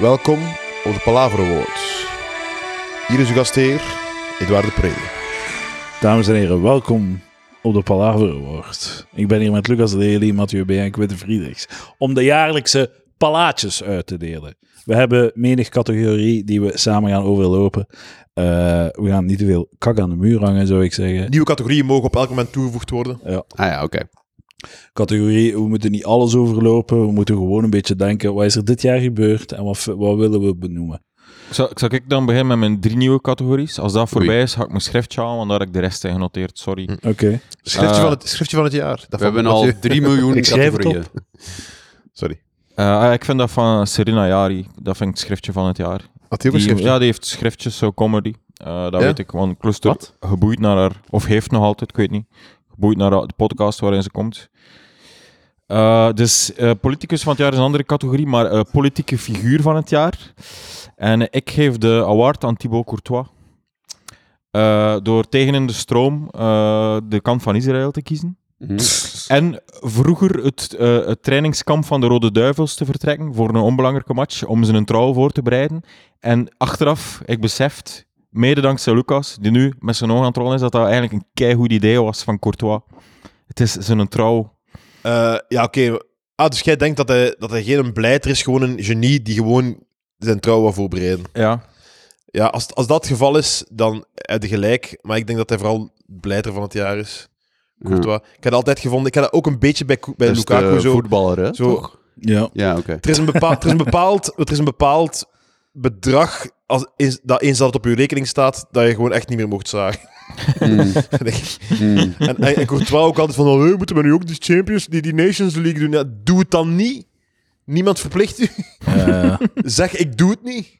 Welkom op de Palavro Awards. Hier is uw gastheer, Edouard de Pre. Dames en heren, welkom op de Palaver Award. Ik ben hier met Lucas de Lely, Mathieu B. en Quinten Friedrichs om de jaarlijkse palaatjes uit te delen. We hebben menig categorie die we samen gaan overlopen. Eh, we gaan niet te veel kak aan de muur hangen, zou ik zeggen. Nieuwe categorieën mogen op elk moment toegevoegd worden. Ah ja, oké. Categorie, we moeten niet alles overlopen. We moeten gewoon een beetje denken, wat is er dit jaar gebeurd en wat, wat willen we benoemen? Zal, zal ik dan beginnen met mijn drie nieuwe categories? Als dat voorbij is, ga ik mijn schriftje halen, want daar heb ik de rest in genoteerd, sorry. Hm. Oké. Schriftje, Eh, van, het, schriftje van het jaar. Dat We van hebben al Mathieu. 3 miljoen Ik schrijf het categorieën. Sorry. Eh, ah, ik vind dat van Serena Jari, dat vind ik het schriftje van het jaar. Had hij ook een Die- schriftje? Ja, die heeft schriftjes, zo comedy. Eh, dat Ja? Ah. weet ik, want Cluster geboeid naar haar, of heeft nog altijd, ik weet niet, geboeid naar haar- de podcast waarin ze komt. Eh, dus eh, politicus van het jaar is een andere categorie, maar eh, politieke figuur van het jaar. En eh, ik geef de award aan Thibaut Courtois. Eh, door tegen in de stroom eh, de kant van Israël te kiezen. Mhm. Dus, En vroeger het, eh, het trainingskamp van de Rode Duivels te vertrekken voor een onbelangrijke match, om ze een trouw voor te bereiden. En achteraf, ik beseft, mede dankzij Lucas, die nu met zijn ogen aan het rollen is, dat dat eigenlijk een keigoed idee was van Courtois. Het is zijn trouw. Eh, ja, oké. Ah, dus jij denkt dat hij, dat hij geen blijter is, gewoon een genie die gewoon zijn trouw wil voorbereiden. Ja. Ja, als, als dat het geval is, dan heb je gelijk. Maar ik denk dat hij vooral blijter van het jaar is. Courtois. Ik heb dat altijd gevonden. Ik heb dat ook een beetje bij, Ko- bij Dus de Lukaku zo. voetballer, hè? zo toch? Ja. Ja, oké. Er is een bepaald, er is een bepaald, er is een bepaald bedrag als, eens- dat eens dat het op je rekening staat, dat je gewoon echt niet meer mocht zagen. Mm, Denk ik. mm. en, en, en Courtois ook altijd van, oh, hey, moeten we nu ook die Champions, die, die Nations League doen? Ja, doe het dan niet. Niemand verplicht u. Eh, Zeg, ik doe het niet.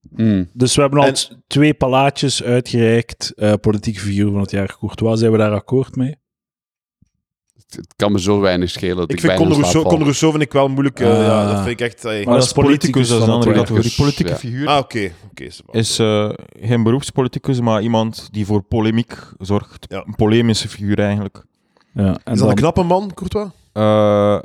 Mm. Dus we hebben al En- t- twee palaatjes uitgereikt. eh politieke figuur van het jaar. Courtois, zijn we daar akkoord mee? Het kan me zo weinig schelen dat ik, Ik vind bijna Conor in slaap Rousseau, val. Conor Rousseau vind ik wel moeilijk. eh, Ah. ja, dat vind ik echt... eh, Maar dat is politicus, dat is een van andere het categorie. werkers, Politieke ja. figuur Ah, oké. oké is wel. is eh, geen beroepspoliticus, maar iemand die voor polemiek zorgt. Ja. Een polemische figuur eigenlijk. Ja, en Is dat dan, een knappe man, Courtois? Eh,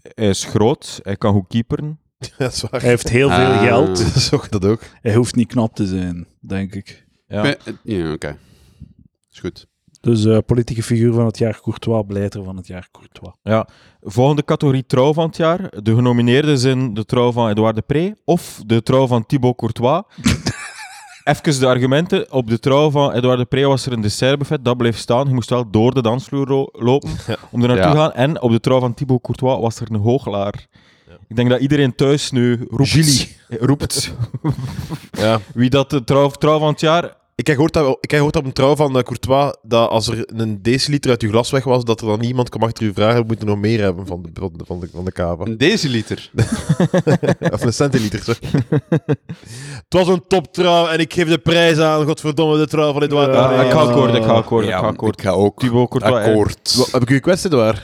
hij is groot, hij kan goed keeperen. dat is waar. hij heeft heel veel Ah. geld. Zo, dat ook. Hij hoeft niet knap te zijn, denk ik. Ja. Ik ben- Ja, oké. Is goed. Dus eh, politieke figuur van het jaar Courtois, blijter van het jaar Courtois. Volgende categorie trouw van het jaar. De genomineerden zijn de trouw van Edouard de Pre of de trouw van Thibaut Courtois. Even de argumenten. Op de trouw van Edouard de Pre was er een dessertbuffet. Dat bleef staan. Je moest wel door de dansvloer ro- lopen om er naartoe Ja. te gaan. En op de trouw van Thibaut Courtois was er een hooglaar. Ik denk dat iedereen thuis nu roept, Julie. roept Ja. wie dat de trouw, trouw van het jaar... Ik heb gehoord dat, ik heb gehoord dat op een trouw van eh, Courtois dat als er een deciliter uit uw glas weg was, dat er dan niemand kwam achter u vragen, we moeten nog meer hebben van de, van de, van de, van de kava. Een deciliter. of een centiliter, sorry. Het was een toptrouw en ik geef de prijs aan, godverdomme, de trouw van Edouard. Ja, Ja, Ah, ik ga akkoord, ik ga akkoord, ik Ja, ga akkoord. Ik ga ook Thibaut Courtois. eh, akkoord. Wa- Heb ik u gekwetst, Edouard?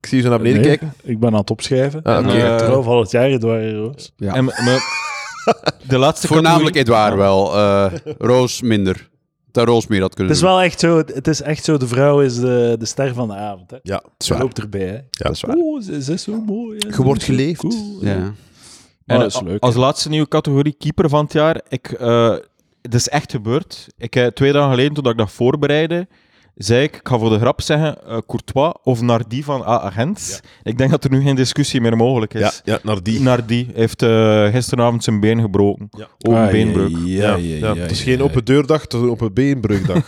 Ik zie u zo naar beneden Nee, kijken. Ik ben aan het opschrijven. Ah, oké. En, eh, trouw van het jaar Edouard Roos. Ja. En me- de laatste Voornamelijk categorie- Edouard wel. eh, Roos minder. Dat Roos meer had Het kunnen is wel echt zo, het is echt zo, de vrouw is de, de ster van de avond. Hè. Ja, Ze waar. loopt erbij. Hè. dat is Oh, ze, ze is zo mooi. hè. Je wordt geleefd. Cool. doen. Maar Ja. En dat is a- leuk. Als laatste nieuwe categorie keeper van het jaar. Ik, eh, het is echt gebeurd. Ik, eh, twee dagen geleden, toen ik dat voorbereidde, zei ik, ik ga voor de grap zeggen eh, Courtois of Nardi van AA Gent. Ik denk dat er nu geen discussie meer mogelijk Ja, is. ja, naar Oh, die. Nardi heeft eh, gisteravond zijn been gebroken. Ja. Open Ah, beenbreuk. Ja, Ja, ja, ja, ja, het is ja, geen ja. open deurdag, het is een open beenbrugdag.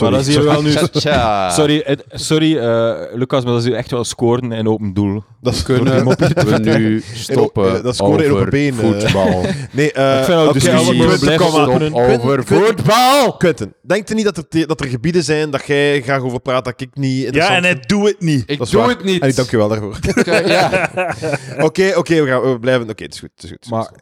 Maar dat is hier wel nu... Tja, tja. Sorry, Ed- sorry eh, Lucas, maar dat is hier echt wel scoren en open doel. Dat is Kunnen we nu eh, stoppen dat scoren in over op een been, eh. voetbal? Nee, eh Ik vind dat oké, discussie allemaal moeten punten, blijven kom maar. stoppen. Stop over Quinten- voetbal! Quinten, denkt u niet dat er, dat er gebieden zijn dat jij graag over praat dat ik niet Ja, en interessant hij doet het niet. Ik Dat is doe waar. het niet. vind? dank u wel daarvoor. Oké, Ja. oké, we gaan we blijven. Oké, het is goed. Het is goed, het is Maar goed.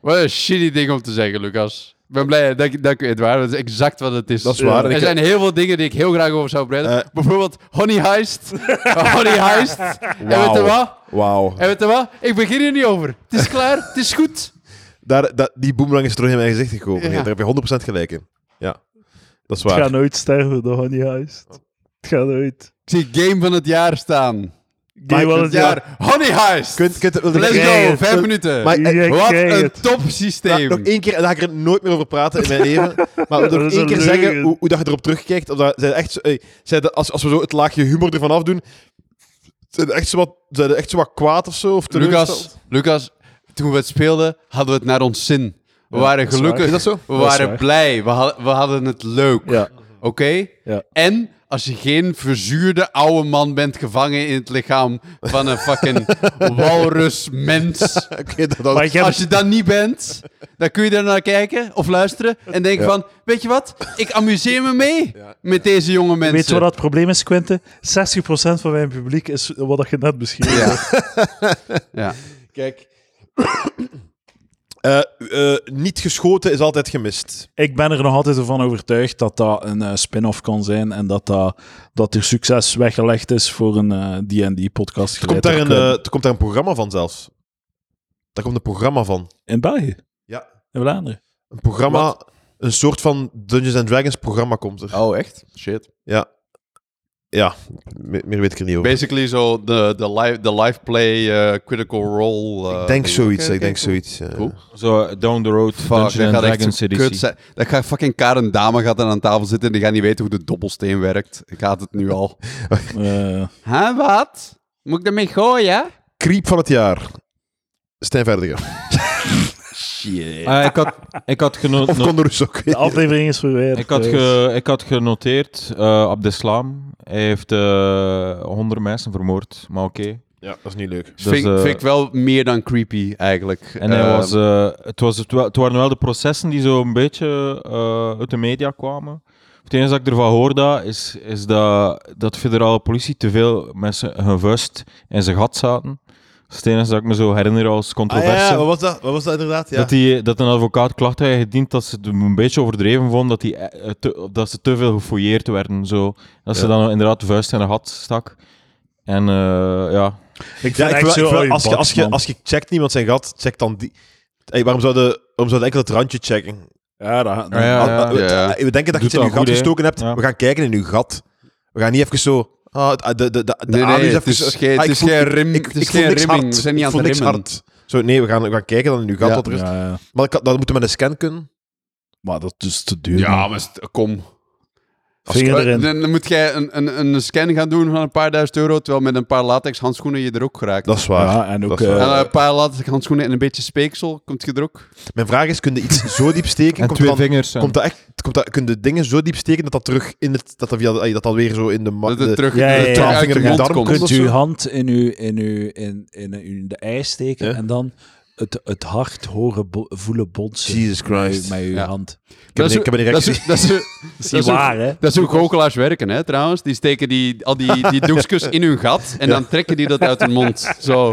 Wat een shitty ding om te zeggen, Lucas. Ik ben blij, dank, dank u, Edouard. Dat is exact wat het is. Dat is waar. En Er ik- zijn heel veel dingen die ik heel graag over zou brengen. Eh. Bijvoorbeeld Honey Heist. honey Heist. En weet je wat? Wauw. En weet je wat? Ik begin hier niet over. Het is klaar. Het is goed. Daar, dat, die boemerang is terug in mijn gezicht gekomen. Ja. Nee, daar heb je 100% gelijk in. Ja, dat is Het waar. gaat nooit sterven, de Honey Heist. Het gaat nooit. Ik zie Game van het jaar staan. Game van het jaar. Honey Heist. Kunt, kunt, wil ik- Let's Krijg go, het. vijf minuten. Maar, eh, Je Wat krijgt een het. topsysteem. nog één keer, en daar ga ik er nooit meer over praten in mijn leven. Maar wil ik Dat nog is één een keer leugen. zeggen hoe, hoe dat je erop terugkijkt. Of dat, zijn echt, zo- eh, zijn dat- als, als we zo het laagje humor ervan afdoen, zijn dat echt zo wat, zijn dat echt zo wat kwaad of zo? Of teleurgesteld? Lucas, Lucas, toen we het speelden, hadden we het naar ons zin. We Ja, waren dat is gelukkig. waar. Is dat zo? We Dat is waren waar. blij. We, had- we hadden het leuk. Ja. Oké? Ja. En als je geen verzuurde oude man bent gevangen in het lichaam van een fucking walrusmens. Oké, dat, dat- Maar ik heb- Als je dat niet bent, dan kun je daar naar kijken of luisteren en denken van, weet je wat? Ik amuseer me mee met deze jonge mensen. Weet je wat dat probleem is, Quentin? 60% van mijn publiek is wat dat je net beschreef. Ja. ja. Kijk. Eh, eh, niet geschoten is altijd gemist. Ik ben er nog altijd van overtuigd dat dat een eh, spin-off kan zijn en dat, dat, dat er succes weggelegd is voor een eh, D&D-podcast. Er komt, daar een, eh, er komt daar een programma van zelfs. Daar komt een programma van. eh, In België? Ja. In Vlaanderen? Een programma, een soort van Dungeons and Dragons programma komt er. Oh, echt? Shit. Ja. Ja, me- meer weet ik er niet over. Basically zo de, de, live, de live play eh, critical role. eh, ik denk ding. zoiets, Oké, ik denk oké, zoiets. eh. Cool. Zo, eh, down the road, Fuck, Fuck, dat Dungeons gaat and echt Dragons een editie. kut zijn. Dat gaat fucking Karen Dame gaat dan aan tafel zitten en die gaat niet weten hoe de dobbelsteen werkt. Ik haat het nu al. Eh, Hè, wat? Moet ik daarmee gooien? Creep van het jaar. Stijn Verdega. Shit. Ah, ik had, ik had, geno- Of no- Condorus ook. de aflevering is verwijderd. ik had, dus. ge- ik had genoteerd, eh Abdeslam, hij heeft eh honderden mensen vermoord, maar oké. Ja, dat is niet leuk. Dus, vind, eh, vind ik wel meer dan creepy, eigenlijk. En hij Eh, was, eh, het, was, het, wa- het waren wel de processen die zo een beetje eh, uit de media kwamen. Het enige dat ik ervan hoorde is, is dat, dat de federale politie te veel mensen hun vuist in zijn gat zaten. Dat is het enige dat ik me zo herinner als Ah, controverse. ja, wat was dat? Wat was dat inderdaad? Ja. dat, die, dat een advocaat klacht had ingediend dat ze het een beetje overdreven vonden dat, die, eh, te, dat ze te veel gefouilleerd werden. Zo. Dat ze Ja. dan inderdaad de vuist in haar gat stak. En eh, ja, Ik vind Ja, ik echt wil- zo, ik wil- oh, je als, je, bakt, als, je, man. als je checkt niemand zijn gat, check dan die. Hey, waarom zouden waarom zouden enkel het randje checken? Ja, dat, Ah, Ja, ja. Al- we, ah, ja. we denken dat je het in Doet dat je gat goed, hè? gestoken hebt. Ja. We gaan kijken in uw gat. We gaan niet even zo. Ah, het- ah, de, de, de, de Nee, nee, anus het even is zo- Ah, geen- dus- het ik is voel- geen ik- rim- ik- het ik is voel geen niks rimming. hard. We zijn niet Ik aan voel het niks rimmen. hard. Zo, nee, we gaan, we gaan kijken dan in uw gat Ja. wat er is. Ja, ja. Maar dat, kan- dat moet met een scan kunnen. Maar dat is te duur. Ja, man. maar st- kom. Vinger Eh, erin. Dan, dan moet jij een, een, een scan gaan doen van een paar duizend euro, terwijl met een paar latex handschoenen je er ook geraakt. Dat is waar. Ja, en ook... Dat is eh, waar. en een paar latex handschoenen en een beetje speeksel, komt je er ook? Mijn vraag is: kun je iets zo diep steken? en komt twee dan- vingers. en- Komt dat echt, komt dat, kun je dingen zo diep steken dat dat terug in het. dat dat, via, de- dat, dat weer zo in de. ma- Dat het de terug Ja, ja, ja. terug uit je Twaalfvinger mond darm komt. kunt- Kunt of u zo? uw hand in, uw, in, uw, in, in, in de ei steken Ja. en dan het, het hart horen bo- voelen bonsen Jesus Christ. met uw Ja. hand. Ik heb, een- ik heb een Dat is- erectie. dat is- Dat is niet Dat is ook- waar, hè? Dat is hoe goochelaars werken, hè, trouwens. Die steken die, al die, die doekjes in hun gat en dan trekken die dat uit hun mond. Zo,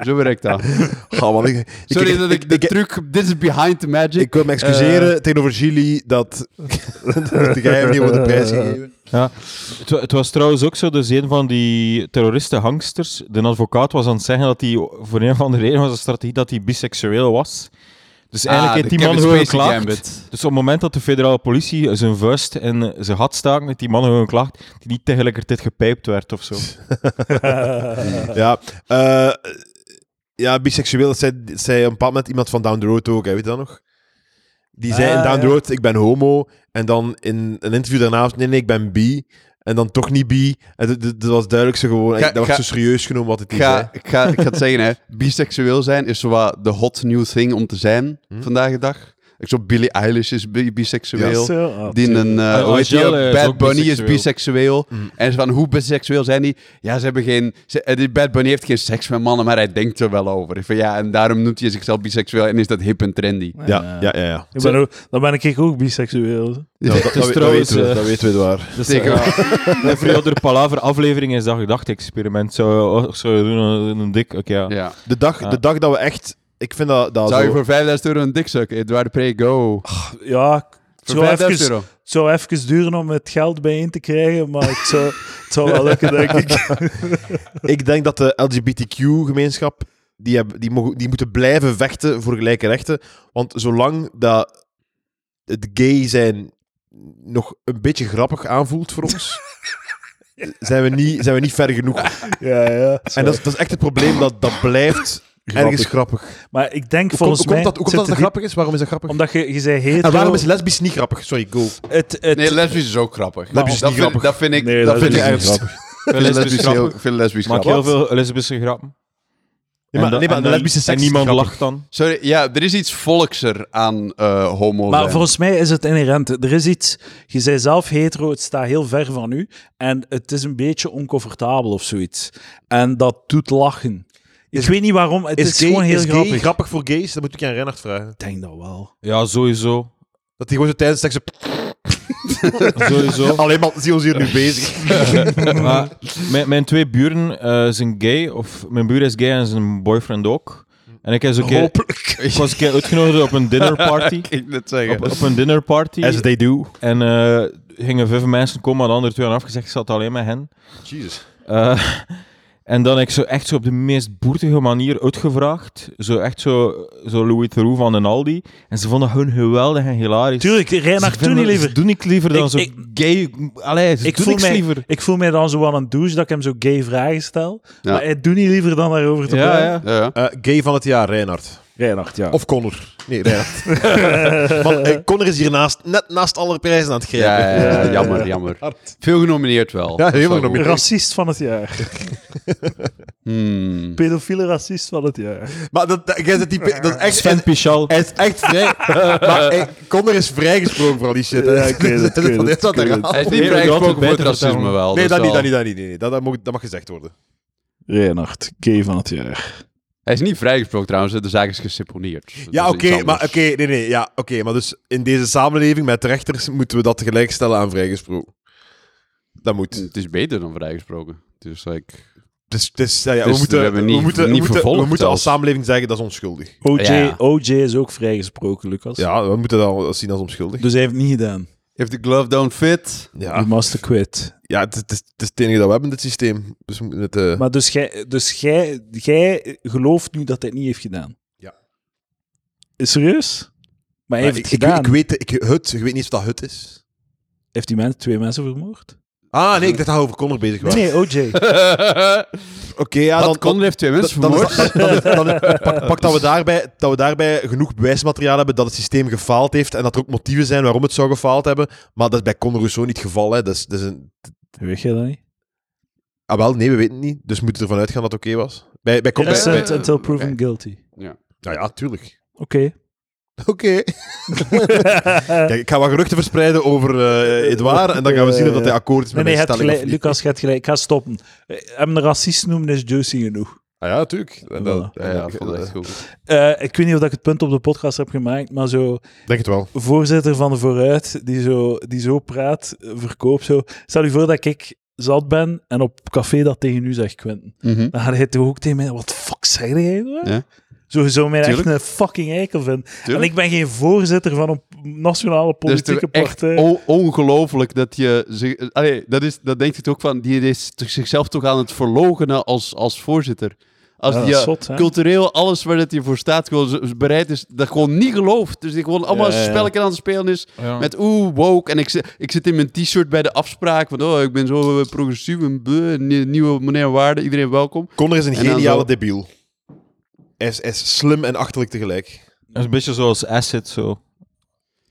zo werkt dat. Oh, man, ik, ik- Sorry ik- dat ik ik- de ik- truc... Eh. Dit is behind the magic. Ik wil me excuseren tegenover Gilly dat, dat jij hem niet wordt de prijs gegeven. Ja, het, wa- het was trouwens ook zo, dus een van die terroristen hangsters, de advocaat was aan het zeggen dat hij voor een van de redenen was een strategie dat hij biseksueel was. Ah, Dus Ah, eigenlijk heeft die man gewoon geklaagd. Dus op het moment dat de federale politie zijn vuist in eh, zijn gat staken, heeft die man gewoon geklaagd die niet tegelijkertijd gepijpt werd of zo. Ja, eh, ja, biseksueel, dat zei, dat zei op een bepaald moment iemand van Down the Road ook, hè, weet je dat nog? Die zei Ah, in Down the ja. Road, ik ben homo. En dan in een interview daarnaast, nee, nee, ik ben bi. En dan toch niet bi. En dat- dat dat was duidelijk zo gewoon, Ga- dat werd ga- zo serieus genomen wat het Ik is. ga, ik, ga, ik ga het zeggen, hè. Biseksueel zijn is zowat de hot new thing om te zijn Hm? vandaag de dag. Ik zo Billie Eilish is bi- biseksueel. Zo, ah, Die een, eh, Ah, hoe heet die, Adele is Bad ook Bunny biseksueel. is biseksueel. Mm. En ze van, hoe biseksueel zijn die? Ja, ze hebben geen... ze- eh, die Bad Bunny heeft geen seks met mannen, maar hij denkt er wel over. Ik van, ja, en daarom noemt hij zichzelf biseksueel en is dat hip en trendy. Ja, ja, ja. ja. Ik ben ook, dan ben ik ook biseksueel. Ja, dat, dat, is we- dat trouwens, weten we, eh, dat weten we het waar. Dus, Zeker. eh, de Vreelder Palaver aflevering is dat gedachte-experiment. Zou je oh, zou je doen eh, een, een dik... Oké, ja. Ja. De dag, Ja. de dag dat we echt... Ik vind dat... dat Zou je zo- voor 5000 euro een dik sukken? Edouard Pre, go. Ja, het Voor zou, 5000 even, euro. het zou even duren om het geld bijeen te krijgen, maar het zou, het zou wel lukken, denk ik. Ik denk dat de LGBTQ-gemeenschap, die, hebben- die, mogen- die moeten blijven vechten voor gelijke rechten. Want zolang dat het gay zijn nog een beetje grappig aanvoelt voor ons, zijn we niet, zijn we niet ver genoeg. Ja, ja. En dat is, dat is echt het probleem, dat, dat blijft ergens grappig. Hoe, Maar ik denk komt- volgens hoe komt mij... dat, hoe komt dat zit het die- grappig is? Waarom is dat grappig? Omdat je, je zei hetero... en waarom is lesbisch niet grappig? Sorry, go. het, het, Nee, lesbisch is ook grappig. Lesbisch is dat, niet vind, grappig. dat vind ik... Nee, dat lesbisch vind ik is niet ergens- grappig. Ik vind lesbisch heel- grappen. Ik vind lesbisch Maak grappig. heel veel lesbische grappen. Nee, maar, dan- nee, maar dan- lesbische seks En niemand is grappig. lacht dan. Sorry, ja, er is iets volkser aan eh homo Maar zijn. volgens mij is het inherent. Er is iets... Je zei zelf hetero, het staat heel ver van u. En het is een beetje oncomfortabel of zoiets. En dat doet lachen. ik weet niet waarom, het is, gay- gewoon heel is gay grappig. grappig voor gays? Dat moet ik aan Reinhard vragen. Ik denk dat wel. Ja, sowieso. Dat die gewoon zo tijdens seks... zo- sowieso. Alleen maar, zie ons hier nu bezig. Maar mijn, mijn twee buren eh, zijn gay, of mijn buur is gay en zijn boyfriend ook. En ik, is ook keer, ik was een keer uitgenodigd op een dinnerparty. Ik net zeggen. Op, op een dinnerparty. As they do. En eh, gingen vijf mensen komen, maar de andere twee hadden afgezegd. Ik zat alleen met hen. Jesus. Eh, en dan ik zo echt zo op de meest boertige manier uitgevraagd. Zo echt zo, zo Louis Theroux van een Aldi. En ze vonden dat gewoon geweldig en hilarisch. Tuurlijk, Reinhard, doe niet liever. Doe ik liever dan Ik- zo ik- gay... Allee, ze Ik doen voel, niks liever. mij, ik voel mij dan zo wel een douche dat ik hem zo gay vragen stel. Ja. Maar hij doet niet liever dan daarover te Ja, praten. ja. Ja, ja. Eh, gay van het jaar, Reinhard. Reinhard, ja. Of Connor. Nee, Reinhard. Man, eh, Connor is hiernaast, net naast alle prijzen aan het geven. Ja, ja, ja, Ja, ja. jammer, jammer. Hard. Veel genomineerd wel. Ja, heel veel Zo. genomineerd. Racist van het jaar. Hmm. Pedofiele racist van het jaar. Maar dat, dat, jij zit die, pe- dat is echt... Sven Pichal. Hij is echt vrij... maar eh, Connor is vrijgesproken voor al die shit. hè. Ja, ik weet het, ik Dat weet is het, wat dat ik weet eraan. Hij is Nee, niet vrijgesproken altijd voor het beter racisme vertellen. wel. Nee, dat dat is niet, wel- dat niet, dat niet. Nee, nee. Dat, dat, mag, dat mag gezegd worden. Reinhard, gay van het jaar. Hij is niet vrijgesproken trouwens, de zaak is geseponeerd. Dat Ja, is oké, Dus iets anders. maar oké, nee, nee, ja, oké, maar dus in deze samenleving met rechters moeten we dat gelijkstellen aan vrijgesproken. Dat moet. Het is beter dan vrijgesproken. Dus like... Dus, dus, ja, ja, Dus we moeten, we we hebben niet- moeten, we niet moeten, we vervolgd moeten als zelfs. samenleving zeggen dat is onschuldig. OJ, Ja. OJ is ook vrijgesproken, Lucas. Ja, we moeten dat al zien als onschuldig. Dus hij heeft het niet gedaan. If the glove don't fit... You Ja, must quit. ja het, het is, het is het enige dat we hebben, dit systeem. Dus we moeten het... eh, Maar dus jij dus gij, gij gelooft nu dat hij het niet heeft gedaan? Ja. Is serieus? Maar hij maar heeft ik, het ik, gedaan. ik weet, ik, het, ik weet niet of dat het is. Heeft die mensen twee mensen vermoord? Ah, nee, ik dacht dat we over Connor bezig Nee, waren. nee, OJ. Oké, ja, dan... Wat, Conor heeft twee mensen dan is vermoord? Dus dat- dan is- dan is- pak, pak dat, we daarbij, dat we daarbij genoeg bewijsmateriaal hebben dat het systeem gefaald heeft en dat er ook motieven zijn waarom het zou gefaald hebben. Maar dat is bij Conor Rousseau niet het geval. Hè. Dat is, dat is een, Weet jij dat niet? ah, wel, nee, we weten het niet. Dus we moeten ervan uitgaan dat het oké was. Bij, bij Conor... Yes, bij- eh. Innocent until proven guilty. Nou ja, tuurlijk. Oké. Oké. Kijk, ik ga wat geruchten verspreiden over eh Edouard en dan gaan we zien of dat hij akkoord is Nee, met nee, mijn je hebt stelling of gelijk. niet. Lucas, je hebt gelijk. Ik ga stoppen. Eh, Hem een racist noemen is juicy genoeg. Ah ja, tuurlijk. En dat- Ja, ja, ik vond het echt goed. Eh, ik weet niet of ik het punt op de podcast heb gemaakt, maar zo... Denk het wel. voorzitter van de vooruit, die zo, die zo praat, eh, verkoopt zo. Stel je voor dat ik zat ben en op café dat tegen u zeg, Quentin. Mhm. Dan gaat hij toch ook tegen mij, wat de fuck zeg jij nou? Ja. Zo, je zou mij echt Tuurlijk. een fucking eikel vinden. En Tuurlijk. ik ben geen voorzitter van een nationale Dus politieke het is echt partij. on- ongelooflijk dat je... zich- Allee, dat, is, dat denkt het ook van... Die is toch zichzelf toch aan het verlogenen als, als voorzitter. Als Ja, dat die is eh, zot, hè? cultureel alles waar dat hij voor staat gewoon z- z- bereid is, dat gewoon niet gelooft. Dus die gewoon allemaal Ja, ja, ja. spelletje aan het spelen is Ja. met oeh, woke. En ik, zi- ik zit in mijn t-shirt bij de afspraak van oh, ik ben zo eh, progressief en bleh, nie- nieuwe meneer Waarde, iedereen welkom. Connor is een En dan geniale zo- debiel. Hij is, hij is slim en achterlijk tegelijk. Dat is een beetje zoals Acid, zo.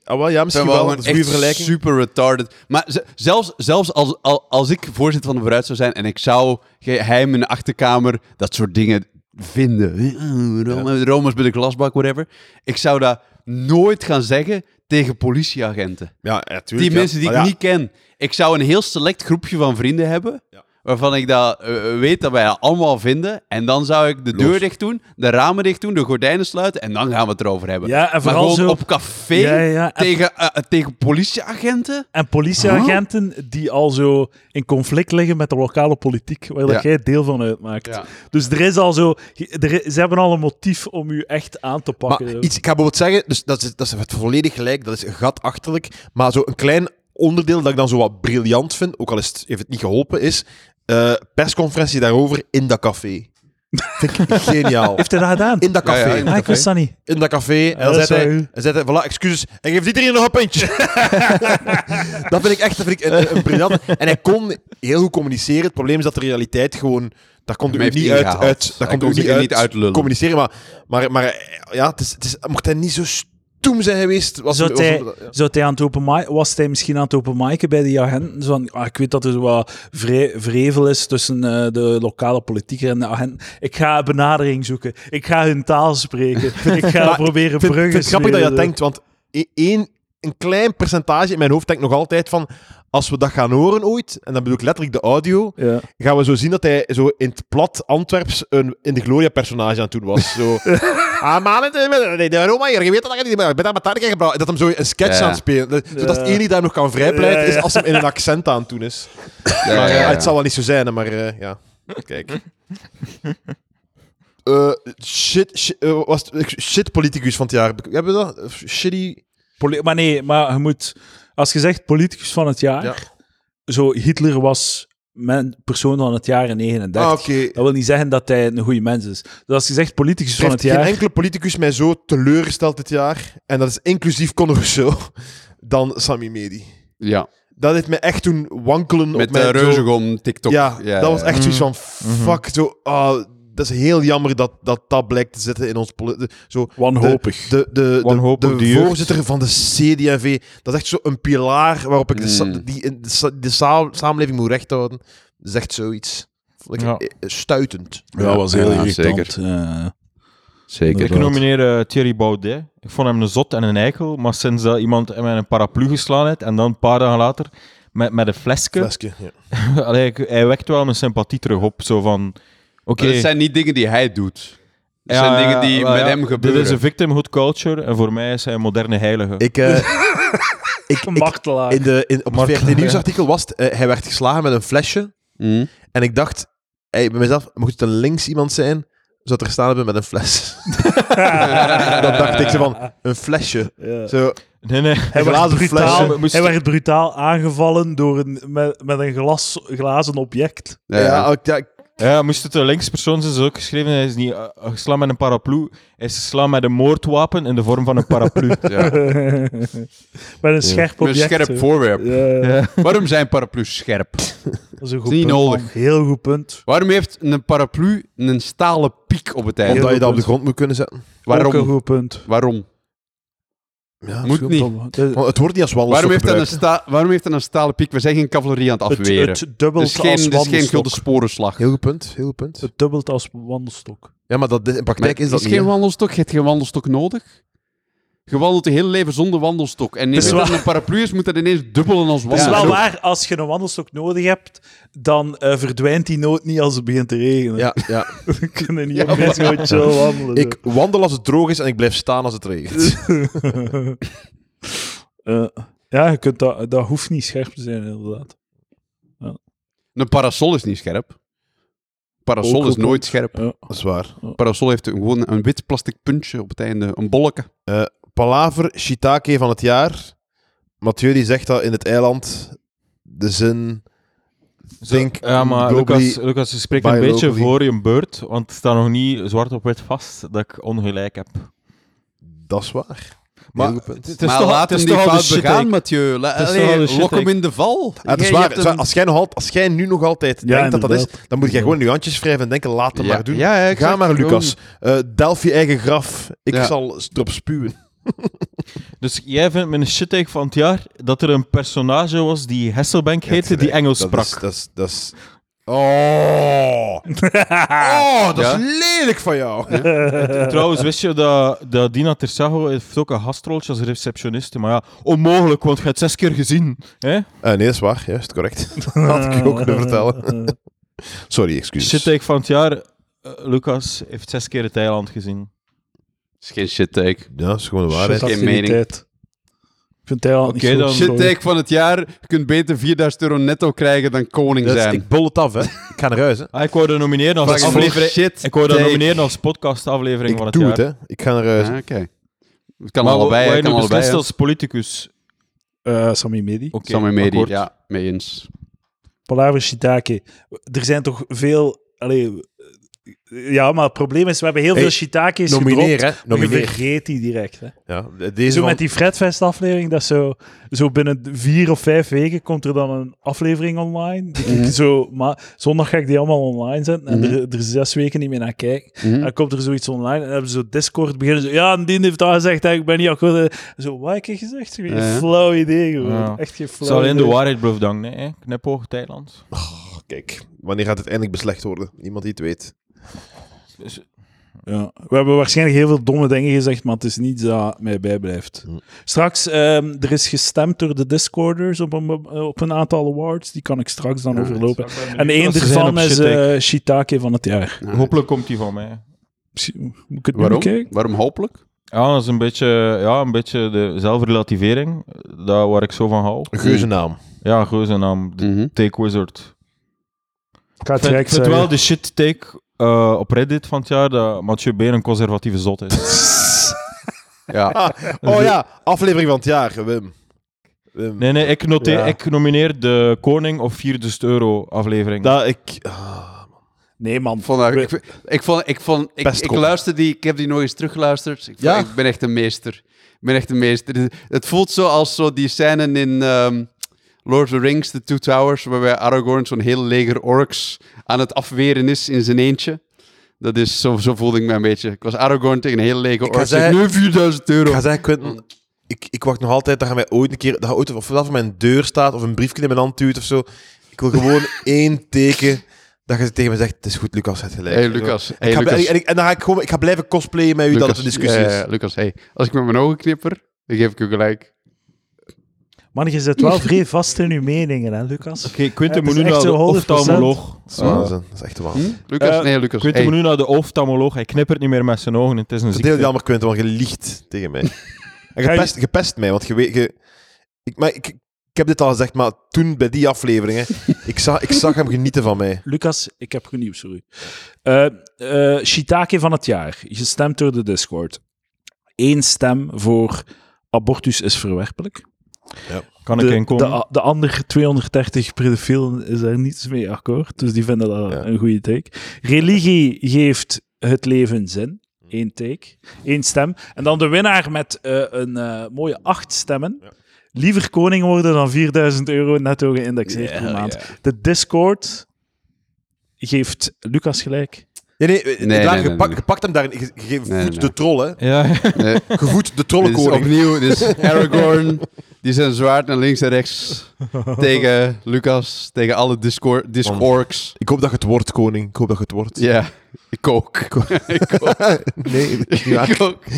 Ah, wel, ja, misschien Zijn we wel. gewoon Dat is een goede echt vergelijking. super retarded. Maar ze- zelfs, zelfs als, al- als ik voorzitter van de Vooruit zou zijn en ik zou geheim in de achterkamer dat soort dingen vinden. Eh, Roma, Roma's bij de glasbak, whatever. Ik zou dat nooit gaan zeggen tegen politieagenten. Ja, ja, tuurlijk. Die ja. mensen die ik Maar ja, niet ken. Ik zou een heel select groepje van vrienden hebben. Ja. Waarvan ik dat, eh, weet dat wij dat allemaal vinden. En dan zou ik de Los. deur dicht doen, de ramen dicht doen, de gordijnen sluiten. En dan gaan we het erover hebben. Ja, en maar vooral gewoon zo- op café Ja, ja, en- Tegen, eh, eh, tegen politieagenten. En politieagenten die al zo in conflict liggen met de lokale politiek, waar dat Ja. jij deel van uitmaakt. Ja. Dus er is al zo... er- ze hebben al een motief om u echt aan te pakken. Maar iets, ik ga bijvoorbeeld zeggen, dus dat is, dat is het volledig gelijk, dat is gatachterlijk. Maar zo een klein onderdeel dat ik dan zo wat briljant vind, ook al is het, heeft het niet geholpen, is eh, persconferentie daarover in dat café. Vind ik geniaal. Heeft hij dat gedaan? In dat café. Ja, ja, in- Ah, ik wist dat niet. In dat café. En dan dat is zei hij, waar. hij zei hij, voilà, excuses. En geef iedereen nog een puntje. dat vind ik echt dat vind ik een, een briljant. En hij kon heel goed communiceren. Het probleem is dat de realiteit gewoon... Daar komt u Hem heeft niet uit, ingehaald. uit, Hij daar komt u kon niet zich er uit, niet uitlullen. communiceren. Maar, maar, maar ja, het is, het is, mocht hij niet zo stoem zijn geweest... Was, Zou was- hij, was- zou hij aan het open mic- was hij misschien aan het open micen bij die agenten? Zo van, ah, ik weet dat er wat vre- vrevel is tussen eh, de lokale politieker en de agenten. Ik ga benadering zoeken. Ik ga hun taal spreken. Ik ga Maar proberen Ik vind, bruggen vind het grappig dat je dat smeden. denkt, want e- één, een klein percentage in mijn hoofd denkt nog altijd van... Als we dat gaan horen ooit, en dan bedoel ik letterlijk de audio, Ja. gaan we zo zien dat hij zo in het plat Antwerps een in de Gloria personage aan het doen was. Zo. ah, maar het- nee, de Roma, hier, je weet dat ik niet meer. Ik ben daar met daar gebracht. Dat hem zo een sketch Ja. aan het spelen. Dat, Zodat het Ja. enige dat hem nog kan vrijpleiten Ja, ja. is als hem in een accent aan het doen is. Ja, Maar, ja, ja, ja. Het zal wel niet zo zijn, hè, maar eh, ja. Kijk. Eh, shit, shit, eh, was het- shit politicus van het jaar. Hebben we dat? Shitty. Poli- maar nee, maar je moet... Als je zegt politicus van het jaar... Ja. Zo, Hitler was mijn persoon van het jaar in 39. Ah, oké. Dat wil niet zeggen dat hij een goede mens is. Dus als je zegt politicus Er van het heeft geen jaar... enkele politicus mij zo teleurgesteld dit jaar. En dat is inclusief Conor Rousseau. Dan Sami Medi. Ja. Dat heeft me echt toen wankelen op Met mijn... uh, zo- Reuzegom, TikTok. eh, Ja, dat was echt zoiets van... Mhm. Fuck, zo... ah, dat is heel jammer dat dat, dat blijkt te zitten in ons... poli- de- Zo, Wanhopig. de, de, de, Wanhopig de, de jeugd. voorzitter van de CDV. Dat is echt zo een pilaar waarop ik de, sa- Mm. die, in de, sa- de sa- samenleving moet rechthouden. Dat is echt zoiets. Vond ik Ja. eh, stuitend. Ja, dat was heel Ja, irritant. Eh, Zeker. Ik nomineer eh, Thierry Baudet. Ik vond hem een zot en een eikel, maar sinds dat iemand hem met een paraplu geslaan heeft en dan een paar dagen later met, met een flesje, Flesje, ja. Allee, ik- hij wekt wel mijn sympathie terug op. Zo van, oké... Maar Het zijn niet dingen die hij doet. Het ja, zijn dingen die wel, met ja, hem gebeuren. Dit is een victimhood culture en voor mij is hij een moderne heilige. Ik, eh, ik, een ik- martelaar. in de, in, op het Martelaar, ja. VRT-nieuwsartikel was het... eh, hij werd geslagen met een flesje. Mm. En ik dacht, hey, bij mezelf, mocht het een links iemand zijn, zou het er staan hebben met een fles. dat dacht ik zo van, een flesje. Ja. Zo, Nee, nee. Hij werd, glazen brutaal, flessen. Moest- hij werd brutaal aangevallen door een, met, met een glas, glazen object. ja, ik- ja, ik- Ja, moest het een linkspersoon zijn, is ook geschreven. Hij is niet eh, geslaan met een paraplu. Hij is geslaan met een moordwapen in de vorm van een paraplu. Ja. met een scherp Een object. scherp hè. voorwerp. Ja, Ja. Waarom zijn paraplu's scherp? dat is een goed Is niet punt, nodig. man. Heel goed punt. Waarom heeft een paraplu een stalen piek op het einde? omdat je dat op de goed. grond moet kunnen zetten. Ook een Waarom? goed punt. Waarom? Ja, Moet zo. niet. Tom, de- Want Het wordt niet als wandelstok Waarom heeft, dat een gebruikt. sta- waarom heeft dat een stalen piek? We zijn geen cavalerie aan het het, afweren. het dubbelt dus geen, als dit is geen wandelstok. gulden sporenslag. Heel goed punt, heel goed punt. Het dubbelt als wandelstok. Ja, maar dat, in Maar praktijk is het dat is niet. geen hè. wandelstok. Je hebt geen wandelstok nodig. Je wandelt je hele leven zonder wandelstok. En is als dat waar. een paraplu is, moet dat ineens dubbelen als Het is wandelstok. wel waar, als je een wandelstok nodig hebt, dan eh, verdwijnt die nood niet als het begint te regenen. Ja, ja. We kunnen niet opeens gewoon chill wandelen. Ik wandel als het droog is en ik blijf staan als het regent. Eh, ja, je kunt dat, dat hoeft niet scherp te zijn, inderdaad. Een parasol is niet scherp. Parasol Ook is een nooit punt. scherp. Ja. Dat is waar. Parasol heeft gewoon een wit plastic puntje op het einde. Een bolleke. Palaver Shiitake van het jaar. Mathieu die zegt dat in het eiland de zin... Zo, Think ja, maar globally, Lucas, Lucas, je spreekt een buy beetje locally. voor je beurt, want het staat nog niet zwart op wit vast dat ik ongelijk heb. Dat is waar. Maar Heel goed punt. het is maar toch, laat het hem is die toch al de fout shit begaan, take. Mathieu. La- Het is allee, toch al de shit lok hem take. in de val. Ja, het Ah, is Jij- waar. je Het hebt is waar. een- Als, jij nog al- als jij nu nog altijd Ja, denkt dat dat is, inderdaad. dan moet jij gewoon je handjes wrijven en denken, laat het Ja. maar doen. Ja, ja, ik Ga zeg maar, het Lucas. Eh delf je eigen graf. Ik Ja. zal erop spuwen. Dus jij vindt mijn shit take van het jaar dat er een personage was die Hasselbank heette, die Engels dat sprak. Is, dat is... Dat is Oh. oh, dat Ja? is lelijk van jou. Eh, eh, Trouwens, wist je dat, dat Dina Tersago heeft ook een gastroltje als receptioniste? Maar ja, onmogelijk, want je hebt het zes keer gezien. Hè? Eh, nee, dat is waar. Juist, correct. Dat had ik je ook kunnen vertellen. Sorry, excuses. Shit take van het jaar, eh, Lucas heeft zes keer het eiland gezien. Het is geen shit take. Ja, dat is gewoon de waarheid. Shit. Geen Geen mening. mening. Ik vind het Oké, okay, dan- Shit take van het jaar. Je kunt beter 4000 euro netto krijgen dan koning Dus zijn. ik bol het af, hè. Ik ga naar huis, hè. Ah, ik wou dat nomineren als, Fuck, ik aflevering- vond shit ik wou dat take. nomineren als podcastaflevering van Ik het doe jaar. het, hè. Ik ga naar huis. Ja, Oké. Het kan Maar allebei. Waar hè, je kan nu allebei. beslist hè. als politicus. Sammy Eh, Medi. Oké, Samen mee, die- akkoord. ja, mee eens. Palaver Shitake. Er zijn toch veel... Allee, eh, Ja, maar het probleem is, we hebben heel Hey, veel shiitakes Nomineer, gedropt. hè? maar Je Nomineer. vergeet die direct. Hè. Ja, deze Zo van- met die Fredfest-aflevering, dat zo, zo binnen vier of vijf weken komt er dan een aflevering online. Die ik zo, maar zondag ga ik die allemaal online zetten en er, er zes weken niet meer naar kijken. Dan komt er zoiets online en dan hebben ze zo Discord beginnen. Zo, ja, en die heeft daar gezegd, hè, ik ben niet akkoord. En Zo, wat heb ik gezegd? Geen Ja. flauw idee gewoon. Ja. Echt geen flauw Zal alleen de idee. waarheid blijven danken, hè? Knipoog, Thailand. Oh, kijk, wanneer gaat het eindelijk beslecht worden? Niemand die het weet. Dus, Ja. We hebben waarschijnlijk heel veel domme dingen gezegd, maar het is niets dat mij bijblijft. Hm. Straks, ehm, er is gestemd door de Discorders op een, op een aantal awards. Die kan ik straks dan overlopen. En één Ze zijn op daarvan is shit, hè. eh Shiitake van het jaar. Hopelijk komt die van mij. Misschien- Moet ik het nu Waarom? bekijken? Waarom hopelijk? Ja, dat is een beetje, ja, een beetje de zelfrelativering, eh, daar waar ik zo van hou. Een geuze naam. Ja, gewoon zijn naam, de Mhm. Take Wizard. Ik ga het Ik vind- direct ik vind wel zeggen. de shit take eh, op Reddit van het jaar dat Mathieu Been een conservatieve zot is. Ja. Oh ja, aflevering van het jaar, Wim. Wim. Nee, nee, ik, noteer, Ja. ik nomineer de Koning of 4000 euro aflevering. Dat ik... ah, Nee, man. Ik vond, dat- ik, vind- ik vond, ik, vond, ik, Best ik goed. luister die, ik heb die nog eens teruggeluisterd. Ik, vond- Ja. ik ben echt een meester. Ik ben echt een meester. Het- Het voelt zo als zo die scène in ehm, Lord of the Rings, The Two Towers, waarbij Aragorn zo'n heel leger orks aan het afweren is in zijn eentje. Dat is, zo, zo voelde ik me een beetje. Ik was Aragorn tegen een heel leger ga orks. zeggen- nu 4000 Ik euro. ga zeggen, Quentin, ik, ik wacht nog altijd dat je mij ooit een keer... Dat je ooit of dat voor mijn deur staat of een briefje in mijn hand duwt of zo. Ik wil gewoon één teken dat je tegen me zegt, het is goed, Lucas, het gelijk. hey Lucas. En, Hey, ik ga- Lucas. en, ik- en dan ga ik gewoon... Ik ga blijven cosplayen met u dat het Lucas. een discussie Ja, is. ja, ja, Lucas, hey, als ik met mijn ogen knipper, dan geef ik u gelijk. Man, je zit wel vrij vast in je meningen, hè, Lucas? Oké, Quinten Ja, het moet is nu echt naar de zo 100%. oftalmoloog. Dat is waanzin. Ah, Dat is echt waanzin. Hm? Lucas, Eh, nee, Lucas. Quinten hey. moet nu naar de oftalmoloog. Hij knippert niet meer met zijn ogen. Het is een Dat is heel ziekte. jammer, Quentin, want je liegt tegen mij. En je Ga je- pest, je pest mij, want je weet... Je, ik, maar ik, ik heb dit al gezegd, maar toen bij die afleveringen, ik, zag, ik zag hem genieten van mij. Lucas, ik heb goed nieuws voor u. Eh eh, Shiitake van het jaar, gestemd door de Discord. Eén stem voor abortus is verwerpelijk. Kan ik De, inkomen? de, de andere 230 pedofielen is er niets mee akkoord, dus die vinden dat Ja. een goede take. Religie geeft het leven zin. Eén take, één stem. En dan de winnaar met eh, een eh, mooie acht stemmen. Liever koning worden dan 4000 euro netto geïndexeerd Ja, per maand. ja. De Discord geeft Lucas gelijk. Nee, nee, nee, nee, Daan, nee, je, pak- nee. je pakt hem daarin. Je, je voedt Nee, nee. de troll, hè. Ja, Nee. Je voedt de Dit is trollenkoning. opnieuw, dit is Aragorn. Die zijn zwaard naar links en rechts. tegen Lucas, tegen alle Discord- Discorks. Ik hoop dat je het wordt, koning. Ik hoop dat je het wordt. Ja, ik ook. Ik ook. Nee, dat is niet waar. Ik ook.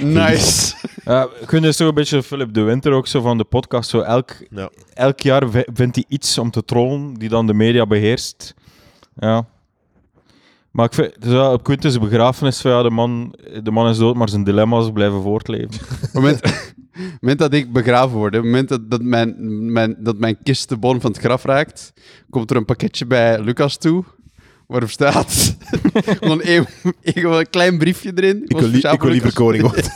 Nice. Ja, kun je zo een beetje Philip de Winter ook zo van de podcast. Zo elk, Ja. elk jaar vi- vindt hij iets om te trollen die dan de media beheerst. Ja. Maar ik vind, dus ja, op Quintus' begrafenis, van, ja, de, man, de man is dood, maar zijn dilemma's blijven voortleven. Op het moment, het moment dat ik begraven word, op het moment dat, dat, mijn, mijn, dat mijn kist de bon van het graf raakt, komt er een pakketje bij Lucas toe. Waarop staat gewoon een, een klein briefje erin. Ik wil, li- ik wil liever koning worden.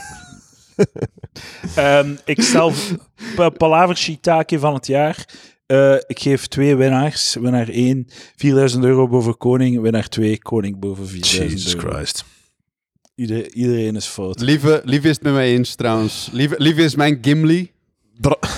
Ehm, ik stel pa- Palaver Shiitake van het jaar. Eh, ik geef twee winnaars. Winnaar 1, 4000 euro boven koning. Winnaar 2, koning boven 4000 euro. Christ. Ieder- iedereen is fout. Lieve, lieve is het met mij eens trouwens. Lieve, lieve is mijn Gimli.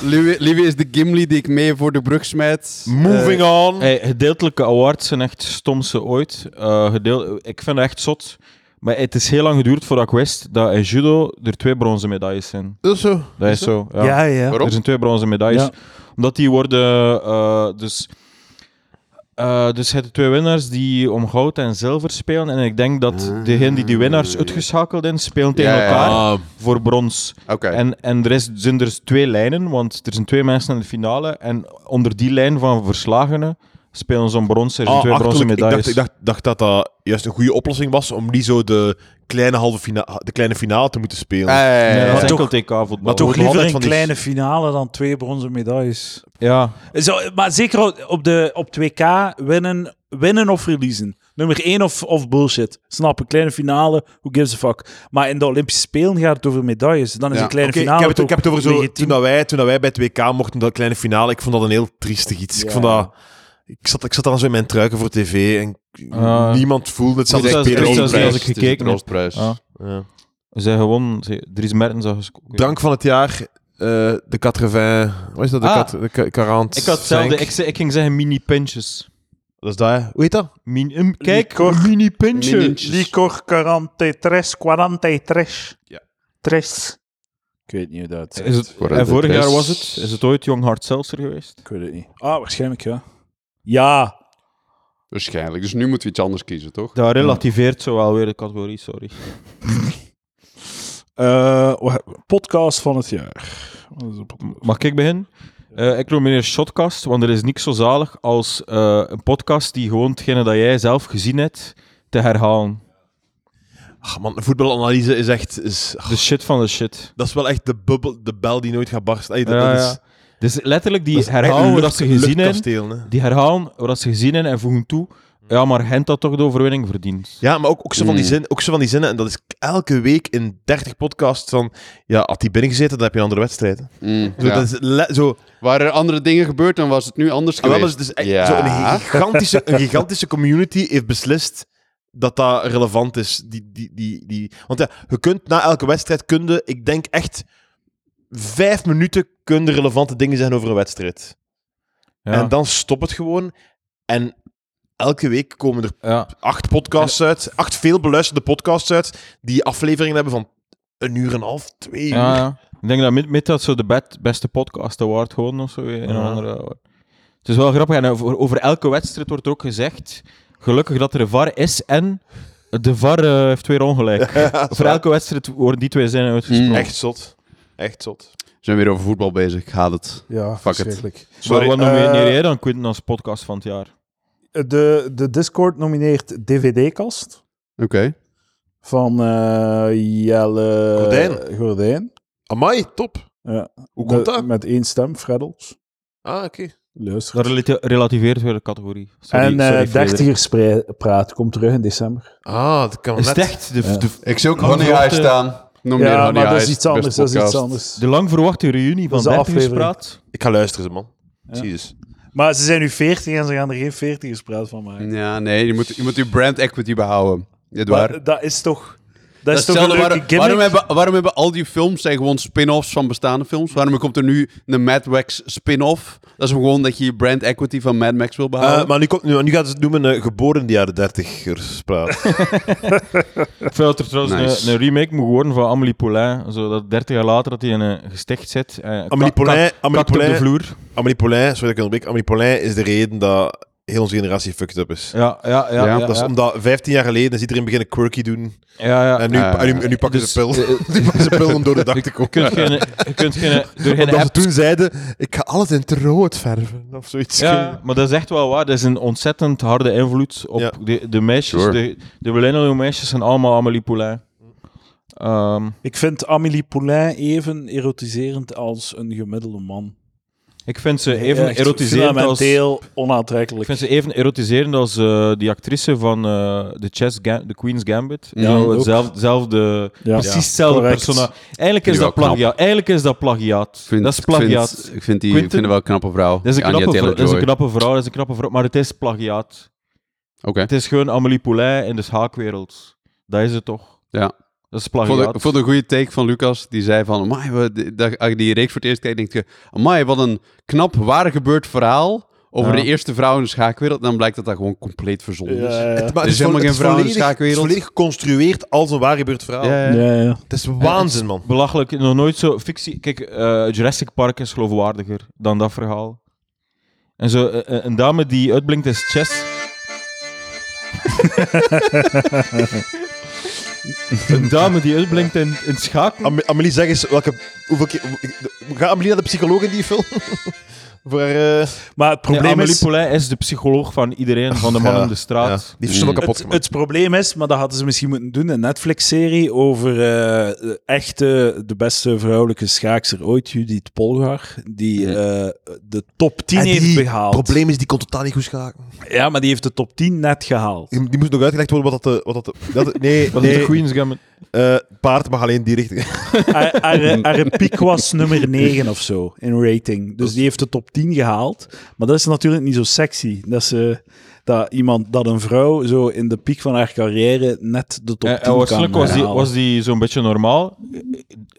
Lieve, lieve is de Gimli die ik mee voor de brug smijt. Moving Eh, on. Hey, gedeeltelijke awards zijn echt stomste ooit. Eh, gedeel, ik vind het echt zot. Maar het is heel lang geduurd voordat ik wist dat in judo er twee bronzen medailles zijn. Dat is zo. Dat is zo. Ja, ja. ja. Waarom? Er zijn twee bronzen medailles. Ja. Omdat die worden... eh, dus, eh dus het zijn twee winnaars die om goud en zilver spelen. En ik denk dat Ah, degene die die winnaars ja. uitgeschakeld is, spelen tegen Ja, ja. elkaar Ah, voor brons. Oké. En, en er is, zijn er twee lijnen, want er zijn twee mensen in de finale. En onder die lijn van verslagenen spelen ze om brons. Er zijn ah, twee bronzen achterlijk. Ik medailles. dacht, ik dacht, dacht dat dat juist een goede oplossing was om niet zo de kleine, halve fina de kleine finale te moeten spelen. Ah, ja, ja, ja, Nee, dat ja. is Maar enkel toch- TK-voetbal. maar Toch Wordt nog liever altijd een van die- kleine finale dan twee bronzen medailles. Ja. Zo, maar zeker op, de, op 2K winnen, winnen of verliezen. Nummer 1 of, of bullshit. Snap, een kleine finale, who gives a fuck. Maar in de Olympische Spelen gaat het over medailles. Dan is Ja, een kleine Oké, finale ik, heb het, ik heb het over zo. legitiem. Toen, dat wij, toen dat wij bij het WK mochten, dat kleine finale, ik vond dat een heel triestig iets. Ja. Ik vond dat. Ik zat, ik zat dan zo in mijn truiken voor tv en ik- Ah. niemand voelde het. Dat Zelfs is de echt spelers- eerst als- als ik Het is de gekeken heb. troostprijs. Ah. Ja. Zij gewoon, ze, Dries Mertens zag Drank van het jaar, eh, de 80... Wat is dat? De, Ah. kat, de ka- 40 Ik had hetzelfde. frank. Ik, zei- ik ging zeggen mini-pintjes. Dat is dat, hè? Hoe heet dat? Min, een- kijk, Licor. een mini-pintje. Minietjes. Licor 43, 43. Ja. Tres. Ik weet niet hoe dat Is het, Voor en de vorig prijs. jaar was het. Is het ooit Jong Hard Seltzer geweest? Ik weet het niet. Ah, waarschijnlijk ja. Ja. Waarschijnlijk. Dus nu moeten we iets anders kiezen, toch? Dat relativeert zo wel weer de categorie, sorry. Eh, wa- podcast van het jaar. Wat is de podcast? Mag ik beginnen? Eh, ik nomineer Shotcast, want er is niks zo zalig als eh, een podcast die gewoon hetgene dat jij zelf gezien hebt, te herhalen. Ach, Ah, man, voetbalanalyse is echt... Is, ach, De shit van de shit. dat is wel echt de, bubbel, de bel die nooit gaat barsten. Ey, dat, Ja, dat is, ja. Dus letterlijk die dat is echt herhalen lucht- wat ze gezien hebben. luchtkasteel, hè. Die herhalen wat ze gezien hebben en voegen toe. Ja, maar Gent had toch de overwinning verdiend. Ja, maar ook, ook, zo van die Mm. zin, ook zo van die zinnen. En dat is elke week in 30 podcasts van... Ja, had die binnengezeten, dan heb je een andere wedstrijd. hè. Mm, Zo, ja. dat is le- zo, Waren er andere dingen gebeurd, dan was het nu anders Ah, wel, geweest. maar het is echt Ja. zo een, gigantische, een gigantische community heeft beslist dat dat relevant is. Die, die, die, die. Want ja, je kunt na elke wedstrijd, kunde, ik denk echt vijf minuten kunnen relevante dingen zijn over een wedstrijd. Ja. En dan stopt het gewoon. En elke week komen er ja. acht podcasts uit, acht veel beluisterde podcasts uit, die afleveringen hebben van een uur en een half, twee uur. Ja, ja. Ik denk dat mid, mid dat zo de bet- beste podcast award gewoon of zo. eh, In Ja. een andere, het is wel grappig. En over, over elke wedstrijd wordt er ook gezegd, gelukkig dat er een VAR is en de VAR eh, heeft weer ongelijk. Voor elke wedstrijd worden die twee zinnen uitgesproken. Mm. Echt zot. Echt zot. We zijn weer over voetbal bezig. Haal het. Ja, Fuck it. verschrikkelijk. Sorry, maar wat nomineer eh, jij dan, Quinten, als podcast van het jaar? De, de Discord nomineert DVD-kast Oké. van eh, Jelle Gordijn. Gordijn. Amai, top. Ja. Hoe komt De- dat? Met één stem, Freddels. Ah, oké. Luister. Dat relate- relativeert weer de categorie. Sorry, en sorry, eh Frederik. 30 praat komt terug in december. Ah, dat kan Is net. het echt? De, Ja. de, Ik zie ook Honey Honey High High staan. Noem meer ja, Honey maar dat is High, iets anders. beste Dat is iets podcast. anders. de lang verwachte reunie Dat van is de 30 aflevering. praat. Ik ga luisteren, ze, man. Ja. Jezus. Maar ze zijn nu 40 en ze gaan er geen 40 praat van Mm, maken. Ja, nee. Je moet je, moet je brand equity behouden. Dit waar. Maar dat is toch... Dat, Dat is is toch een hetzelfde. leuke Waarom, gimmick? waarom, hebben, waarom hebben al die films zijn gewoon spin-offs van bestaande films? Waarom komt er nu een Mad Max spin-off? Dat is gewoon dat je je brand equity van Mad Max wil Ah. behouden. Eh, maar nu, komt, nu, nu gaat ze het noemen eh, geboren in de jaren 30 praat. Ik vind dat er trouwens Nice. een, een remake moet worden van Amélie Poulain. Zodat 30 jaar later dat hij in een gesticht zit. Eh, Amélie kak- Poulain, kak- Amélie kakt op de Poulain, vloer. Amélie Poulain, sorry dat ik onderbreek, Amélie Poulain is de reden dat heel onze generatie fucked up is. Ja, ja, ja. Ja, ja, dat Dat is ja. omdat 15 jaar geleden is iedereen beginnen quirky doen. Ja, ja. En nu, Ah, en nu, en nu pakken Dus, ze pil. nu pakken ze pil om door de dak te Je komen. kunt geen, je kunt geen, door geen Omdat ze app... toen zeiden, ik ga alles in het rood verven. Of zoiets. Ja, maar dat is echt wel waar. Dat is een ontzettend harde invloed op Ja. de, de meisjes. Sure. De, de millennial meisjes zijn allemaal Amélie Poulain. Ehm, Ik vind Amélie Poulain even erotiserend als een gemiddelde man. ik vind ze even Echt erotiserend als... fundamenteel Ik onaantrekkelijk. vind ze even erotiserend als eh, die actrice van eh, de, Chess Ga- de Queen's Gambit. Ja, Zo, ook. hetzelfde- hetzelfde- Ja. precies Ja, hetzelfde correct. persona. Eigenlijk is, Vind dat ik wel knap. plagiaat. Eigenlijk is dat plagiaat. Ik vind- dat is ik vind- plagiaat. Ik vind, die, ik Quentin? vind het wel een knappe vrouw. dat, is een Anya knappe vrouw, Taylor-Joy. dat is een knappe vrouw, dat is een knappe vrouw. Maar het is plagiaat. Oké. Het is gewoon Amélie Poulain in de schaakwereld. Dat is het toch? Ja. Dat is Ik vond, plagiaat. ik vond een goede take van Lucas. Die zei van, amai, we- dat- als je die reeks voor het eerst kijkt, denk je... Amai, wat een knap, waar gebeurd verhaal over Ja. de eerste vrouw in de schaakwereld. Dan blijkt dat dat gewoon compleet verzonnen is. Ja, ja. Maar Er is helemaal geen vrouw in de volledig, het is schaakwereld. volledig geconstrueerd als een waar gebeurd verhaal. Ja, ja. Ja, ja. Het is waanzin, man. Belachelijk, nog nooit zo fictie. Kijk, eh, Jurassic Park is geloofwaardiger dan dat verhaal. En zo, eh, eh, een dame die uitblinkt is Chess. een dame die uitblinkt in, in schaken. Am- Amelie, zeg eens welke, hoeveel keer... Ga Amelie naar de psycholoog in die film? Voor haar, eh, Maar het Nee, probleem Amélie is... Poulain is de psycholoog van iedereen, van de man ja, in de straat. die heeft ze wel Mm. kapot Het, gemaakt. het probleem is, maar dat hadden ze misschien moeten doen, een Netflix-serie over eh, echte, de beste vrouwelijke schaakster ooit, Judith Polgar, die eh, de top 10 Ah, En heeft die behaald. probleem is, die kon totaal niet goed schaken. Ja, maar die heeft de top 10 net gehaald. Die die moest nog uitgelegd worden wat dat... de- Wat dat, de- dat nee, Dat is de nee. Queen's Gambit. eh, paard mag alleen die richting. Haar- Haar haar piek was nummer 9 of zo in rating. Dus die heeft de top 10 gehaald. Maar dat is natuurlijk niet zo sexy. Dat, ze, dat, iemand, dat een vrouw zo in de piek van haar carrière net de top En, 10 en kan waarschijnlijk was die, halen. was die zo'n beetje normaal.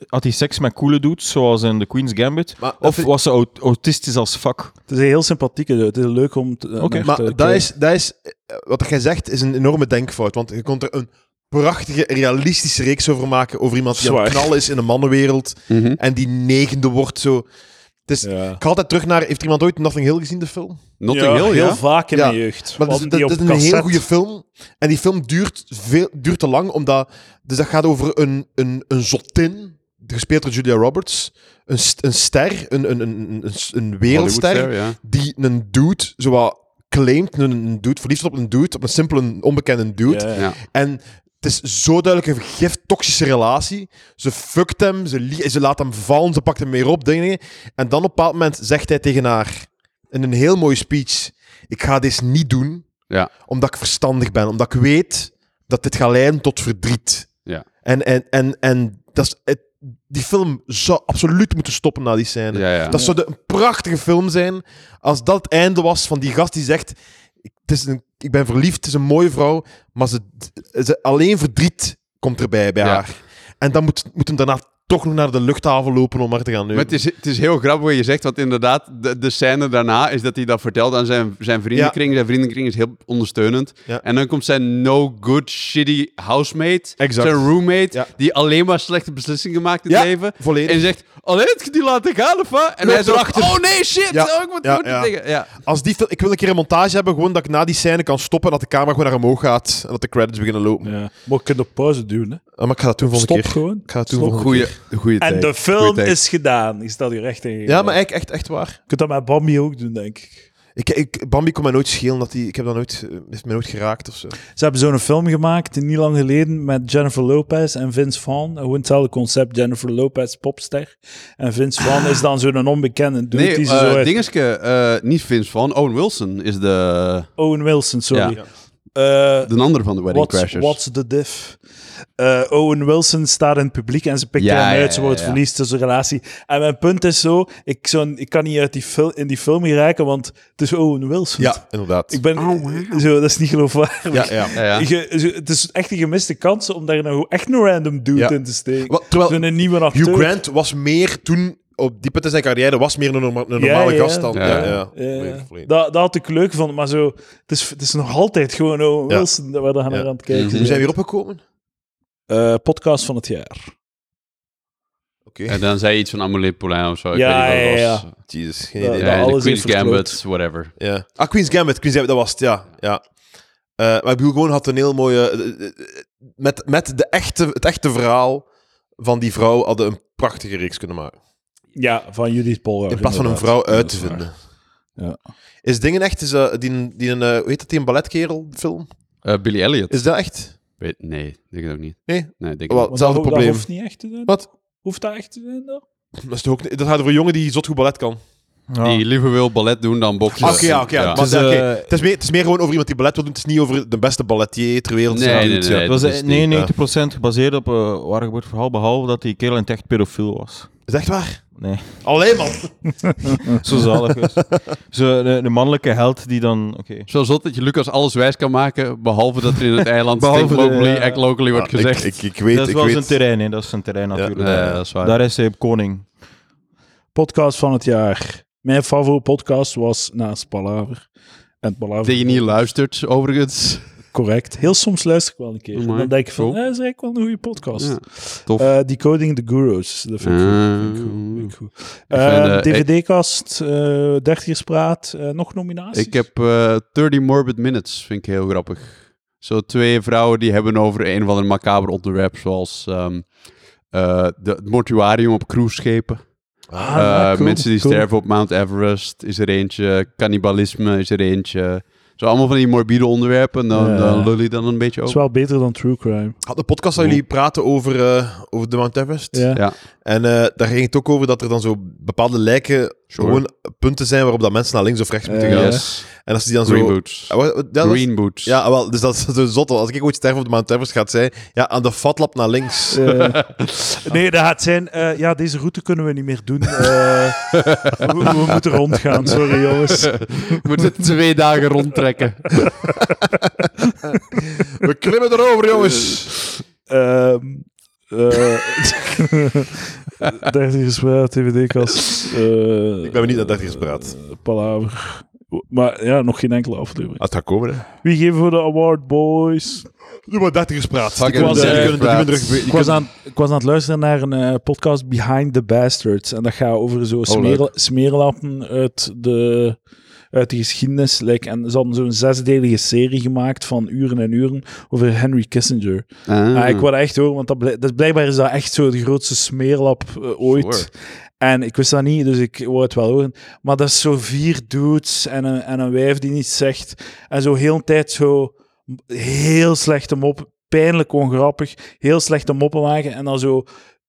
Had hij seks met coole dudes, zoals in The Queen's Gambit? Maar dat Of vind- was ze aut- autistisch als fuck? Het is een heel sympathieke. Het is leuk om te. Oké. naar te Maar dat kijken. is, dat is, eh, wat jij zegt, is een enorme denkfout. Want je kon er een prachtige, realistische reeks over maken. Over iemand die aan het Zwaar. knallen is in de mannenwereld. Mhm. En die negende wordt zo. Het is, Ja. Ik ga altijd terug naar. Heeft er iemand ooit Nothing Hill gezien, de film? Notting Hill, heel ja. vaak in Ja. mijn jeugd. Maar dat is, Want die dat is op een heel cassette. goede film. En die film duurt, veel, duurt te lang, omdat... Dus dat gaat over een, een, een zottin, gespeeld door Julia Roberts. Een, st- een ster, een, een, een, een, een wereldster, Hollywoodster, ja. die een dude zowat claimt, een, een dude, verliefd is op een dude, op een simpele, onbekende dude. Ja. Ja. En het is zo duidelijk een vergift, toxische relatie. Ze fuckt hem, ze, lie- ze laat hem vallen, ze pakt hem weer op, dingen. En dan op een bepaald moment zegt hij tegen haar, in een heel mooie speech, ik ga dit niet doen, Ja. omdat ik verstandig ben, omdat ik weet dat dit gaat leiden tot verdriet. Ja. En, en, en, en dat is, het, die film zou absoluut moeten stoppen na die scène. Ja, ja. Dat zou de- een prachtige film zijn als dat het einde was van die gast die zegt: "Ik- het is een, Ik ben verliefd, het is een mooie vrouw, maar ze, ze, alleen verdriet komt erbij bij Ja. haar. En dan moet, moet hem daarna toch nog naar de luchthaven lopen om haar te gaan neuken. Maar het is, het is heel grappig wat je zegt, want inderdaad, de, de scène daarna is dat hij dat vertelt aan zijn, zijn vriendenkring. Zijn vriendenkring is heel ondersteunend. Ja. En dan komt zijn no-good, shitty housemate, Exact. zijn roommate, Ja. die alleen maar slechte beslissingen maakt in Ja, het leven. volledig. En zegt, alleen het die laat ik aan, of wat?" En Loopt hij zegt, erachter. oh nee, shit, Ja, oh, ik moet ja, moet ja. dingen. Ja. Als die film, ik wil een keer een montage hebben, gewoon dat ik na die scène kan stoppen en dat de camera gewoon naar omhoog gaat en dat de credits beginnen lopen. Ja. Maar je kunt op pauze doen. Hè. Ah, Maar ik ga dat doen volgende Stop keer. gewoon. Ik ga dat doen Stop. volgende Goeie, keer. goeie En de take. film Goeie take. is gedaan. Ik stel je recht in. Ja, maar eigenlijk echt, echt waar. Je kunt dat met Bambi ook doen, denk ik. Ik, ik, Bambi kon mij nooit schelen, dat die, ik heb dat nooit, eh, heeft mij nooit geraakt of zo. Ze hebben zo'n film gemaakt, niet lang geleden, met Jennifer Lopez en Vince Vaughn. Gewoon hetzelfde concept, Jennifer Lopez, popster. En Vince Vaughn is dan zo'n onbekende dude Nee, die ze eh, zo uit... dingeske, eh, niet Vince van, Owen Wilson is de, Owen Wilson, sorry. Ja. Eh, de andere van de Wedding what's, Crashers. what's the diff? Eh, Owen Wilson staat in het publiek en ze pikt Ja, hem ja, uit. Ze ja, wordt ja. verliefd, dus een relatie. En mijn punt is zo, ik, zo, ik kan niet uit die fil- in die film geraken, want het is Owen Wilson. Ja, inderdaad. Ik ben... zo, dat is niet geloofwaardig. ja, ja. Ja, ja. Je- zo- het is echt een gemiste kans om daar nou echt een random dude Ja. in te steken. Wat- terwijl Zo'n een nieuwe acteur. Hugh Grant was meer toen, op die punt in zijn carrière, was meer een, norma- een Ja, normale ja, gast dan. Ja, ja. ja. Eh, Volledig, volledig. dat, dat had ik leuk van, maar zo, het, is, het is nog altijd gewoon Owen Ja. Wilson waar we gaan Ja. Mhm. naar aan het kijken Hoe zijn we hier opgekomen? Eh, podcast van het jaar. Oké. En dan zei je iets van Amelie Poulain of zo. Ik Ja, weet niet wat ja, het was. Jesus, geen Ja, idee. Ja, en de alles Queen's is verkloot. Gambit, whatever. Ja. Ah, Queen's Gambit, Queen's Gambit, dat was het, ja. ja. Eh, maar ik bedoel, gewoon had een heel mooie... eh, eh, Met, met de echte, het echte verhaal van die vrouw hadden een prachtige reeks kunnen maken. Ja, van Judith Polgar. In plaats van een inderdaad. vrouw uit Dat te is waar. vinden. Ja. Is dingen echt, is, eh, die, die een, eh, hoe heet dat, die een balletkerel film? Eh, Billy Elliot. Is dat echt? Weet- nee, denk ik ook niet. Nee? Nee, denk Wel, ik niet. Want dat, hetzelfde ho- probleem. dat hoeft niet echt te zijn. Wat? Hoeft dat echt te zijn dan? Dat, is toch ook, niet- dat gaat over een jongen die zot goed ballet kan. Ja. Die liever wil ballet doen dan boksen. Ah, Oké, ja, oké. ja. Maar, Dus, Het is, oké, eh, het, is meer, het is meer gewoon over iemand die ballet wil doen. Het is niet over de beste balletier ter wereld. Nee, Ja, nee, iets, nee, ja. Het was dat is niet, 99% gebaseerd op eh waar gebeurd verhaal, behalve dat die kerel een echt pedofiel was. Is echt waar? Nee, Alleen man. zo zalig was. Zo, de, de mannelijke held die dan... Oké. Zo zot dat je Lucas alles wijs kan maken, behalve dat er in het eiland Behalve think de- locally, ja. act locally wordt gezegd. Ik, ik, ik weet, Dat is ik wel weet. zijn terrein, hè. Dat is zijn terrein natuurlijk. Nee, dat is waar. Daar is hij koning. Podcast van het jaar. Mijn favoriete podcast was naast Palaver. En Palaver. Dat je niet luistert, overigens. Correct. Heel soms luister ik wel een keer. Amai, Dan denk ik van, cool. eh, dat is eigenlijk wel een goede podcast. Ja, tof. Eh, Decoding the Gurus. Dat vind ik goed, vind ik goed, vind ik goed. vind, Eh, eh, DVD-kast, eh Dertigerspraat, eh, nog nominaties? Ik heb eh 30 Morbid Minutes, vind ik heel grappig. Zo twee vrouwen die hebben over een of ander macaber onderwerp, zoals ehm, eh, de, het mortuarium op cruiseschepen. Ah, Eh, ja, cool, mensen die cool. sterven op Mount Everest is er eentje. Cannibalisme is er eentje. Zo allemaal van die morbide onderwerpen. En dan, Ja. dan lul je dan een beetje Dat is over. wel beter dan True Crime. Had de podcast waar jullie praten over, eh, over de Mount Everest. Ja. Ja. En eh, daar ging het ook over dat er dan zo bepaalde lijken Sure. gewoon punten zijn waarop dat mensen naar links of rechts moeten Eh, gaan. yes. En als die dan zo... Green boots. Ah, wat- wat- ja, dat is- Green boots. Ja, wel, dus dat is zo zot. want Als ik ooit sterf op de Mount Everest, gaat zij ja, aan de fatlap naar links. Eh, Nee, dat gaat zijn. eh, ja, deze route kunnen we niet meer doen. Eh, we, we moeten rondgaan, sorry jongens. We moeten twee dagen rondtrekken. We klimmen erover, jongens. Ehm eh 30 gespreid, TVD-kast. eh, Ik ben benieuwd naar 30 gespreid. eh, palaver. Maar ja, nog geen enkele aflevering. het gaat komen, hè. Wie geven we de award, boys? Doe maar 30 gespraat. Die Fucking kunnen die 30 kunnen- die kunnen gespraat. terug- die Ik was, kunnen- aan, ik was aan het luisteren naar een eh, podcast Behind the Bastards. En dat gaat over zo smerel- smeerlappen uit de, uit de geschiedenis. Like, en ze hadden zo'n zesdelige serie gemaakt van uren en uren over Henry Kissinger. Ah, ik wou dat echt horen, want dat, bl- dat is- blijkbaar is dat echt zo de grootste smeerlap eh, ooit. Sure. En ik wist dat niet, dus ik wou het wel horen. Maar dat is zo vier dudes en een, en een wijf die niets zegt. En zo heel de tijd zo heel slechte mop, pijnlijk ongrappig, heel slechte moppen maken. En dan zo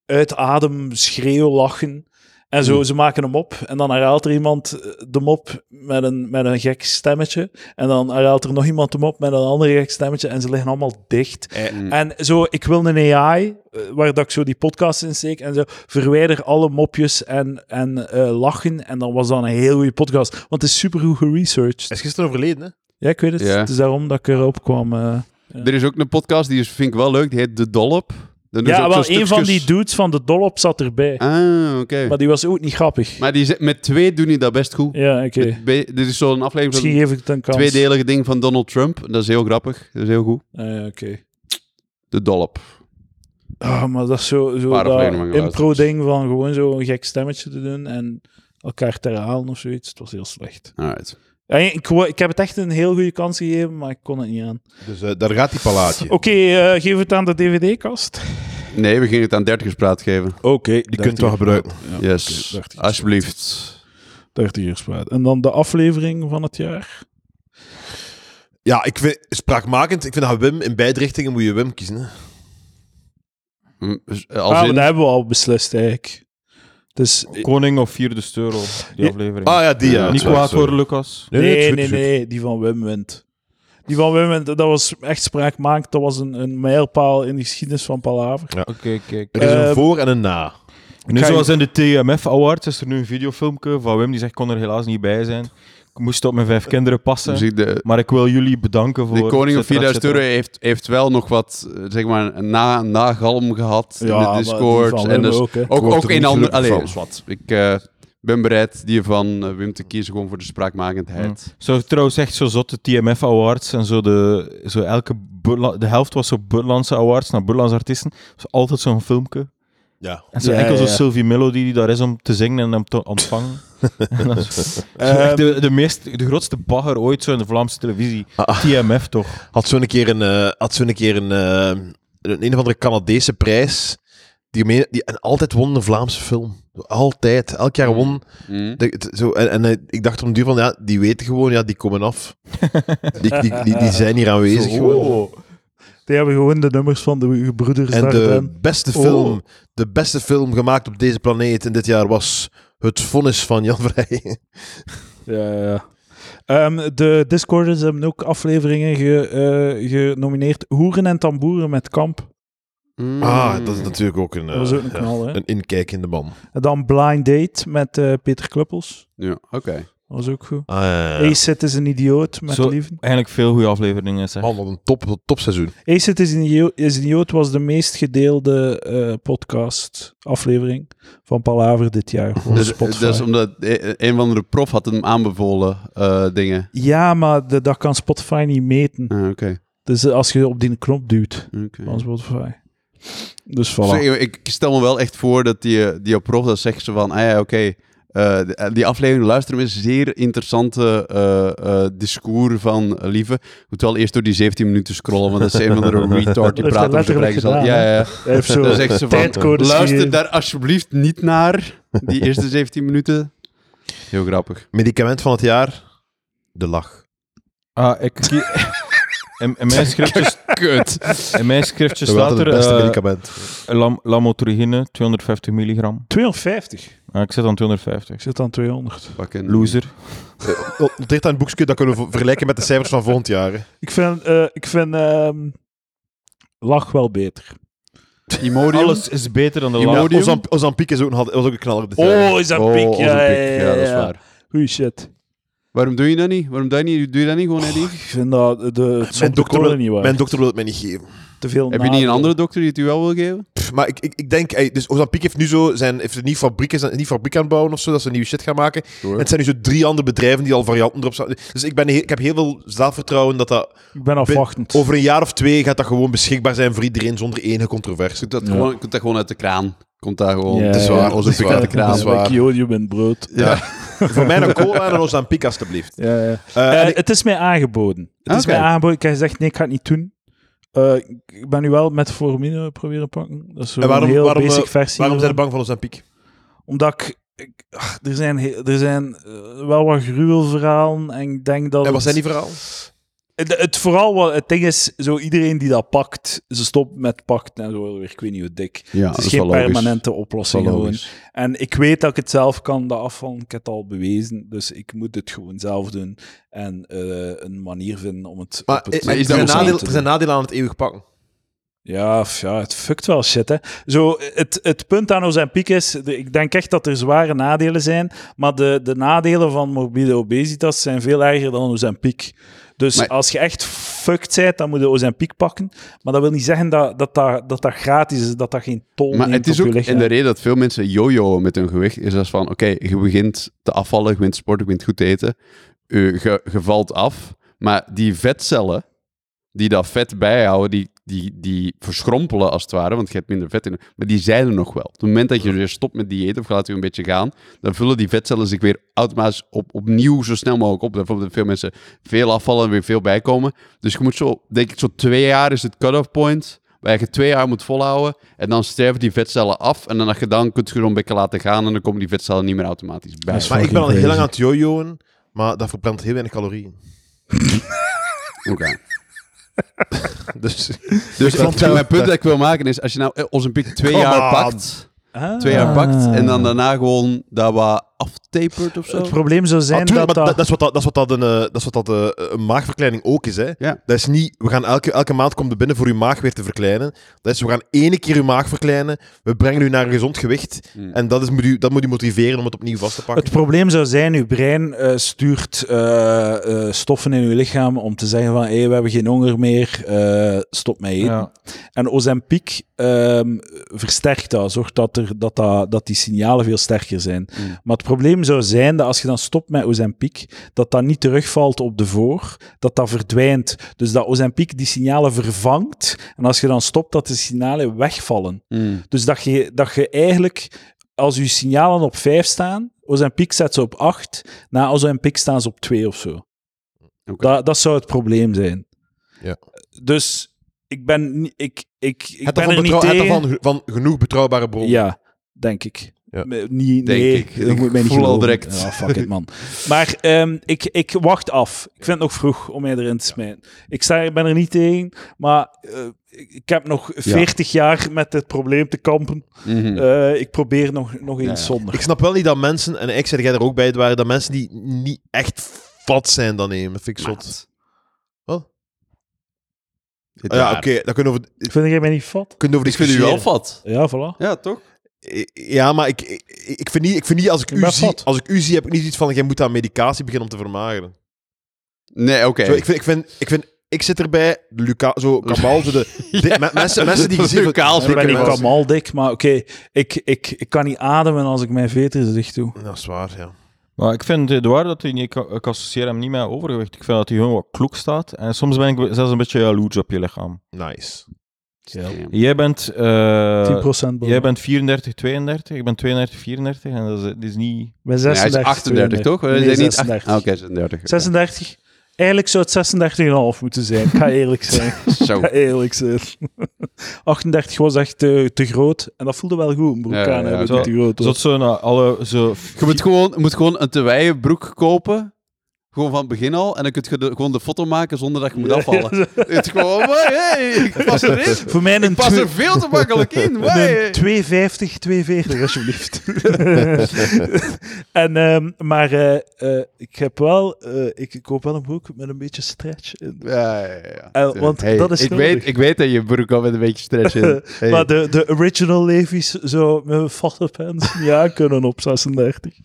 uit adem schreeuwen, lachen. En zo, ze maken hem op en dan herhaalt er iemand eh, de mop met een, met een gek stemmetje. En dan herhaalt er nog iemand hem op met een ander gek stemmetje. En ze liggen allemaal dicht. Hmm. Eh, Mm. En zo, ik wil een AI, eh, waar dat ik zo die podcast in steek. En zo, verwijder alle mopjes en, en eh, lachen. En dan was dat een heel goede podcast. Want het is supergoed geresearched. Hij is gisteren overleden, hè? Ja, ik weet het. Ja. Het is daarom dat ik erop kwam. eh. Er is ook een podcast, die is, vind ik wel leuk, die heet De Dollop. Dan doen ze Ja, ook wel, zo een van die stukjes- dudes van de dollop zat erbij. Ah, oké. Maar die was ook niet grappig. Maar die, zit- met twee doen die dat best goed. Ja, oké. Met be- Dit is zo'n aflevering Misschien van geef ik het een een kans. tweedelige ding van Donald Trump. Dat is heel grappig. Dat is heel goed. Ah, ja, oké. De Dollop. Ah, maar dat is zo, zo Paar dat afleveringen geluisterd. impro-ding van gewoon zo'n gek stemmetje te doen en elkaar te herhalen of zoiets. Het was heel slecht. Alright. En ik, wou- ik heb het echt een heel goede kans gegeven, maar ik kon het niet aan. Dus eh, daar gaat die palaatje. Oké, eh, geef het aan de DVD-kast. Nee, we gingen het aan dertigers praat geven. Oké, Die kunt u wel gebruiken. yes. oké, 30. Alsjeblieft. 30 uur spaat. En dan de aflevering van het jaar. Ja, ik vind spraakmakend. Ik vind dat Wim in beide richtingen moet je Wim kiezen. Hè. Mm, dus, eh, Ah, Als maar dat in... hebben we al beslist eigenlijk. Dus, Koning of vierde steuro, die Ja. aflevering. Ah ja, die ja. Ja, Niet sorry, kwaad sorry. voor Lucas. nee, nee, het is nee, goed, het is goed. die van Wim wint. Die van Wim wint, dat was echt spraakmakend. Dat was een, een mijlpaal in de geschiedenis van Palaver. Oké, kijk. Er is een Ehm, voor en een na. Nu, ga je- zoals in de TMF Awards, is er nu een videofilmpje van Wim die zegt: ik kon er helaas niet bij zijn. Ik moest op mijn vijf kinderen passen. Zie de, Maar ik wil jullie bedanken voor. de koning van et cetera, et 4000 euro cetera. heeft, heeft wel nog wat, eh, zeg maar, een na, nagalm gehad in de Discord. En dus ook, hè. ook, word er ook niet in andere... gelukkig Allee, van. is wat. Ik eh, ben bereid die van eh, Wim te kiezen gewoon voor de spraakmakendheid. Zo trouwens echt zo zot, de TMF Awards en zo de, zo elke Butla- de helft was zo Butlandse Awards naar Butlandse artiesten. Dus altijd zo'n filmpje. Ja. En zo Ja, enkel ja, ja. zo'n Sylvie Melody die daar is om te zingen en hem te ontvangen. En dat is- zo echt Ehm, de, de, meest, de grootste bagger ooit zo in de Vlaamse televisie. Ah. TMF toch? Had zo'n keer een, eh, had zo'n keer een, eh, een een of andere Canadese prijs. Die, me- die, en altijd won een Vlaamse film. Altijd. Elk jaar won. Mm. de- het- zo, en en eh, ik dacht om duur van, ja, die weten gewoon, ja, die komen af. Die, die, die, die zijn hier aanwezig gewoon. Die hebben gewoon de nummers van de gebroeders En de Dardenne. beste Oh. film, de beste film gemaakt op deze planeet in dit jaar was Het Vonnis van Jan Vrij. Ja, ja, ja. Ehm, de Discorders hebben ook afleveringen ge, eh, genomineerd. Hoeren en tamboeren met Kamp. Mm. Ah, dat is natuurlijk ook een, eh, dat was ook een ja, knal, hè. een inkijk in de man. En dan Blind Date met eh, Peter Kluppels. Ja, oké. Dat was ook goed. Ah, ja, ja. Acid is een idioot met Zo- Lieven. Eigenlijk veel goede afleveringen. Zeg. Man, wat een top, wat een topseizoen. Acid is een idioot, is een idioot was de meest gedeelde eh, podcast aflevering van Palaver dit jaar. volgens Dus, Spotify. dat is omdat e- een van de prof had hem aanbevolen, eh, dingen. Ja, maar de, dat kan Spotify niet meten. Ah, oké. Dus als je op die knop duwt oké. van Spotify. Dus voilà. Zo, ik ik stel me wel echt voor dat die, eh, die prof dat zegt ze van, ah ja, oké, eh, de- eh, die aflevering luisteren is zeer interessante eh, eh, discours van eh, Lieve. Moet wel eerst door die 17 minuten scrollen, want dat is een van de retard die heeft praat hij over zijn letterlijk eigen zand. gedaan, Ja, hè? ja, ja. Hij heeft zo Dan zegt ze van, tijdcodes luister gegeven. daar alsjeblieft niet naar, die eerste 17 minuten. Heel grappig. Dus Medicament van het jaar, de lach. Ah, ik, kie- in, in mijn scriptje, Kut. in mijn scriptje staat het er beste eh, medicament. lam, lamotrigine, 250 milligram. 250. Ah, ik zit aan 250. Ik zit aan 200. Fucking Loser. Noteert eh, oh, aan een boekje dat kunnen we ver- vergelijken met de cijfers van volgend jaar. hè. Ik vind, eh, ik vind ehm, lach wel beter. Imodium. Alles is beter dan de Imodium. laatste. Podium? Ozan, Ozan Piek is ook een, had- was ook een knaller. dit jaar. Oh, is dat Oh, piek? onze Ja, piek. ja, Ja, dat is waar. Goeie shit. Waarom doe je dat niet? Waarom doe je, niet- doe je dat niet gewoon, Eddie? Ik vind dat de, de Mijn dokter, wil, niet waar. mijn dokter wil het mij niet geven. Te veel Heb je niet een nadelen. andere dokter die het u wel wil geven? Pff, maar ik, ik, ik denk, ey, dus Ozan Piek heeft nu zo zijn, heeft een nieuwe fabriek, is een nieuwe fabriek aan het bouwen of zo, dat ze nieuwe shit gaan maken. En het zijn nu zo drie andere bedrijven die al varianten erop staan. Dus ik, ben, he- ik heb heel veel zelfvertrouwen dat dat Ik ben afwachtend. over een jaar of twee gaat dat gewoon beschikbaar zijn voor iedereen zonder enige controverse. Komt dat, Ja. Dus gewoon, komt dat gewoon uit de kraan? Komt dat gewoon... Ja, Het is ja, waar, ja. onze Het is pik uit waar. de kraan. Het is waar. Jodium en brood. Ja. voor mij een cola en een Ozan Piek alstublieft. Ja, ja. Eh, Eh, en ik- het is mij aangeboden. Het is Oké. mij aangeboden. Ik heb gezegd, nee, ik ga het niet doen. Eh, ik- ik ben nu wel met formine proberen pakken. Dat is zo En waarom- een heel waarom, basic eh, versie. waarom zijn ervan. we bang van Ozan Piek? Omdat ik... ik- ach, er zijn, he- er zijn eh, wel wat gruwelverhalen en ik denk dat... En wat het- zijn die verhaal? Het, het vooral wat het ding is, zo iedereen die dat pakt, ze stopt met pakten en zo worden weer, ik weet niet hoe dik. Ja, het is, geen permanente oplossing gewoon. En ik weet dat ik het zelf kan, dat afvallen, ik heb het al bewezen, dus ik moet het gewoon zelf doen en eh, een manier vinden om het Maar, op het eh, is er, dat zijn Ozan nadeel, te er zijn nadelen aan het eeuwig pakken. Ja, f- ja, het fuckt wel shit, hè. Zo, het, het punt aan Ozempic is, de- ik denk echt dat er zware nadelen zijn, maar de, de nadelen van morbide obesitas zijn veel erger dan Ozempic. Dus Maar- als je echt fucked bent, dan moet je Ozempic pakken. Maar dat wil niet zeggen dat dat, dat, dat, dat gratis is, dat dat geen tol Maar neemt het is op ook, je lichaam. en de reden dat veel mensen jojoen met hun gewicht, is als van, oké, je begint te afvallen, je begint te sporten, je begint goed te eten, eh, je, je valt af, maar die vetcellen, die dat vet bijhouden, die, die, die verschrompelen als het ware, want je hebt minder vet in, maar die zijn er nog wel. Op het moment dat je weer stopt met dieet of je laat je een beetje gaan, dan vullen die vetcellen zich weer automatisch op, opnieuw zo snel mogelijk op. Daarvoor dat veel mensen veel afvallen en weer veel bijkomen. Dus je moet zo, denk ik, zo twee jaar is het cut-off point, waar je twee jaar moet volhouden en dan sterven die vetcellen af en dan als je dan kunt je gewoon een beetje laten gaan en dan komen die vetcellen niet meer automatisch bij. Dat is Maar ik ben al fucking heel lang crazy. aan het jojoen, maar dat verbrandt heel weinig calorieën. Oké. Dus Dus Ik vond ik- mijn het- punt dat ik wil maken is, als je nou eh, onze piek twee Come jaar on. pakt... Ah. twee jaar pakt en dan daarna gewoon dat wat aftapert of zo. Het probleem zou zijn Ah, tuurlijk, dat maar dat, dat... dat is wat dat, dat, is wat dat, een, eh, dat, is wat dat eh, een maagverkleining ook is. Hè. Ja. Dat is niet, we gaan elke, elke maand komt er binnen voor uw maag weer te verkleinen. Dat is, we gaan ene keer uw maag verkleinen, we brengen u naar een gezond gewicht. Hmm. En dat, is, moet u, dat moet u motiveren om het opnieuw vast te pakken. Het probleem zou zijn, uw brein eh, stuurt eh, eh, stoffen in uw lichaam om te zeggen van, hé, we hebben geen honger meer, eh, stop met eten. Ja. En Ozempic ehm, versterkt dat, zorgt dat, er, dat, dat, dat die signalen veel sterker zijn. Mm. Maar het probleem zou zijn dat als je dan stopt met Ozempic, dat dat niet terugvalt op de voor, dat dat verdwijnt. Dus dat Ozempic die signalen vervangt, en als je dan stopt, dat de signalen wegvallen. Mm. Dus dat je, dat je eigenlijk, als je signalen op 5 staan, Ozempic zet ze op 8, na Ozempic staan ze op 2 of zo. Oké. Dat, dat zou het probleem zijn. Ja. Dus ik ben, ni- ik, ik, ik Het ben ervan er niet betrouw- het tegen. ervan ge- van genoeg betrouwbare bronnen. Ja, denk ik. Ja. M- Niet, Denk nee, ik. dat Ik moet mij niet voel al geloven. direct. Ja, fuck it, man. Maar ehm, ik, ik wacht af. Ik vind het nog vroeg om mij erin te smijten. Ik sta, ik ben er niet tegen, maar eh, ik ik heb nog 40 jaar met dit probleem te kampen. Mhm. Eh, ik probeer nog, nog eens ja. zonder. Ik snap wel niet dat mensen, en ik zei jij er ook bij, het waren dat mensen die niet echt vat zijn dan nemen. Dat vind ik zot. Ah Zit Ja, daar. oké, dat kunnen we over, Vind jij mij niet fat? kunnen we over Ik vind u wel discussiëren. vat. Ja, voilà. Ja, toch? Ja, maar ik, ik, ik vind niet, ik vind niet als, ik Ik u ben zie, fat. als ik u zie, heb ik niet iets van, jij moet aan medicatie beginnen om te vermageren. Nee, oké. Zo, ik, vind, ik, vind, ik vind, ik zit erbij, Luca, zo, Kamal, zo de, de- me- mensen, mensen die gezien Lucaal Ik ben niet Kamal. kamal dik, maar oké, ik, ik, ik kan niet ademen als ik mijn veters dicht doe. Dat is waar, ja. Maar ik vind het waar dat hij niet, ik, ik associeer hem niet met overgewicht. Ik vind dat hij gewoon wat kloek staat. En soms ben ik zelfs een beetje jaloers op je lichaam. Nice. Jij bent, eh 10% jij bent 34, 32. Ik ben 32, 34. En dat is, dat is niet... Bij Nee, hij is 36. 38, toch? Nee, Hij is niet 36. acht- Ah, Oké, 36. oké. 36. Eigenlijk zou het 36,5 moeten zijn. Ik ga eerlijk zijn. Zo. Ik ga eerlijk zijn. 38 was echt eh, te groot. En dat voelde wel goed, een broek Ja, aan ja, hebben zo- die te groot Dus dat was. zo naar alle... Zo, Je moet gewoon, je moet gewoon een te wijde broek kopen. Gewoon van het begin al. En dan kun je de- gewoon de foto maken zonder dat je moet afvallen. Het is gewoon, "Wai, hey, ik pas erin. Voor mij een, Ik pas twe- er veel te makkelijk in. een Wai. 250, 240 alsjeblieft. en, ehm, maar eh, eh, ik heb wel, eh, ik, ik koop wel een broek met een beetje stretch. in. Ja, ja, ja. Eh, want Hey, dat is ik nodig. weet, ik weet dat je broek al met een beetje stretch in. Hey. Maar de, de original Levi's zo met vatte pants niet aan kunnen op 36.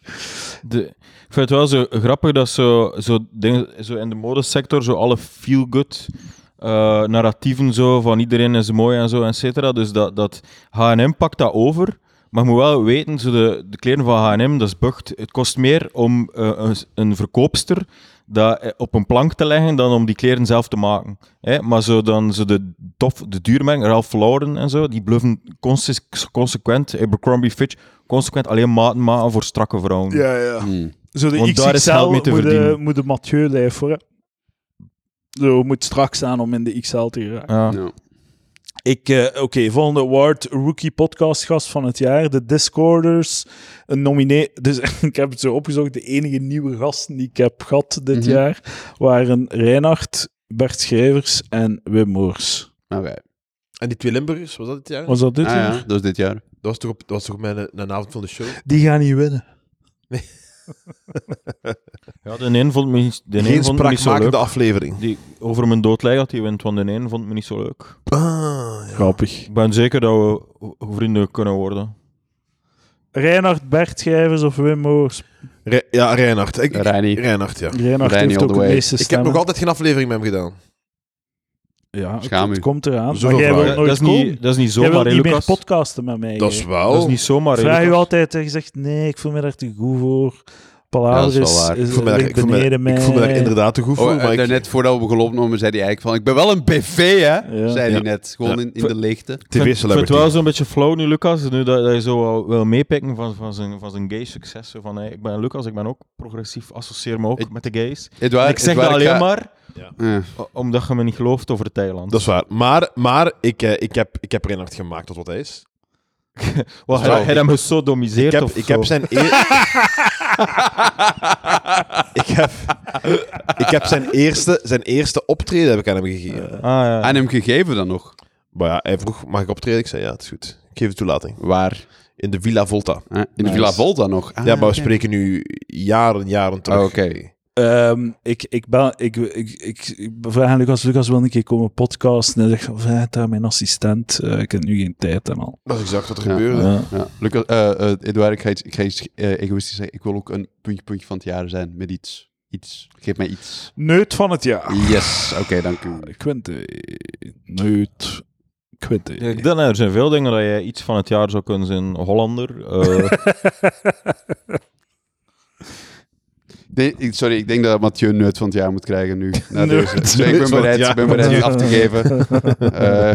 De, ik vind het wel zo grappig dat zo, zo, dingen, zo in de modesector zo alle feel-good eh, narratieven zo van iedereen is mooi en zo, et cetera. Dus dat, dat H&M pakt dat over. Maar je moet wel weten, zo de, de kleren van H&M, dat is bucht. Het kost meer om eh, een, een verkoopster dat eh, op een plank te leggen dan om die kleren zelf te maken. Hè? Maar zo dan zo de, tof, de duurmerken, Ralph Lauren en zo, die bluffen consis- consequent, Abercrombie Fitch, consequent alleen maten maken voor strakke vrouwen. Ja, ja. Hmm. Zo de Want daar is XXL geld mee te moet, de, verdienen. moet de Mathieu lijf voor. hè. Zo moet strak staan om in de XL te geraken. Ja. Oh. Ja. Ik, eh, oké, volgende award, rookie podcastgast van het jaar, de Discorders, een nominee. Dus ik heb het zo opgezocht, de enige nieuwe gasten die ik heb gehad dit Mhm. jaar waren Reinhard, Bert Schrijvers en Wim Moors. nou, Oké. En die twee Limburgers, was dat dit jaar? Dat Was dat dit Ah jaar? ja, dat is dit jaar. was toch, op, dat was toch mijn, eh, een avond van de show? Die gaan niet winnen. Ja, de een vond me, niet- de een Geen vond me niet zo spraakmakende leuk. aflevering. Die over mijn dood lijkt dat hij wint, want de een vond me niet zo leuk. Ah, ja. Grappig. Ik ben zeker dat we ho- vrienden kunnen worden. Reinhard, Bert Schrijvers of Wim Moors? Re- ja, Reinhard. Ik, ik- Reinie. Reinhard, ja. Reinhard Reini heeft all ook the de way. meeste Ik heb stemmen. nog altijd geen aflevering met hem gedaan. Ja, het, Schaam u. het komt eraan. Zoveel Maar jij vragen. wilt Dat, nooit dat is komen. niet, dat is niet jij zomaar, wilt hè, niet meer Lucas. podcasten met mij. Dat is hè. wel... Dat is niet zomaar, hè, Vraag u Lucas. altijd, en je zegt nee, ik voel me daar te goed voor. Ja, Palaver dat is wel is, waar. ik is voel me daar, ik ligt voel me, beneden mij. ik voel me daar inderdaad te goed voor, Oh, maar eh, ik- daarnet voordat we gelopen namen, zei hij eigenlijk van... Ik ben wel een BV, hè? Zei hij Ja. net. Gewoon in, in de leegte. Ik vind- Ik vind TV-celebrity. het wel zo'n beetje flauw nu, Lucas, nu dat, dat je zo wel, wel meepikken van, van, zijn, van zijn gay succes. Zo Van, hey, ik ben Lucas, ik ben ook progressief, associeer me ook Ik- met de gays. Edouard, ik zeg dat Edouard, alleen ga- maar Ja. o- omdat je me niet gelooft over Thailand. Dat is waar. Maar, maar ik, eh, ik, heb, ik heb Reinhard gemaakt tot wat hij is. Wat, dat is hij wel- hij dat me zo Ik domiseert heb, of ik zo. heb zijn eer... ik, heb, ik heb zijn eerste, zijn eerste optreden heb ik aan hem gegeven. Eh. Ah, ja. Aan hem gegeven dan nog. Maar ja, hij vroeg, mag ik optreden? Ik zei, ja, het is goed. Ik geef de toelating. Waar? In de Villa Volta. Hè? In de Villa Volta nog. Ah, ja, maar we oké. spreken nu jaren, jaren terug. Ah, oké. Ehm, ik, ik, bel, ik, ik, ik, ik vraag aan Lucas, Lucas wil een keer komen podcasten. En hij zegt, vraag daar mijn assistent, eh, ik heb nu geen tijd en al. Dat is exact wat er Ja. gebeurde. Ja. Ja. Lucas, eh, eh, Edouard, ik ga iets, ik ga iets eh, egoïstisch zeggen. Ik wil ook een puntje, puntje van het jaar zijn met iets. Iets. Geef mij iets. Neut van het jaar. Yes. Oké, dank u. Quinte. Eh, Neut. Quinte. Ja, ik denk, er zijn veel dingen dat jij iets van het jaar zou kunnen zijn. Hollander. eh, Nee, ik- sorry, ik denk dat Mathieu een neut van het jaar moet krijgen nu. Na Neut. deze. Dus ik ben van het bereid, ik jaar. ben bereid het af te geven. Eh,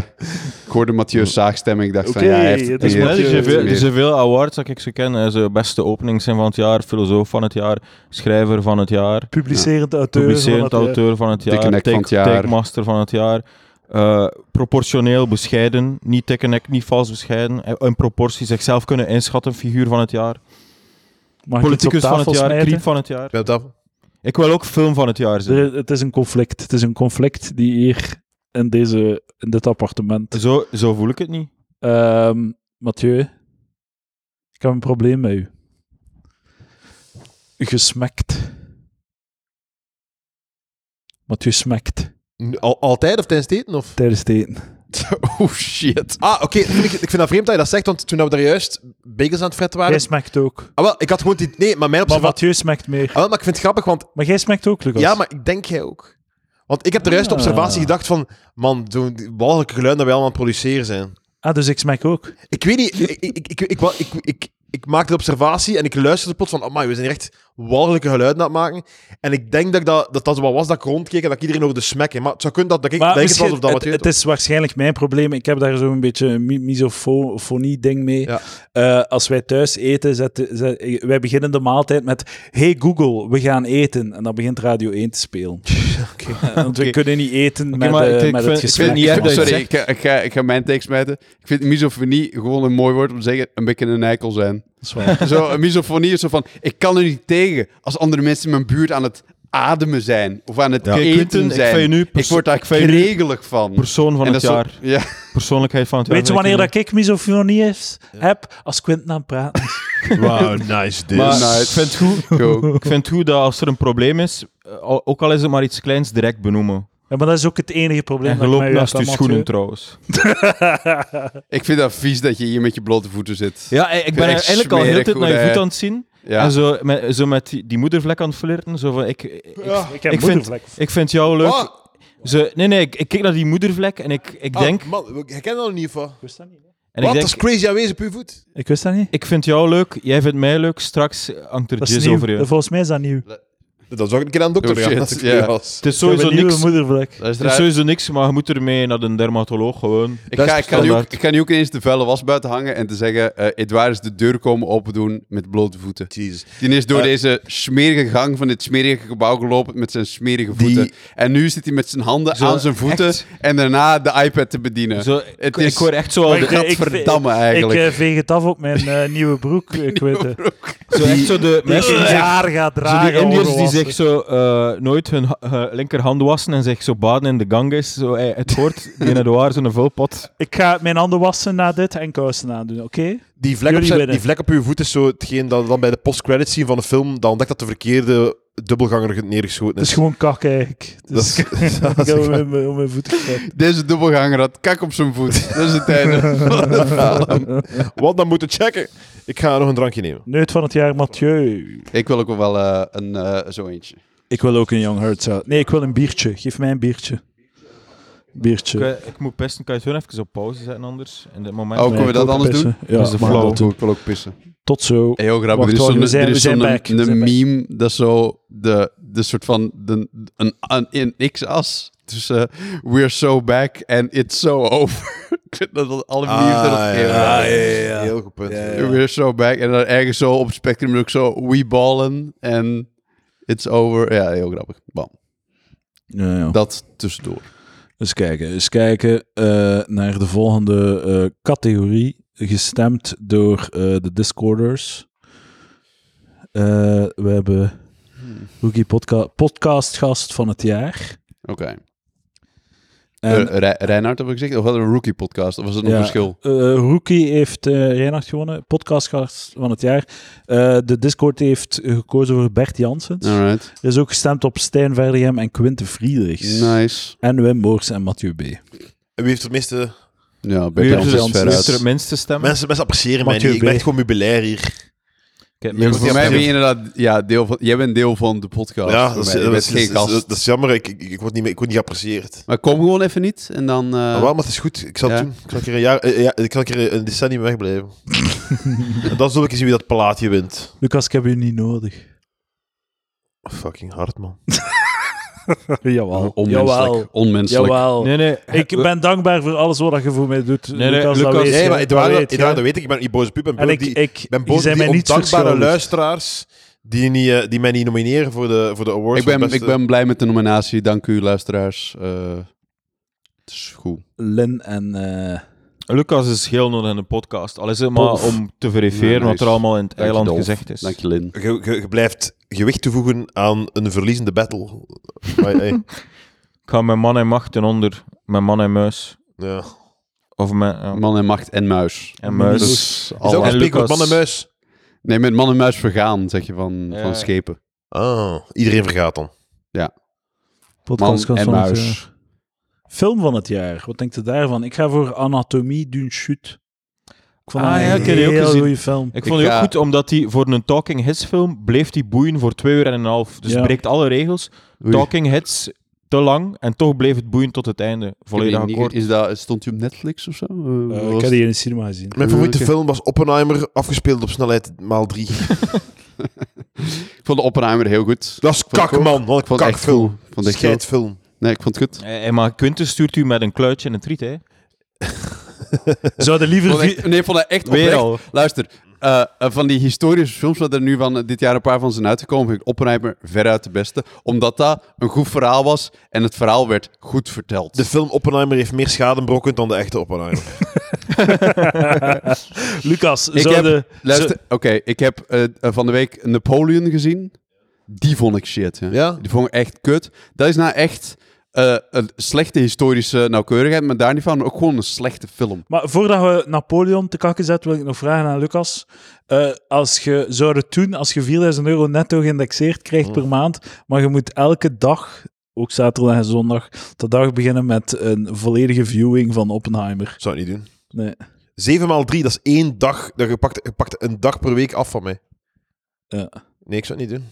ik hoorde Mathieu's zaagstem en ik dacht van Oké, ja, hij heeft het er is hij heeft zijn Mathieu. het veel- weer. er zijn veel awards dat ik zo ken. Eh, Zo beste opening zijn van het jaar, filosoof van het jaar, schrijver van het jaar, Publicerend auteur. van publicerend het jaar. auteur van het Dikke jaar, nek van take- het jaar. takemaster van het jaar. eh, proportioneel bescheiden, niet dikke nek, niet vals bescheiden. eh, Een proportie, zichzelf kunnen inschatten, figuur van het jaar. Mag ik iets op Politicus van tafel het jaar, smijten? creep van het jaar. Ben je op tafel? Ik wil ook film van het jaar zijn. Er- Het is een conflict. Het is een conflict die hier in, deze, in dit appartement Zo, zo voel ik het niet. Ehm, Mathieu, ik heb een probleem met u. Gesmekt. Mathieu smekt Al, altijd of tijdens het eten? Of? tijdens het eten. Oh shit. Ah, oké. dat vind Ik, ik vind dat vreemd dat je dat zegt, want toen we daar juist bagels aan het fretten Jij waren... smekt ook. Ah, wel, ik had gewoon die... Nee, maar mijn Maar observatie... Mathieu smekt meer. Ah, wel, maar ik vind het grappig, want... Maar jij smekt ook, Lucas. Ja, maar ik denk jij ook. Want ik heb de juiste Ah. observatie gedacht van... Man, zo'n walgelijke geluid dat wij allemaal aan het produceren zijn. Ah, dus ik smek ook. Ik weet niet... Ik, ik, ik, ik, ik, wa- ik, ik, ik maakte de observatie en ik luisterde plots van... Amai, we zijn hier echt walgelijke geluiden aan het maken. En ik denk dat ik dat, dat, dat wat was dat ik rondkeek en dat ik iedereen over de smek heen. Maar het zou kunnen dat, dat ik Maar denk het misschien- was of dat het, wat het is waarschijnlijk mijn probleem. Ik heb daar zo'n beetje een mi- misofonie-ding mee. Ja. Eh, als wij thuis eten, zetten- zet- wij beginnen de maaltijd met Hey Google, we gaan eten. En dan begint Radio 1 te spelen. Eh, Want we kunnen niet eten met, maar eh, ik- ik met vind- het ik gesprek. vind niet erg dat je Sorry, zegt- ik, ik, ga, ik ga mijn tekst smijten. Ik vind misofonie gewoon een mooi woord om te zeggen een beetje een eikel zijn. Dat is waar. Zo, een misofonie is zo van, ik kan er niet tegen als andere mensen in mijn buurt aan het ademen zijn. Of aan het Ja. eten Quinten, ik zijn. vind je nu pers- ik word daar ik vind je nu kregelig van. Persoon van En het dat is jaar. zo- ja. Persoonlijkheid van het jaar. Weet je wanneer dat ik misofonie is- heb? Als Quint aan het praten is. Wow, nice dit. Maar Nou, Nice. ik vind het goed. Go. Ik vind het goed dat als er een probleem is, eh, al- ook al is het maar iets kleins, direct benoemen. Ja, maar dat is ook het enige probleem En je dat ik loopt met u naast heb, je Mathieu. schoenen trouwens. Ik vind dat vies dat je hier met je blote voeten zit. Ja, ik ben Echt eigenlijk al heel de smerig, tijd naar hoe je dat- voet aan het zien. Ja. En zo met, zo met die, die moedervlek aan het flirten. Zo van, ik, ik, Ik heb Ik vind, moedervlek. ik vind jou leuk. Ah. Oh. Ze, nee, nee, ik, ik kijk naar die moedervlek en ik, ik denk... Ah, man, ik herken dat nog niet van. Ik wist dat niet. hè. Wat? en ik, Dat denk is crazy aanwezig op je voet. Ik wist dat niet. ik vind jou leuk, jij vindt mij leuk, straks hangt er Dat is jizz nieuw. over je. Volgens mij is dat nieuw. Dat zou ik een keer aan de dokter Oh, gaan. shit, als ik ja. weer was. Het is Ik heb sowieso een nieuwe niks, moedervlek. Dat is het is raar. sowieso niks, maar je moet ermee naar de dermatoloog gewoon. Ik, Dat is ga, ik, kan nu ook, standaard. ik ga nu ook ineens de vuile was buiten hangen en te zeggen... eh Edouard is de deur komen opendoen met blote voeten. Jezus. Die is door Eh. deze smerige gang van dit smerige gebouw gelopen met zijn smerige voeten. Die- En nu zit hij met zijn handen Zo, aan zijn voeten echt. en daarna de iPad te bedienen. Zo, het ik, is- ik hoor echt zo, al Maar de, ik- Gadverdamme Ik eigenlijk. eh, veeg het af op mijn eh, nieuwe broek, ik weet het. zo, echt zo de Die mensen die een zich- jaar gaat zo dragen. die Indiërs die ongewassen. zich zo eh, nooit hun ha- eh, linkerhand wassen en zich zo baden in de Ganges. Zo, eh, het hoort, die in de waar, zo'n vulpot. Ik ga mijn handen wassen na dit en kousen aandoen, oké? Die vlek, op Jullie zijn, winnen. die vlek op uw voet is zo hetgeen dat we dan bij de post-credits zien van de film. Dan ontdekt dat de verkeerde dubbelganger neergeschoten Het is is. gewoon kak eigenlijk. Dus Dat is- dat ik is heb waar. om mijn, om mijn voeten getrapt. Deze dubbelganger had kak op zijn voet. Dat is het einde. van de film. Dus- Want dan moeten checken. Ik ga nog een drankje nemen. Neut van het jaar, Mathieu. ik wil ook wel eh, een, eh, zo eentje. Ik wil ook een Young Hearts out. Nee, ik wil een biertje. Geef mij een biertje. Biertje. Ik, eh, ik moet pesten, kan je het gewoon even op pauze zetten anders? In dit moment. Oh, kunnen we ik dat wil anders pissen. Ja, Dat is de maar flow. dat- ik wil ook pissen. Tot zo. Hey, heel grappig. Wacht, er is wacht, zo'n, we zijn- er is we zijn zo'n back. We een zijn back. meme dat zo de, de soort van de, een, een, een x-as tussen uh, we're so back and it's so over. Ik vind dat dat alle memes dat dat geven. Ah, ja. Heel goed punt. Ja, ja. We're so back en dan ergens zo op het spectrum ook zo we ballen en it's over. Ja, heel grappig. Bam. Ja, ja. Dat tussendoor. Eens kijken, eens kijken eh, naar de volgende eh, categorie, gestemd door eh, de Discorders. Eh, we hebben Rookie podca Podcastgast van het jaar. Oké. En, Eh, Re- Reinhard heb ik gezegd? Of hadden we een rookie podcast? Of was er nog ja, verschil? eh, Rookie heeft eh Reinhard gewonnen, Podcastgast van het jaar. Eh, de Discord heeft gekozen voor Bert Janssens. Alright. Er is ook gestemd op Stijn Verdegem en Quinte Friedrichs. Nice. En Wim Boors en Mathieu B. En wie heeft het meeste... Ja, Wie Bert heeft Jans is er- wie heeft er het veruit. minste stemmen? Mensen, mensen appreciëren mij Mathieu niet. Ik ben B. echt gewoon meubilair hier. Kijk, Ja, mensen Voor mij ben stemmen. je inderdaad ja, deel van, jij bent deel van de podcast. Ja, voor dat is, mij. Je dat, bent is, geen dat is- gast. dat is jammer. Ik, ik, ik word niet, meer- ik word niet geapprecieerd. Maar kom gewoon even niet en dan... eh, Maar Ah, wel, maar het is goed. Ik zal het ja. doen. Ik zal een keer een, jaar, eh, ja, ik zal een, keer een decennium wegblijven. en dan zul ik eens zien wie dat plaatje wint. Lucas, ik heb u niet nodig. Fucking hard, man. jawel. onmenselijk. Onmenselijk. Jawel. Nee, nee. Ik ben dankbaar voor alles wat je voor mij doet. Nee, nee, Lucas, Lucas, dat weet jij, Nee, je, maar Eduardo, dat dat weet je. weet ik. Ik ben niet boos op u. Ik ben boos En op ik, die, ik, ik ben die boos op zijn mij die niet ondankbare verschuldigd. luisteraars die, niet, eh, die mij niet nomineren voor de, voor de awards. Ik, ben, voor het ik beste. ben blij met de nominatie. Dank u, luisteraars. Eh, het is goed. Lin en... eh, Lucas is heel nodig in de podcast. Al is het maar Tof. om te verifiëren Ja, nice. wat er allemaal in het Dank je, eiland Dolf. gezegd is. Dank je, Lin. Je, eh, je- je blijft gewicht toevoegen aan een verliezende battle. Maar, hey, Ik ga mijn man en macht ten onder. Mijn man en muis. ja. Of mijn... ja, Man en macht en muis. en muis. Dus Is ook alle- een En spreekwoord, Lucas. man en muis. Nee, met man en muis vergaan, zeg je, van, Ja. van schepen. Ah, iedereen vergaat dan. Man podcast en van het muis. jaar. Film van het jaar. Wat denkt u daarvan? Ik ga voor Anatomie d'une chute. Ik vond Ah, dat ja, een ik heb die ook heel gezien. goede film. Ik Ik vond het ook ga- goed, omdat hij voor een Talking Hits film bleef die boeien voor twee uur en een half. Dus Ja. breekt alle regels. Oei. Talking Hits te lang en toch bleef het boeien tot het einde. Volledig Ik weet niet, akkoord. Is dat, stond hij op Netflix of zo? Eh, Eh, was ik heb het- die in de cinema gezien. Mijn Ah, favoriete oké. film was Oppenheimer, afgespeeld op snelheid maal 3. Ik vond de Oppenheimer heel goed. Dat is Vond ik kak, ook. man. Wat een Ik vond het echt kakfilm. cool. Ik Vond het echt goed. Scheidfilm. Nee, ik vond het goed. Eh, eh, maar Quintus stuurt u met een kluitje en een triet, hè? Zouden Ik liever... vond echt- nee, ik vond dat echt Weer oprecht. al. Luister, eh, eh, van die historische films wat er nu van eh, dit jaar een paar van zijn uitgekomen, vind ik Oppenheimer veruit de beste. Omdat dat een goed verhaal was en het verhaal werd goed verteld. De film Oppenheimer heeft meer schade brokkend dan de echte Oppenheimer. Lucas, ik zouden... heb, luister, oké, ik heb eh, eh, van de week Napoleon gezien. Die vond ik shit. Hè. Ja? Die vond ik echt kut. Dat is nou echt eh, een slechte historische nauwkeurigheid, maar daar niet van. Ook gewoon een slechte film. Maar voordat we Napoleon te kakken zetten, wil ik nog vragen aan Lucas. Eh, als je zou het doen, als je 4000 euro netto geïndexeerd krijgt Oh. per maand, maar je moet elke dag, ook zaterdag en zondag, de dag beginnen met een volledige viewing van Oppenheimer. Zou ik niet doen. Nee. 7 maal 3, dat is één dag. Dat je, pakt, je pakt een dag per week af van mij. Ja. Nee, ik zou het niet doen.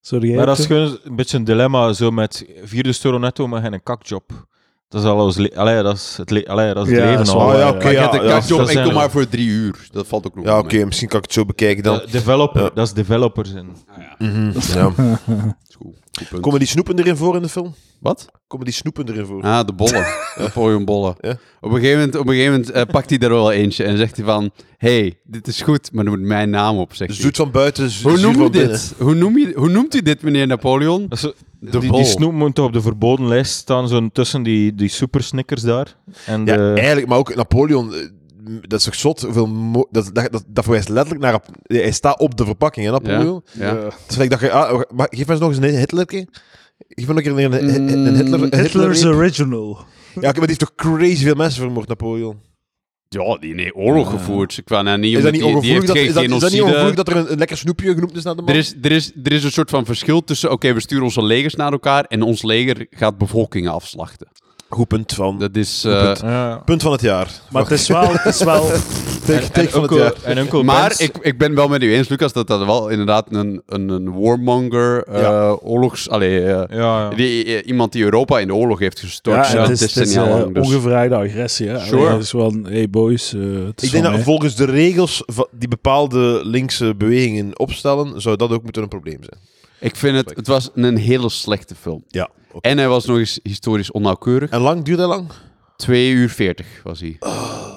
Sorry, jij Maar dat het is doen? gewoon een beetje een dilemma, zo met vierde euro netto, maar geen kakjob. Dat is al ons le- allee, dat is het, le- allee, dat is het Ja, leven dat is al. Oh, wel ja, waar, oké. Maar je hebt een ja, kakjob, dat ik zijn doe we. maar voor drie uur. Dat valt ook nog Ja, wel oké, mee. misschien kan ik het zo bekijken dan. De- developer, dat is developers in. Mhm, ja. Dat is goed. Goed punt. Komen die snoepen erin voor in de film? Wat? Komen die snoepen erin voor? Ah, de bollen. Napoleonbollen. Ja. Op een gegeven moment, op een gegeven moment eh, pakt hij er wel eentje en zegt hij van... hey, dit is goed, maar er moet mijn naam op, zegt hij. Zoet van buiten, zu- Hoe zuur noem je van binnen. dit? Hoe, noem je, hoe noemt u dit, meneer Napoleon? Dat is zo- De die, bol. die snoep moet toch op de verboden lijst staan, zo tussen die, die super snickers daar. En Ja, de, eigenlijk, maar ook Napoleon, eh, m, dat is toch zot? Hoeveel mo- dat, dat, dat, dat verwijst letterlijk naar... Ap- Hij staat op de verpakking, hè, Napoleon? Ja. Het is gelijk dat je... Ah, maar geef me eens nog eens een Hitlerke. Geef me nog een keer een, een, een Hitler... Mm, Hitler's Hitler original. ja, oké, maar die heeft toch crazy veel mensen vermoord, Napoleon? Ja, die heeft oorlog gevoerd. Ik wou nou niet, Is dat omdat niet die, die ongevoelig heeft dat, geen is dat, is dat niet genocide. ongevoelig dat er een, een lekker snoepje genoemd is naar de man? Er is, er, is, er is een soort van verschil tussen, oké, we sturen onze legers naar elkaar en ons leger gaat bevolkingen afslachten. Goed punt van... Dat is... eh, ja. Punt van het jaar. Maar het is wel... Het is wel Take, take van het Uncle- jaar. en Uncle maar Ben's- ik, ik ben wel met u eens, Lucas, dat dat wel inderdaad een, een, een warmonger, eh, Ja. oorlogs... Allee, eh, ja, ja. die, eh, iemand die Europa in de oorlog heeft ja, gestort. het is, het is, decennia eh, lang, dus- ongevraagde agressie. Hè? Sure. Allee, Het is wel een, hey boys, eh, het is Ik denk van dat mij. volgens de regels va- die bepaalde linkse bewegingen opstellen, zou dat ook moeten een probleem zijn. Ik vind het... Het was een hele slechte film. Ja. En hij was nog eens historisch onnauwkeurig. En lang duurt dat lang? 2 uur 40 was hij. Oh,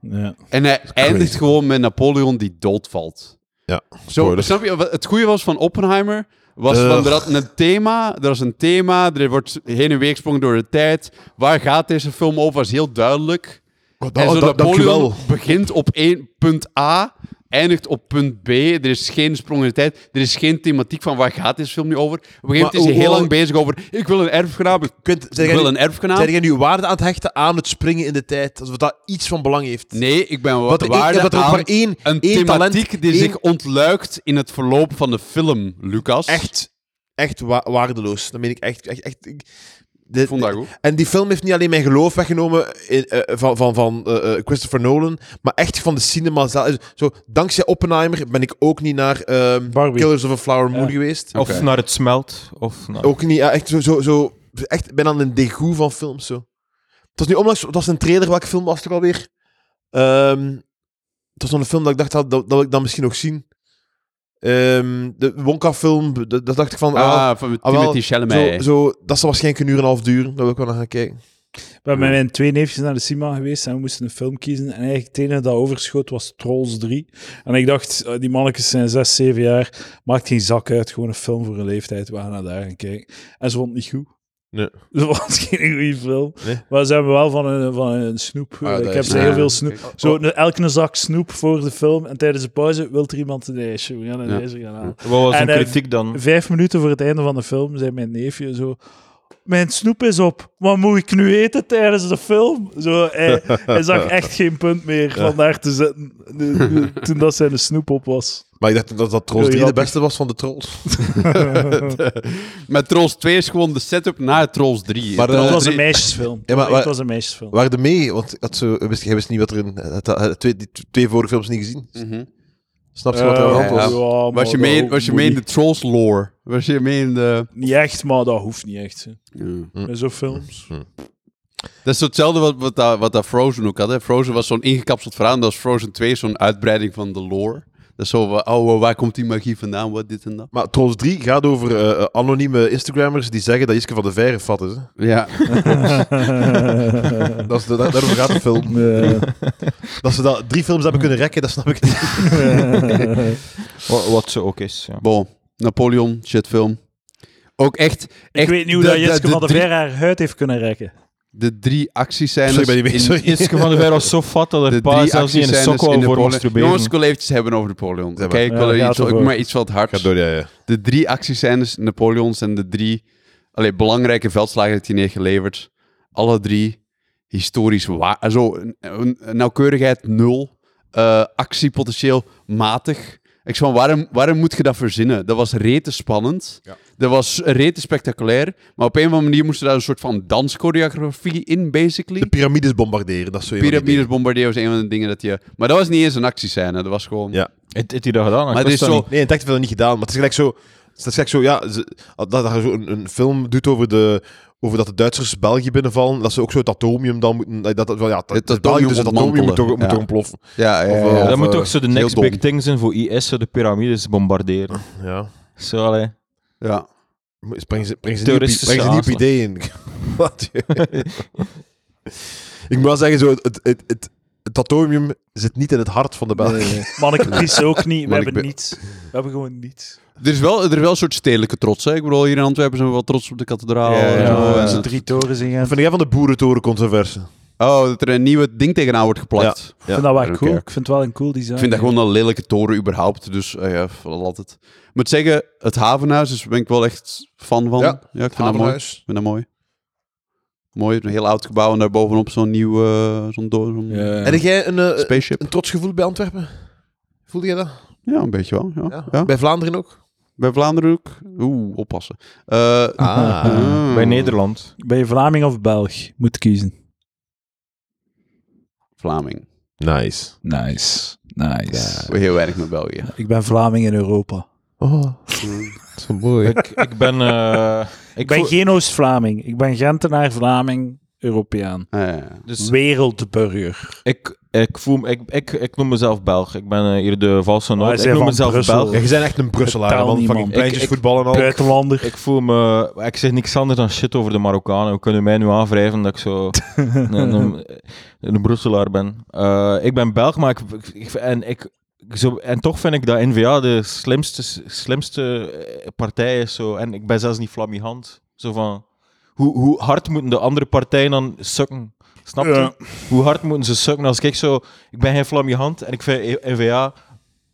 Ja. En hij eindigt crazy. gewoon met Napoleon die doodvalt. Ja, Zo, spoilers. snap je? wat Het goede was van Oppenheimer was Ugh. van er had een thema, er was een thema, er wordt heen en weer gesprongen door de tijd. Waar gaat deze film over? Was heel duidelijk. Oh, en zo Napoleon begint op één- punt A, eindigt op punt B. Er is geen sprong in de tijd. Er is geen thematiek van waar gaat deze film nu over. Op een gegeven moment Maar is hij hoe- heel hoe- lang bezig over. Ik wil een erfgenaam. Ik Kunt, zeg wil jij, een nu- erfgenaam. zeg jij nu waarde aan het hechten aan het springen in de tijd? Alsof dat iets van belang heeft. Nee, ik ben Wat wat er- waarde dat er ook aan maar één- een één talent, thematiek die één- zich ontluikt in het verloop van de film, Lucas. Echt, echt wa- waardeloos. Dat meen ik echt. echt, echt ik, de- Ik vond dat goed. En die film heeft niet alleen mijn geloof weggenomen in, eh, van, van, van eh, eh, Christopher Nolan, maar echt van de cinema zelf. Zo, dankzij Oppenheimer ben ik ook niet naar ehm, Barbie. Killers of a Flower Moon Ja. geweest. Of Oké. naar het smelt. Of naar... Ook niet, ja, echt zo, zo, zo echt, ik ben aan een degoe van films zo. Het was nu onlangs, het was een trailer, welke film was het ook alweer? Ehm, het was nog een film dat ik dacht, dat, dat wil ik dan misschien nog zien. Ehm, de Wonka-film, dat, dat dacht ik van, ah, Ah, van ah, wel, Timothy zo, Chalamet. zo, dat zal waarschijnlijk een uur en een half duren, daar wil ik wel naar gaan kijken. We zijn met mijn twee neefjes naar de cinema geweest en we moesten een film kiezen. En eigenlijk het enige dat overschoot was Trolls 3. En ik dacht, eh, die mannetjes zijn 6, 7 jaar, maakt geen zak uit, gewoon een film voor hun leeftijd. We gaan naar daar gaan kijken. En ze vond het niet goed. Nee. Ze was geen goede film. Nee. Maar ze hebben wel van een, van een snoep. Ah, eh, ik dat heb is- ze heel ah, veel snoep. kijk. Zo, een- elke een zak snoep voor de film. En tijdens de pauze wil er iemand een ijsje. We gaan een Ja. ijsje gaan halen. Wat was En, een eh, kritiek dan? Vijf minuten voor het einde van de film zei mijn neefje zo... Mijn snoep is op. Wat moet ik nu eten tijdens de film? Zo, hij, hij zag echt geen punt meer van daar te zetten de- de- toen dat zijn snoep op was. Maar ik dacht dat, dat Trolls Heel 3 de grappig. beste was van de Trolls. Maar Trolls 2 is gewoon de setup naar Trolls 3. Maar, eh, Trolls Het was een 3 meisjesfilm. Ja, maar- het was een meisjesfilm. Waar de mee, want ik had zo, wist, jij wist niet wat er in... Had, had twee, die twee vorige films niet gezien. Mhm. Snap je wat er aan de hand ja, was? ja. Was Oh, je, mee, was je mee in de Trolls lore? Was je mee in de... Niet echt, maar dat hoeft niet echt. hè. Hm. Met zo'n films. Dat is zo hetzelfde wat, wat, dat, wat dat Frozen ook had. Hè? Frozen was zo'n ingekapseld verhaal. En dat was Frozen 2 zo'n uitbreiding van de lore. Dat is zo, van, oh, waar komt die magie vandaan? Wat dit en dat. Maar Trolls 3 gaat over eh, eh, anonieme Instagrammers die zeggen dat Jiske van de Veire fat is. hè. Ja. Eh, Dat is de, daar- daarover gaat de film. Eh, Dat ze dat, drie films hebben kunnen rekken, dat snap ik niet. Wa- Wat, ze ook is. Ja. Bon, Napoleon, shitfilm. Ook echt... ik weet niet hoe dat Jessica van der Veer haar huid heeft kunnen rekken. de drie acties zijn. Sorry, ben je weer- sorry. Iske dus van de Ver was zo fat dat er pa zelfs niet in een sok wou voor masturberen. Jongens, ik wil eventjes hebben over Napoleon. Oké, maar. ik Ja, wil er gaat iets, ik ervoor. maar iets wat Ga hard. door, ja, ja. De drie actiescènes Napoleons en de drie allee, belangrijke veldslagen die hij heeft geleverd. Alle drie historisch waar. eh, Zo, een- een- een nauwkeurigheid nul. eh, actiepotentieel matig. Ik zei, waarom, waarom moet je dat verzinnen? Dat was rete spannend. Ja. Dat was rete spectaculair. Maar op een of andere manier moest er daar een soort van danschoreografie in, basically. De piramides bombarderen, dat is zo een van die Pyramides bombarderen was een van de dingen dat je... Maar dat was niet eens een actiescène. Dat was gewoon... Ja. Het heeft hij dat gedaan? Maar Ik het wist is dat zo- niet. dingen. Nee, in tekst hebben we dat niet gedaan, maar het is gelijk zo... Het is gelijk zo, ja... ze- Dat dat hij zo een, een film doet over de... Over dat de Duitsers België binnenvallen, dat ze ook zo het atomium dan moeten... Dat, dat, wel, ja, dat, Het atomium België dus het atomium moet ontmantelen, toch, moet ja. toch ontploffen. Ja, ja, Of, ja, eh, ja. dat moet eh, toch zo de heel next dom. big thing zijn voor IS, zo de piramides bombarderen. Ja. Zo, allee. ja. Breng ze, breng ze, niet, op, Terroristische breng ze niet op hazen. ideeën. Wat? ik moet wel zeggen, zo, het, het, het, het, atomium zit niet in het hart van de Belgen. Man, ik pies ook niet. We Man, ik hebben ben- niets. We hebben gewoon niets. Er is wel, er is wel een soort stedelijke trots. Hè? Ik bedoel, hier in Antwerpen zijn we wel trots op de kathedraal. Ja, en ja, zo. ja. En- Onze drie torens in Gent. Wat vind jij van de boerentorencontroverse? Oh, dat er een nieuwe ding tegenaan wordt geplakt. Ik vind dat wel oké. cool. Ik vind het wel een cool design. Ik vind dat gewoon een lelijke toren überhaupt. Dus eh, ja, laat het. Ik moet zeggen, het havenhuis dus ben ik wel echt fan van. Ja, Ja, ik vind dat mooi. Ik Havenhuis. vind dat mooi. Mooi, een heel oud gebouw en daar bovenop zo'n nieuw eh, zo'n door, zo'n Ja, ja. Heb jij een, eh, spaceship. een trots gevoel bij Antwerpen? Voelde jij dat? Ja, een beetje wel. Ja. Ja. Ja. Bij Vlaanderen ook? Bij Vlaanderen ook. Oeh, oppassen. Eh, Ah. Bij Nederland. Ben je Vlaming of Belg? Moet kiezen. Vlaming. Nice. Nice. Nice. Heel weinig met België. Ik ben Vlaming in Europa. Oh, zo mooi. Ik, ik ben... eh, Ik ben voel- geen Oost-Vlaming. Ik ben Gentenaar, Vlaming, Europeaan. Ah, ja, ja. dus Wereldburger. ik, ik, voel, me- ik, ik, ik noem mezelf Belg. Ik ben eh, hier de valse wij noot. Ik zijn noem van mezelf Brussel. Belg. Ja, je bent echt een Brusselaar, Totaal man. niet, Fucking man. pleintjes, Ik- ik- voetbal en al. Buitenlander. Ik voel me... Ik zeg niks anders dan shit over de Marokkanen. Hoe kunnen mij nu aanwrijven dat ik zo een, een, een Brusselaar ben? Eh, ik ben Belg, maar ik... ik- ik- en ik zo, en toch vind ik dat N-VA de slimste, slimste eh, partij is. Zo. En ik ben zelfs niet flamihant. Zo van... Hoe, hoe hard moeten de andere partijen dan sukken? Snap je? Ja. Hoe hard moeten ze sukken als ik zo... Ik ben geen flamihant en ik vind N-VA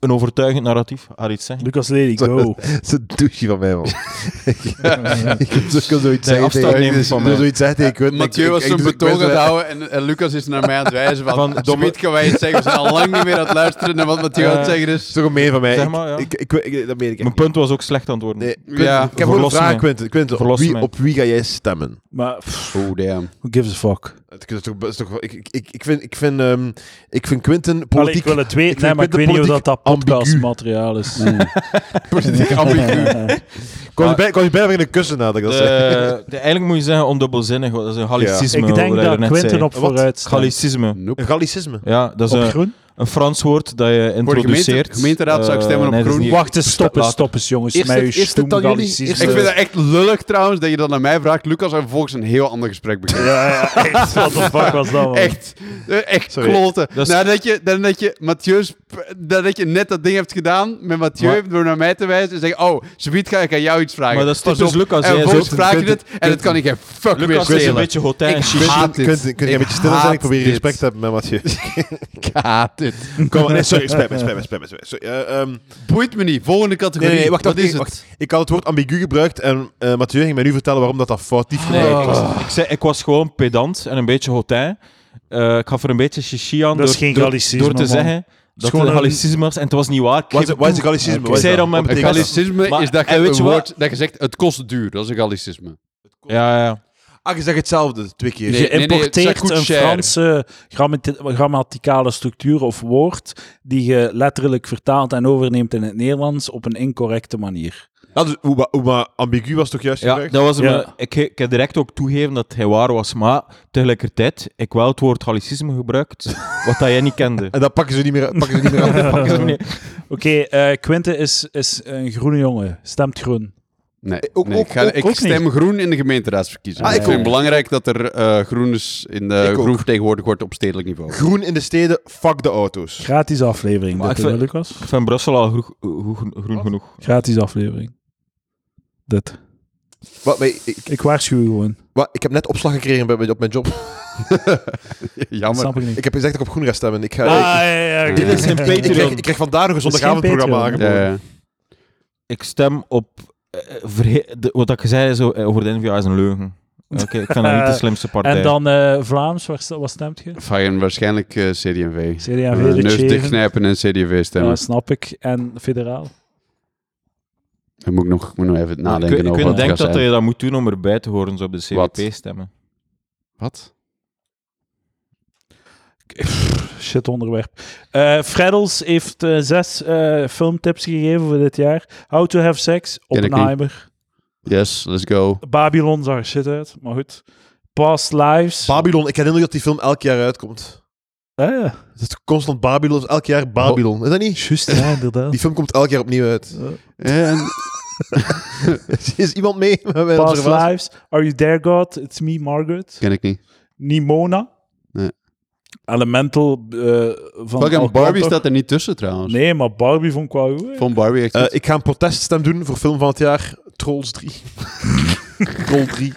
een overtuigend narratief. Had iets zeggen? Lucas Lely, go. Dat is een douche van mij, man. ik wil zoiets Nee, zeggen afstand tegen- nemen ik van wil mij. zoiets zeggen tegen Quint. Mathieu Ik- was ik- zo'n ik- ik- betoog ik- aan het houden en, en Lucas is naar mij aan het wijzen van, Van van domme- Eh, kan wij iets zeggen, we zijn al lang niet meer aan het luisteren naar wat Mathieu aan het zeggen Het is. is toch gemeen van mij. Zeg Ik- maar, ja. ik, ik, ik, dat meen ik echt Mijn punt was ook slecht antwoorden. niet. Nee, Quint, ik Ja. heb gewoon een Verlos vraag, mij. Quint. Quint, op Verlos wie, mij. op wie ga jij stemmen? Maar pff, Oh, damn. who gives a fuck? Het is toch, het is toch, ik, ik- ik, ik, vind, ik, vind, ehm ik vind Quinten Allee, ik politiek... wil het weten, ik hè, vind maar ik weet niet of dat, dat ambigu. podcastmateriaal is. Politiek ambigu. Ik kon je bij- ik kon je bijna beginnen kussen nadat ik Eh, dat zei. De, de- eigenlijk moet je zeggen ondubbelzinnig. want Dat is een gallicisme. ik denk wat je dat net Quinten zei. op Wat? vooruit staat. Gallicisme. Een Gallicisme. Ja, dat is Op een, groen? een Frans woord dat je gemeente- introduceert. gemeenteraad zou ik stemmen op Eh, dat is groen. niet- Wacht eens, stop eens, Later. stop eens, jongens. Eerst Met het- uw eerst het stoem dan jullie? Gallicisme. Ik vind dat echt lullig trouwens, dat je dat naar mij vraagt, Lucas, en vervolgens een heel ander gesprek begint. Ja, ja, echt. Wat de fuck was dat, man? Echt, eh, echt Sorry. kloten. Dat is- Nadat je, nadat, je Mathieu's, nadat je net dat ding hebt gedaan met Mathieu, Maar- door naar mij te wijzen en zeggen, oh, Sabiet, ga ik aan jou iets vragen. Maar dat is Pas dus op. Lucas, En hè, vervolgens zo- vraag je Quinten- het en dat kan ik geen fuck meer Lucas is een schelen. beetje hotel en Ik shit. haat Quinten, dit. Quinten, kun je Ik een beetje stil zijn? haat Ik probeer dit. respect te hebben met Mathieu. Ik haat dit. Kom, nee, sorry, spijt me, spijt me, spijt me. Sorry, eh, ehm, Boeit me niet. Volgende categorie. Nee, nee, nee, wacht, Wat wacht, is nee, het? Ik had het woord ambigu gebruikt en eh Mathieu ging mij nu vertellen waarom dat, dat foutief Nee, gebruikt ik, was. Oh. was- ik zei, ik was gewoon pedant en een beetje hotel. Eh, ik gaf er een beetje chichi aan Dat is door, geen door- gallicisme, door te man. is zeggen dat het gewoon een een- gallicisme was. En het was niet waar. Ik Wat is, geef wat is toe. gallicisme? Oké. Wat is Ik zei dat? dan met Wat Een betekent dat? gallicisme Maar- is dat eh, je en weet een je wat? woord dat je zegt, het kost duur. Dat is een gallicisme. Ja, ja, ja. Ah, je zegt hetzelfde twee keer. Nee. Je importeert Sacoche een share. Franse grammati- grammaticale structuur of woord die je letterlijk vertaalt en overneemt in het Nederlands op een incorrecte manier. Dat is, oeh, maar- oeh, maar ambigu was toch juist Ja, gebruikt? dat was Ja. me- ik, ik heb direct ook toegeven dat hij waar was, maar tegelijkertijd, ik wel het woord gallicisme gebruikt, wat dat jij niet kende. En dat pakken ze niet meer, pakken ze niet meer aan. Pak eens opnieuw. Oké, eh Quinten is, is een groene jongen. Stemt groen. Nee, Eh, ook- nee, ik, ga- ook- ik ook stem groen in de gemeenteraadsverkiezingen. Ah, ik ik vind ook. het belangrijk dat er eh, groen is in de Ik ook. groen vertegenwoordigd wordt op stedelijk niveau. Groen in de steden, fuck de auto's. Gratis aflevering, Maar dit, ik hè, vind- Lucas? Ik vind Brussel al groe- groe- groen genoeg. Gratis aflevering. Dit. Wat, maar ik, ik- Ik waarschuw u gewoon. wat, ik heb net opslag gekregen bij, bij- op mijn job. Dat Jammer. snap ik niet. Ah, Ik heb gezegd dat ik op groen ga stemmen. Ik ga, Ah, ja, ik, oké. ik- ik- ik krijg, ik krijg vandaag nog een Dat is geen zondagavondprogramma Patreon. aangeboden. Ja, ja. Ik stem op... eh, verhe- de- wat ik zei zo, eh, over de NVA is een leugen. Oké, ik vind dat niet de slimste partij. En dan eh, Vlaams, waar st- wat stemt je? Fijn, waarschijnlijk eh, CDMV. CD&V, Eh, Neus Dick dichtknijpen en CDV stemmen. Ja, snap ik. En federaal. Dan moet ik nog, moet nog even Maar nadenken ik, ik over Nou, denk wat dat het gaat zijn. je dat moet doen om erbij te horen, zo op de CVP Wat? stemmen. Wat? Shit onderwerp. Eh Freddels heeft eh, zes eh, filmtips gegeven voor dit jaar. How to Have Sex, ik niet. Oppenheimer. Yes, let's go. Babylon zag er shit uit, maar goed. Past Lives. Babylon, ik herinner je dat die film elk jaar uitkomt. Ah, ja. Het is constant Babylon, elk jaar Oh. Babylon. Is dat niet? Juist, ja, inderdaad. Die film komt elk jaar opnieuw uit. En, Is iemand mee? met mijn Past observatie? Lives. Are You There, God? It's Me, Margaret. ken ik niet. Nimona. Nee. Elemental eh, van... Fuck, en Alcantor. Barbie staat er niet tussen trouwens. Nee, maar Barbie vond ik wel goed. Vond Barbie echt Eh, goed? ik ga een proteststem doen voor film van het jaar. Trolls 3. Troll 3.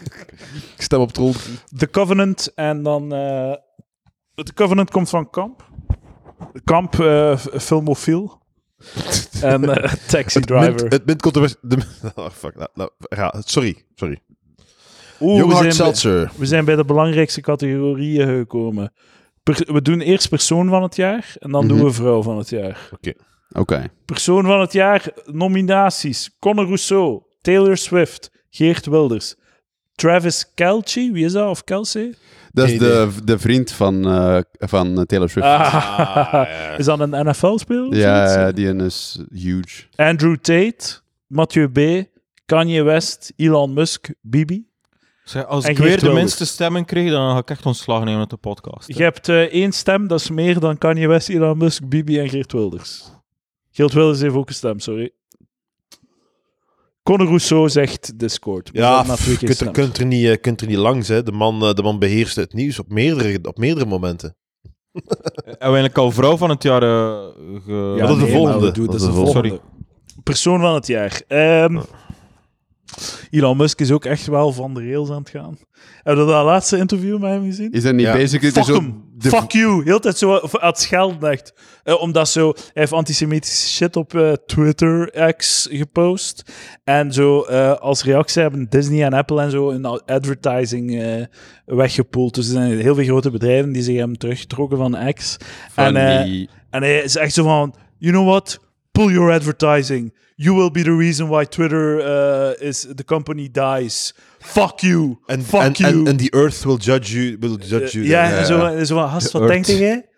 Ik stem op Troll 3. The Covenant en dan... eh, The Covenant komt van Kamp. Kamp, eh, f- filmofiel. en eh, Taxi Het mint, Driver. het mint komt de... de oh, fuck. Nou, nou, ja, sorry. Sorry. Oeh, Young we, Hard zijn bij, Seltzer. we zijn bij de belangrijkste categorieën gekomen. Per- we doen eerst persoon van het jaar en dan Mhm. doen we vrouw van het jaar. Oké. Persoon van het jaar, nominaties. Conor Rousseau, Taylor Swift, Geert Wilders. Travis Kelce, wie is dat? Of Kelsey? Dat is Geen de, de vriend van, eh, van eh, Taylor Swift. Ah. Is dat een NFL-speler? of Ah, zoiets? ja, die ene is huge. Andrew Tate, Mathieu B., Kanye West, Elon Musk, Bibi. Zeg, als En ik Geert weer de Wilders. minste stemmen kreeg, dan ga ik echt ontslag nemen uit de podcast. hè. Je hebt eh, één stem, dat is meer dan Kanye West, Elon Musk, Bibi en Geert Wilders. Geert Wilders heeft ook een stem, sorry. Conor Rousseau zegt Discord. maar Ja, dat na twee pff, keer kunt er, stemt. kunt, er niet, eh, kunt er niet langs. Hè. De, man, eh, de man beheerste het nieuws op meerdere, op meerdere momenten. Hebben we eigenlijk al vrouw van het jaar eh, ge- dat is de nee, maar volgende. we doen- Dat is Dat is de de volgende. volgende. Persoon van het jaar. Ehm, Elon Musk is ook echt wel van de rails aan het gaan. Hebben we dat laatste interview met hem gezien? Is dat niet Ja. basic? Het Fuck is ook hem. de- Fuck you. Heel de tijd zo aan het schelden echt. Eh, omdat zo, hij heeft antisemitische shit op eh, Twitter X gepost. En zo eh, als reactie hebben Disney en Apple en zo een advertising eh, weggepoeld. Dus er zijn heel veel grote bedrijven die zich hebben teruggetrokken van X. van en, eh, die- en hij is echt zo van, you know what? Pull your advertising. You will be the reason why Twitter eh, is the company dies. Fuck you. En, Fuck en, you. en, en the earth will judge you. Will judge you Ja, Dan, en zo, en zo van, gast, wat Earth. denkt jij?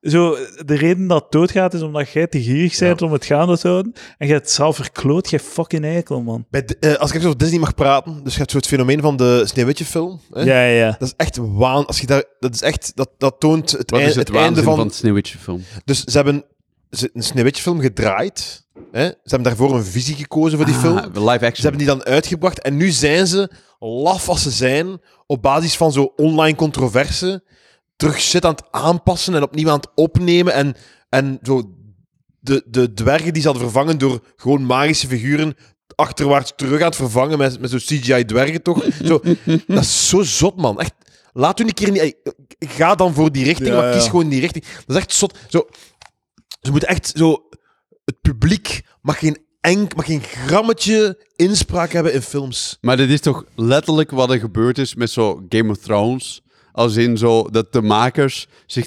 Zo, de reden dat het doodgaat is omdat jij te gierig bent om het gaande te houden. En jij het zelf verkloot, jij fucking eikel, man. Bij de- eh, als ik even over Disney mag praten, dus je hebt zo het fenomeen van de Sneeuwwitje film. Hè? Ja, ja, ja. Dat is echt waan. Als je daar, dat is echt, dat, dat toont Eh, het, Wat ei- is het, einde waanzin van, van. het Sneeuwwitje film? Dus ze hebben ze- een Sneeuwwitje film gedraaid. Hè? Ze hebben daarvoor een visie gekozen voor die film. Ah, live action. Ze hebben die dan uitgebracht en nu zijn ze, laf als ze zijn, op basis van zo online controverse, terug shit aan het aanpassen en opnieuw aan het opnemen. En, en zo de, de dwergen die ze hadden vervangen door gewoon magische figuren, achterwaarts terug aan het vervangen met, met zo'n CGI-dwergen toch. Zo, dat is zo zot, man. Echt. Laat u een keer niet. Ga dan voor die richting, Ja, maar kies ja. gewoon die richting. Dat is echt zot. Zo, ze moeten echt zo. Het publiek mag geen, enk, mag geen grammetje inspraak hebben in films. Maar dit is toch letterlijk wat er gebeurd is met zo Game of Thrones? Als in zo dat de makers zich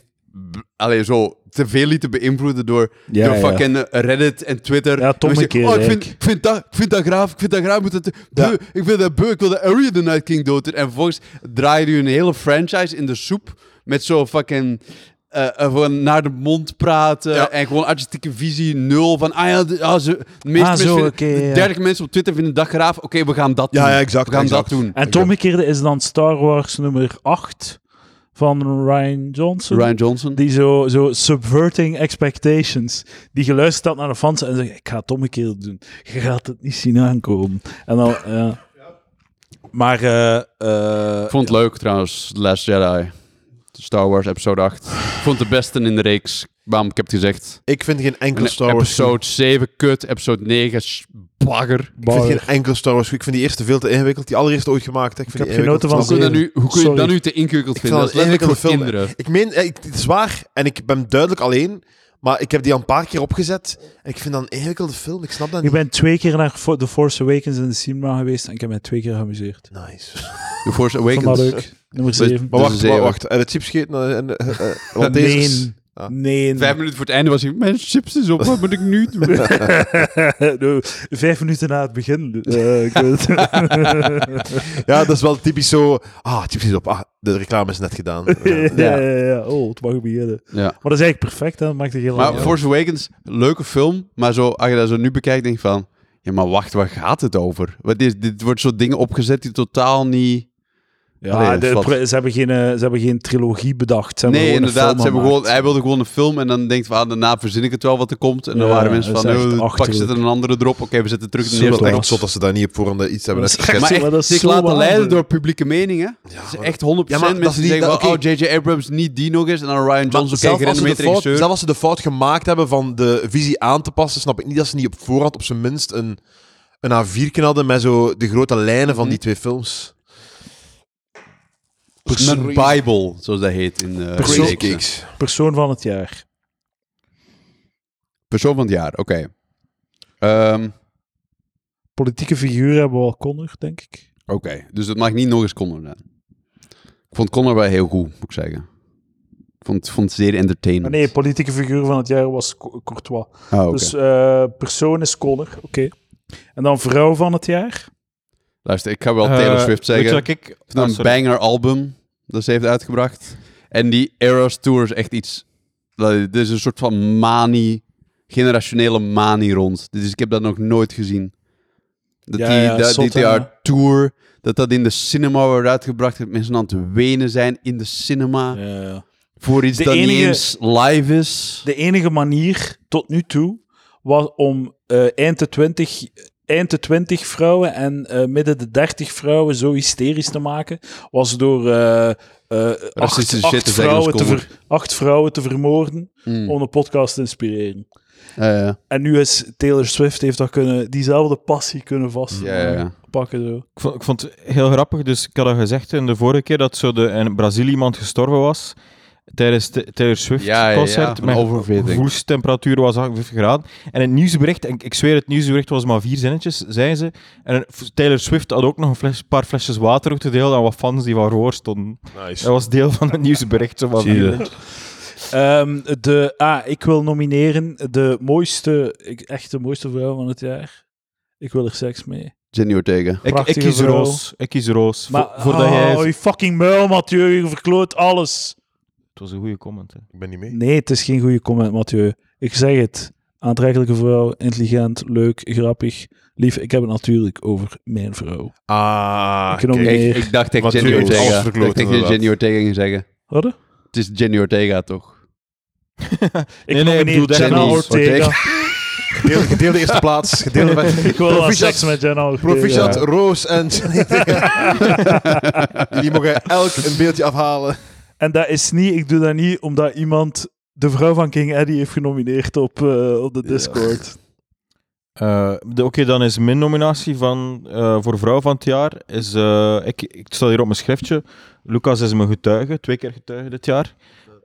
b- allee, zo te veel lieten beïnvloeden door, Ja, door ja. fucking eh, Reddit en Twitter. Ja, Tom En we een keer, zeggen, Oh, ik vind, Rick. ik vind dat, ik vind dat graaf, ik vind dat graaf. Ik, moet het, Ja. beu, ik vind dat beu, ik wil de Arya the Night King dood. doen. En vervolgens draaien jullie een hele franchise in de soep met zo fucking... eh, eh, gewoon naar de mond praten Ja. en gewoon artistieke visie nul van ah ja, de, ah, ze, de meeste Ah, mensen zo, vinden- oké, de ja. 30 mensen op Twitter vinden dat graaf. Oké, we gaan dat Ja, doen. ja, exact, We gaan exact. dat doen. En het omgekeerde is dan Star Wars nummer 8 van Ryan Johnson. Ryan Johnson. Die zo, zo subverting expectations. Die geluisterd had naar de fans en zei: Ik ga het omgekeerd doen. Je gaat het niet zien aankomen. En dan, ja. Maar, eh, eh, Ik vond het leuk trouwens, The Last Jedi. Star Wars Episode 8. Ik vond het de beste in de reeks. Bam, ik heb het gezegd. Ik vind geen enkel En Star Wars goed. episode 7 kut, episode 9 sh- bagger. Ik vind geen enkel Star Wars goed. Ik vind die eerste veel te ingewikkeld. Die allereerste ooit gemaakt. hè. Ik, vind heb die ingewikkeld. genoten Hoe kun je dat nu, hoe kun je Sorry. dat nu te ingewikkeld Ik vinden? Dat vond is het een letterlijk voor ingewikkelde kinderen. Ik meen, eh, ik, het is waar. En ik ben duidelijk alleen. Maar ik heb die al een paar keer opgezet. En ik vind dat een ingewikkelde film. Ik snap dat Ik niet. ben twee keer naar Fo- The Force Awakens in de cinema geweest en ik heb mij twee keer geamuseerd. Nice. The Force Ik vond dat Awakens. leuk. Nummer Dus- 7. Maar Dat wacht, is maar zeven. wacht. En het chips scheten. En, eh, eh, eh, want deze is... Nee. Ah. Nee. Vijf minuten voor het einde was hij, mijn chips is op, wat moet ik nu doen? Nou, Vijf minuten na het begin. Eh, ik weet het. Ja, dat is wel typisch zo... Ah, chips is op. Ah, de reclame is net gedaan. Ja. ja, ja, ja. Oh, het mag beginnen. Ja. Maar dat is eigenlijk perfect, hè. dat maakt het heel Maar lang. Force Awakens, leuke film, maar zo, als je dat zo nu bekijkt, denk je van, ja maar wacht, waar gaat het over? Wat is, dit wordt zo dingen opgezet die totaal niet... Ja, Allee, Ah, de- wat- ze, hebben geen, eh, ze hebben geen trilogie bedacht. Ze hebben nee, gewoon een inderdaad. film Ze hebben gemaakt. gewoon, hij wilde gewoon een film en dan denkt van, ah, daarna verzin ik het wel wat er komt. En dan Ja, waren mensen dat van, is echt oh, pak, achterlijk. zit er een andere drop. Oké, we zetten terug de Zo Dat eerste. is waar. echt zot dat ze daar niet op voorhand iets hebben Dat is uitgezet. echt Maar Zo, maar dat echt, is zich zo laten waar, leiden hè. door publieke meningen. Ja, Het is maar- echt 100% Ja, maar dat is mensen die niet- zeggen van, oké. oh, J.J. Abrams niet die nog eens. En dan Ryan Johnson, oké, zelf als, ze de gerenommeerd fout, regisseur. zelf als ze de fout gemaakt hebben van de visie aan te passen, snap ik niet dat ze niet op voorhand op zijn minst een, een A4 hadden met zo de grote lijnen van die twee films. Een bible, zoals dat heet in eh Persoon- Crazy Geeks. Persoon van het jaar. Persoon van het jaar, oké. Ehm, Politieke figuur hebben we al kondigd, denk ik. oké, dus het mag niet nog eens Connor zijn. Ik vond Connor wel heel goed, moet ik zeggen. Ik vond, vond het zeer Maar entertainend. Ah, nee, politieke figuur van het jaar was Co- Courtois. Oh, oké. Dus eh, persoon is Connor, oké. En dan vrouw van het jaar? Luister, ik ga wel Taylor Eh, Swift Weet je zeggen. wat ik... Van Ah, een sorry. banger album dat ze heeft uitgebracht. En die Eras Tour is echt iets... dat- Dit is een soort van manie, generationele manie rond. Dit is, ik heb dat nog nooit gezien. Dat Ja, die, ja, dat, zot, die hè? haar tour, dat dat in de cinema wordt uitgebracht. Dat mensen aan het wenen zijn in de cinema. Voor iets De dat niet enige- eens live is. De enige manier tot nu toe was om eh, eind, de 20, eind de 20 vrouwen en eh, midden de 30 vrouwen zo hysterisch te maken, was door eh, eh, Racistische acht, shit acht te zeggen als vrouwen te Connor. ver- acht vrouwen te vermoorden Mm. om de podcast te inspireren. Ja, ja. En nu is Taylor Swift heeft dat kunnen, diezelfde passie kunnen Ja, ja, ja. vastpakken. zo. Ik vond, ik vond het heel grappig, dus ik had al gezegd in de vorige keer dat zo de, in Brazilië iemand gestorven was tijdens de Taylor Swift Ja, ja, ja, concert. van Mijn oververhitting. gevoelstemperatuur was 58 graden. En het nieuwsbericht, en ik, ik zweer het nieuwsbericht was maar vier zinnetjes, zei ze. En een- Taylor Swift had ook nog een fles- paar flesjes water uit te delen aan wat fans die van voor stonden. Dat Nice. was deel van het nieuwsbericht. Zo maar Zie je. vier zinnetjes. Ehm, de, ah, ik wil nomineren de mooiste, ik- echt de mooiste vrouw van het jaar. Ik wil er seks mee. Jenny Ortega. ik, ik Prachtige kies vrouw. Roos. Ik kies Roos. Maar, Vo- voordat jij... oh, je fucking muil, Mathieu. Je verkloot alles. Het was een goede comment. Hè. Ik ben niet mee. Nee, het is geen goede comment, Mathieu. Ik zeg het. Aantrekkelijke vrouw, intelligent, leuk, grappig. Lief, ik heb het natuurlijk over mijn vrouw. Ah, Ik nomineer- kijk. Ik, Meer. ik dacht echt Wat Jenny doe je? Ortega. Alles Ik verkloot, dacht echt dat je inderdaad. Jenny Ortega ging zeggen. Hadden? Het is Jenny Ortega, toch? Ik nee, ik nomineer bedoel dat Jenna niet. Ortega. Gedeelde, gedeelde eerste plaats. Gedeelde ik wil wel seks met Jenna Ortega. Proficiat, Roos en... Jullie mogen elk een beeldje afhalen. En dat is niet, ik doe dat niet omdat iemand de vrouw van King Eddie heeft genomineerd op, eh, op de Discord. Eh, de- Oké, dan is mijn nominatie van, eh, voor vrouw van het jaar. Is, eh, ik, ik sta hier op mijn schriftje. Lucas is mijn getuige, twee keer getuige dit jaar.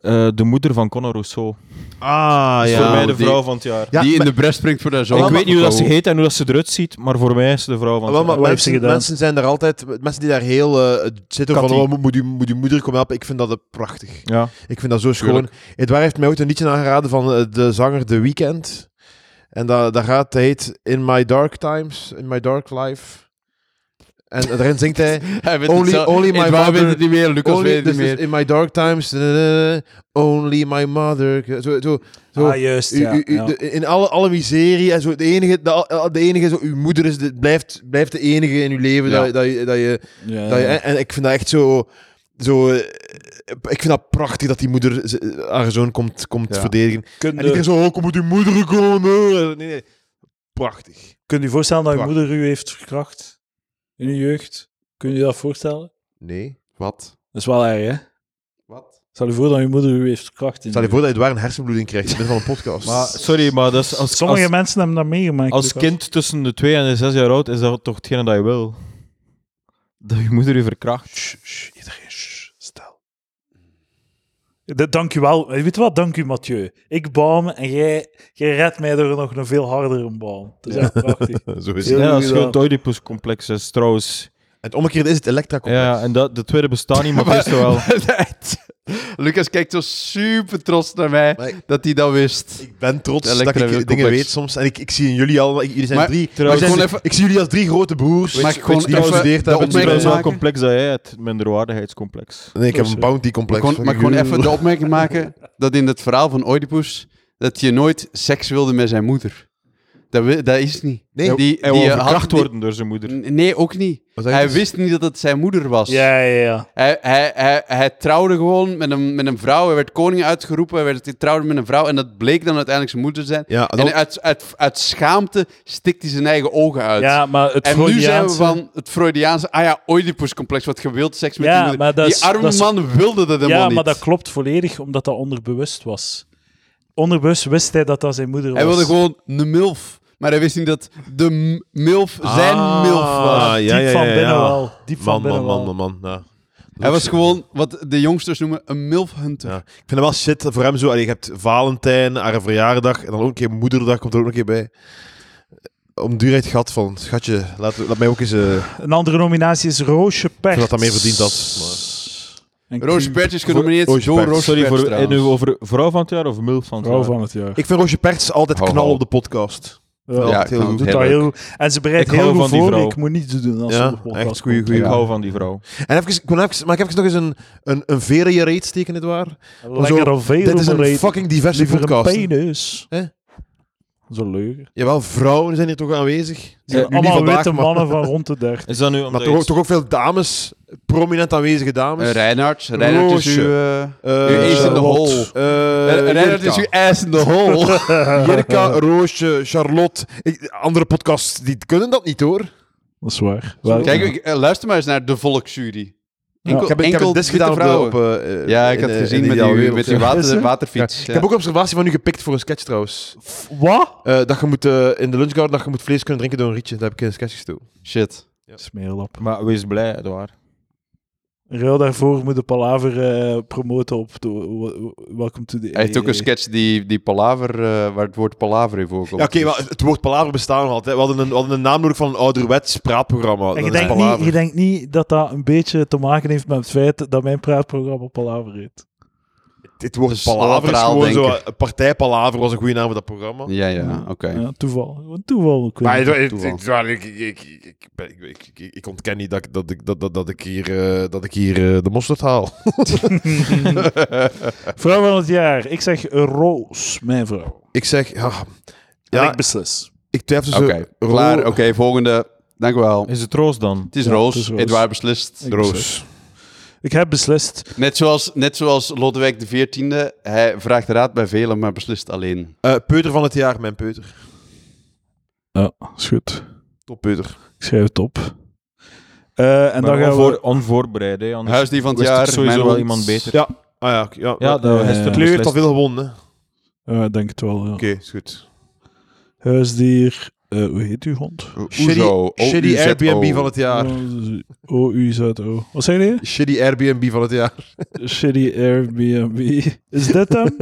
Eh, de moeder van Conor Rousseau. Ah, is ja. voor mij de die- vrouw van het jaar. Ja, die in maar- de brest springt voor haar zoon. ik weet niet hoe dat ze heet en hoe dat ze eruit ziet, maar voor mij is ze de vrouw van het Wel, jaar. maar Wat heeft ze mensen, gedaan? mensen zijn daar altijd... Mensen die daar heel... eh, het zitten van, Kattie. oh, moet, je, moet je moeder komen helpen? Ik vind dat eh, prachtig. Ja. Ik vind dat zo schoon. Tuurlijk. Edouard heeft mij ooit een liedje aangeraden van eh, de zanger The Weeknd. En daar daar gaat, het heet In My Dark Times, In My Dark Life. En daarin zingt hij... Only- only my Waar weet mother- het niet meer, Lucas Only, weet het niet dus- dus meer. in my dark times, eh, only my mother. Zo, zo, zo. Ah, juist, U- ja. u- u- ja. de- in alle, alle miserie en zo. De enige, de, al- de enige zo, uw moeder is de, blijft, blijft de enige in uw leven Ja. dat, dat, je- dat je Ja. dat je- en, en ik vind dat echt zo... zo eh, ik vind dat prachtig dat die moeder ze- haar zoon komt, komt Ja. verdedigen. Kunde- En iedereen zo, oh, kom moet uw moeder komen. Nee, nee. Prachtig. Kunt u voorstellen dat uw Prachtig. moeder u heeft verkracht in uw jeugd? Kun je dat voorstellen? Nee. Wat? Dat is wel erg, hè? Wat? Stel je voor dat je moeder u heeft kracht in. Stel je voor dat je daar een hersenbloeding krijgt in het midden van een podcast. Maar, sorry, maar dat is als, Sommige als, mensen hebben dat meegemaakt. als Lucas. kind tussen de 2 en de 6 jaar oud is dat toch hetgene dat je wil. Dat je moeder je verkracht. Shh, shh, iedereen, shh, stel. Da- Dank u wel. Eh, Weet je wat? Dank u, Mathieu. Ik baam en jij, jij redt mij door nog een veel hardere baam. Dat is echt prachtig. Eh, Zo is Heel het. Ja, dat goed is gewoon het gedaan. Oedipus-complex, is trouwens. Het omgekeerde is het elektra-complex. Ja, en dat, de tweede bestaat niet, maar het eerste wel. Lucas kijkt zo super trots naar mij Maar ik- dat hij dat wist. Ik ben trots Het dat ik elektra-complex. dingen weet soms. En ik, ik zie in jullie allemaal... Jullie zijn Maar- drie... trouwens, jullie zijn- gewoon even- Ik zie jullie als drie grote broers. Mag ik gewoon die even gestudeerd de hebben. Het is opmerking trouwens die- wel maken? complex dat jij het minderwaardigheidscomplex. Nee, ik heb een bounty-complex. Gewoon, maar gewoon even de opmerking maken dat in het verhaal van Oedipus dat je nooit seks wilde met zijn moeder. Dat, wi- dat is niet. Nee. die, Hij wil die, eh, verkracht die- Oh, worden door zijn moeder. N- Nee, ook niet. Wat zeg je Hij dus? wist niet dat het zijn moeder was. Ja, ja, ja. Hij, hij, hij, hij trouwde gewoon met een, met een vrouw. Hij werd koning uitgeroepen. Hij, werd, hij trouwde met een vrouw. En dat bleek dan uiteindelijk zijn moeder te zijn. Ja, En uit, uit, uit schaamte stikt hij zijn eigen ogen uit. Ja, maar het en nu zijn we Freudiaanse- van het Freudiaanse, ah ja, Oedipus-complex, wat je wilt seks met Ja, die moeder. maar dat die is- arme dat is- man wilde dat helemaal Ja, niet. maar dat klopt volledig, omdat dat onderbewust was. Onderbewust wist hij dat dat zijn moeder was. Hij wilde gewoon een milf. Maar hij wist niet dat de m- milf zijn milf was. Ah, Diep ja, ja, van ja, binnen ja. wel. Diep van Man, binnen man, man, wel. man, man. ja. Hij was gewoon wat de jongsters noemen een milfhunter. Ja. Ik vind het wel shit voor hem zo. Allee, je hebt Valentijn, haar verjaardag en dan ook een keer moederdag komt er ook nog een keer bij. Om duurheid gat van, schatje, laat, laat mij ook eens... eh, Een andere nominatie is Roosje Pech. dat dat meer verdiend had, Maar... Roosje Pertje is genomineerd Roosje door Pertje. Roosje Sorry, Pertje voor, en nu trouwens. over vrouw van het jaar of milf van het Vrouw jaar? van het jaar. Ik vind Roosje Perts altijd Ho, ho. knal op de podcast. Ja, Ja, ik heel vond het goed. doet dat leuk. heel goed. En ze bereidt Ik hou heel goed van die voor. vrouw. Ik moet niets doen als Ja, ze op de podcast echt goeie- komt. goeie- Ik hou van die vrouw. En even, ik wil even, maar ik heb even nog eens een, een, een veer in je reet steken, nietwaar? Lekker Zo, al veel Dit is een overreden. fucking diverse Liever een podcast. penis. Hè? Zo leuk. Jawel, vrouwen zijn hier toch aanwezig. Ja, Nu niet Allemaal vandaag, witte maar- mannen van rond de 30. Is dat nu omdat Maar je toch, ook- iets- toch ook veel dames, prominent aanwezige dames. Eh, Reinhard. Reinhard is Roosje. uw... eh, Eh, uw ace in the Lot. hole. Eh, Reinhard is Jirka. uw ass in the hole. Jirka, Roosje, Charlotte. Ik- andere podcasts, die kunnen dat niet hoor. Dat is waar. Wel- Kijk, ik, eh, luister maar eens naar de volksjury. Enkel, ik heb, ik heb enkel een disc witte gedaan op de- vrouwen. op, eh, eh, ja, ik in, had eh, gezien in met Ideaal die, Wereld, met ja. die water- Is er? waterfiets. Ik heb ook een observatie van u gepikt voor een sketch trouwens. Wat? Eh, dat je moet, eh, in de lunchgarden dat je moet vlees kunnen drinken door een rietje. Daar heb ik een sketch gestoken. Shit. Smeerlap. Maar wees blij, Edouard. Ruil daarvoor moet de Palaver eh, promoten op de, w- w- Welcome to the... Hij heeft ook een sketch die, die palaver, eh, waar het woord palaver in voorkomt. Dus- Ja, oké, maar het woord palaver bestaat nog altijd. We hadden een, we hadden een naam nodig van een ouderwets praatprogramma. En Dat je is denkt, palaver. niet, je denkt niet dat dat een beetje te maken heeft met het feit dat mijn praatprogramma Palaver heet. Dit woord Dus palaver is lateraal gewoon zo... denken. Een partijpalaver was een goede naam voor dat programma. Ja, ja, oké. Eh, Ja, toeval. Gewoon toeval. Ik weet Maar niet. het- het- toeval. het- waar ik, ik, ik, ik, ben- ik, ik- ik- ik ontken niet dat, ik- dat, ik, dat, dat, dat ik hier, eh, dat ik hier eh, de mosterd haal. Vrouw van het jaar. Ik zeg Roos, mijn vrouw. Ik zeg, ja, Ja, ja ik beslis. ik twijfel Oké, tussen Ro- klaar. Oké, volgende. Dank u wel. Is het Roos dan? Het is Ja, Roos. het is Roos. Edouard beslist. Ik beslis. Ik heb beslist. Net zoals, net zoals Lodewijk XIV. Hij vraagt raad bij velen, maar beslist alleen. eh, peuter van het jaar, mijn peuter. Ja, Ah, is goed. Toppeuter. Ik schrijf het op. Eh, en En dan gaan onvoor, we... Onvoorbereid, hè. Anders Huisdier van het wist ik jaar. sowieso mijn wel hond. iemand beter. Ja, ah, ja, ja. Ja, de dat is eh, het kleur heeft al beslist. veel gewonnen. hè. Oké, Eh, ik denk het wel, ja. is goed. Huisdier. Eh, hoe heet uw hond? Oh, Shitty, Oezo, shitty O-U-Z-O. Airbnb van het jaar. O-U-Z-O. Wat zei je? Shitty Airbnb van het jaar. Shitty Airbnb. Is dit hem?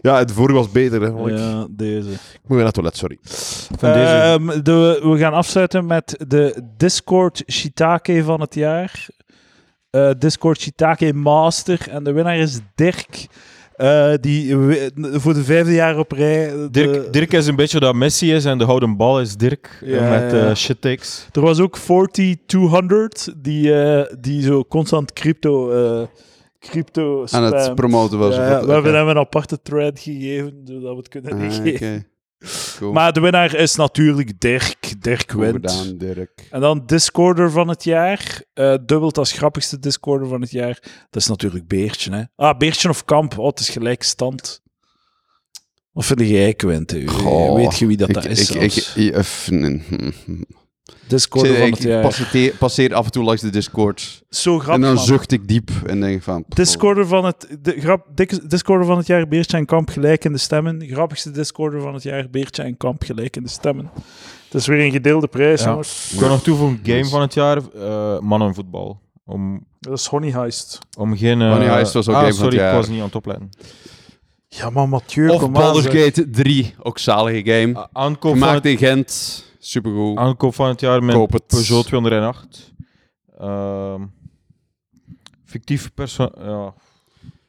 Ja, het vorige was beter. Hè, want ik- ja, deze. Ik moet weer naar het toilet, sorry. Van Eh, deze. Ehm, de, we gaan afsluiten met de Discord Shitake van het jaar. Eh, Discord Shitake Master. En de winnaar is Dirk. eh, die we- voor de vijfde jaar op rij. eh, de- eh, Dirk, Dirk is een beetje dat Messi is en de houden bal is Dirk. eh, Ja, met ja. eh, shit takes. Er was ook 40200 die, eh, die zo constant crypto. eh, crypto Aan het spamt. promoten was. Ja, Of ja, wat- we hebben oké. hem een aparte thread gegeven, zodat we het kunnen Ah, meegeven. oké. Cool. Maar de winnaar is natuurlijk Dirk. Dirk Goed wint. gedaan, Dirk. En dan Discorder van het jaar. Eh, dubbelt als grappigste Discorder van het jaar. Dat is natuurlijk Beertje, hè. Ah, Beertje of Kamp. Oh, het is gelijk stand. Wat vind jij, Quint? Goh, Weet je wie dat, Ik- daar ik- is? ik- zelfs? ik- ik- eh, f- nee, hm, hm. Discord Ik, van ik, het jaar. passeer, passeer af en toe langs de Discords. Zo en grappig, dan man. zucht ik diep en denk van... pff, Discorder van het, de, grap, dik- Discorder van het jaar, Beertje en Kamp gelijk in de stemmen. Grappigste Discorder van het jaar, Beertje en Kamp gelijk in de stemmen. Het is weer een gedeelde prijs, Ja. jongens. Ik wil nog toevoegen, game van het jaar, eh mannen in voetbal. Om, Dat is Honey Heist. om geen... eh, Money Heist was ook ah, game van sorry, het jaar. ik was niet aan het opletten. Ja, maar Mathieu, Of kom aan, Baldur's zeg. Gate 3, ook zalige game. A- Aankoop Ah, van, Gemaakt het, in Gent, supergoed. aankoop van het jaar met Koop het. Peugeot 208. Ehm fictief persoon... Ja.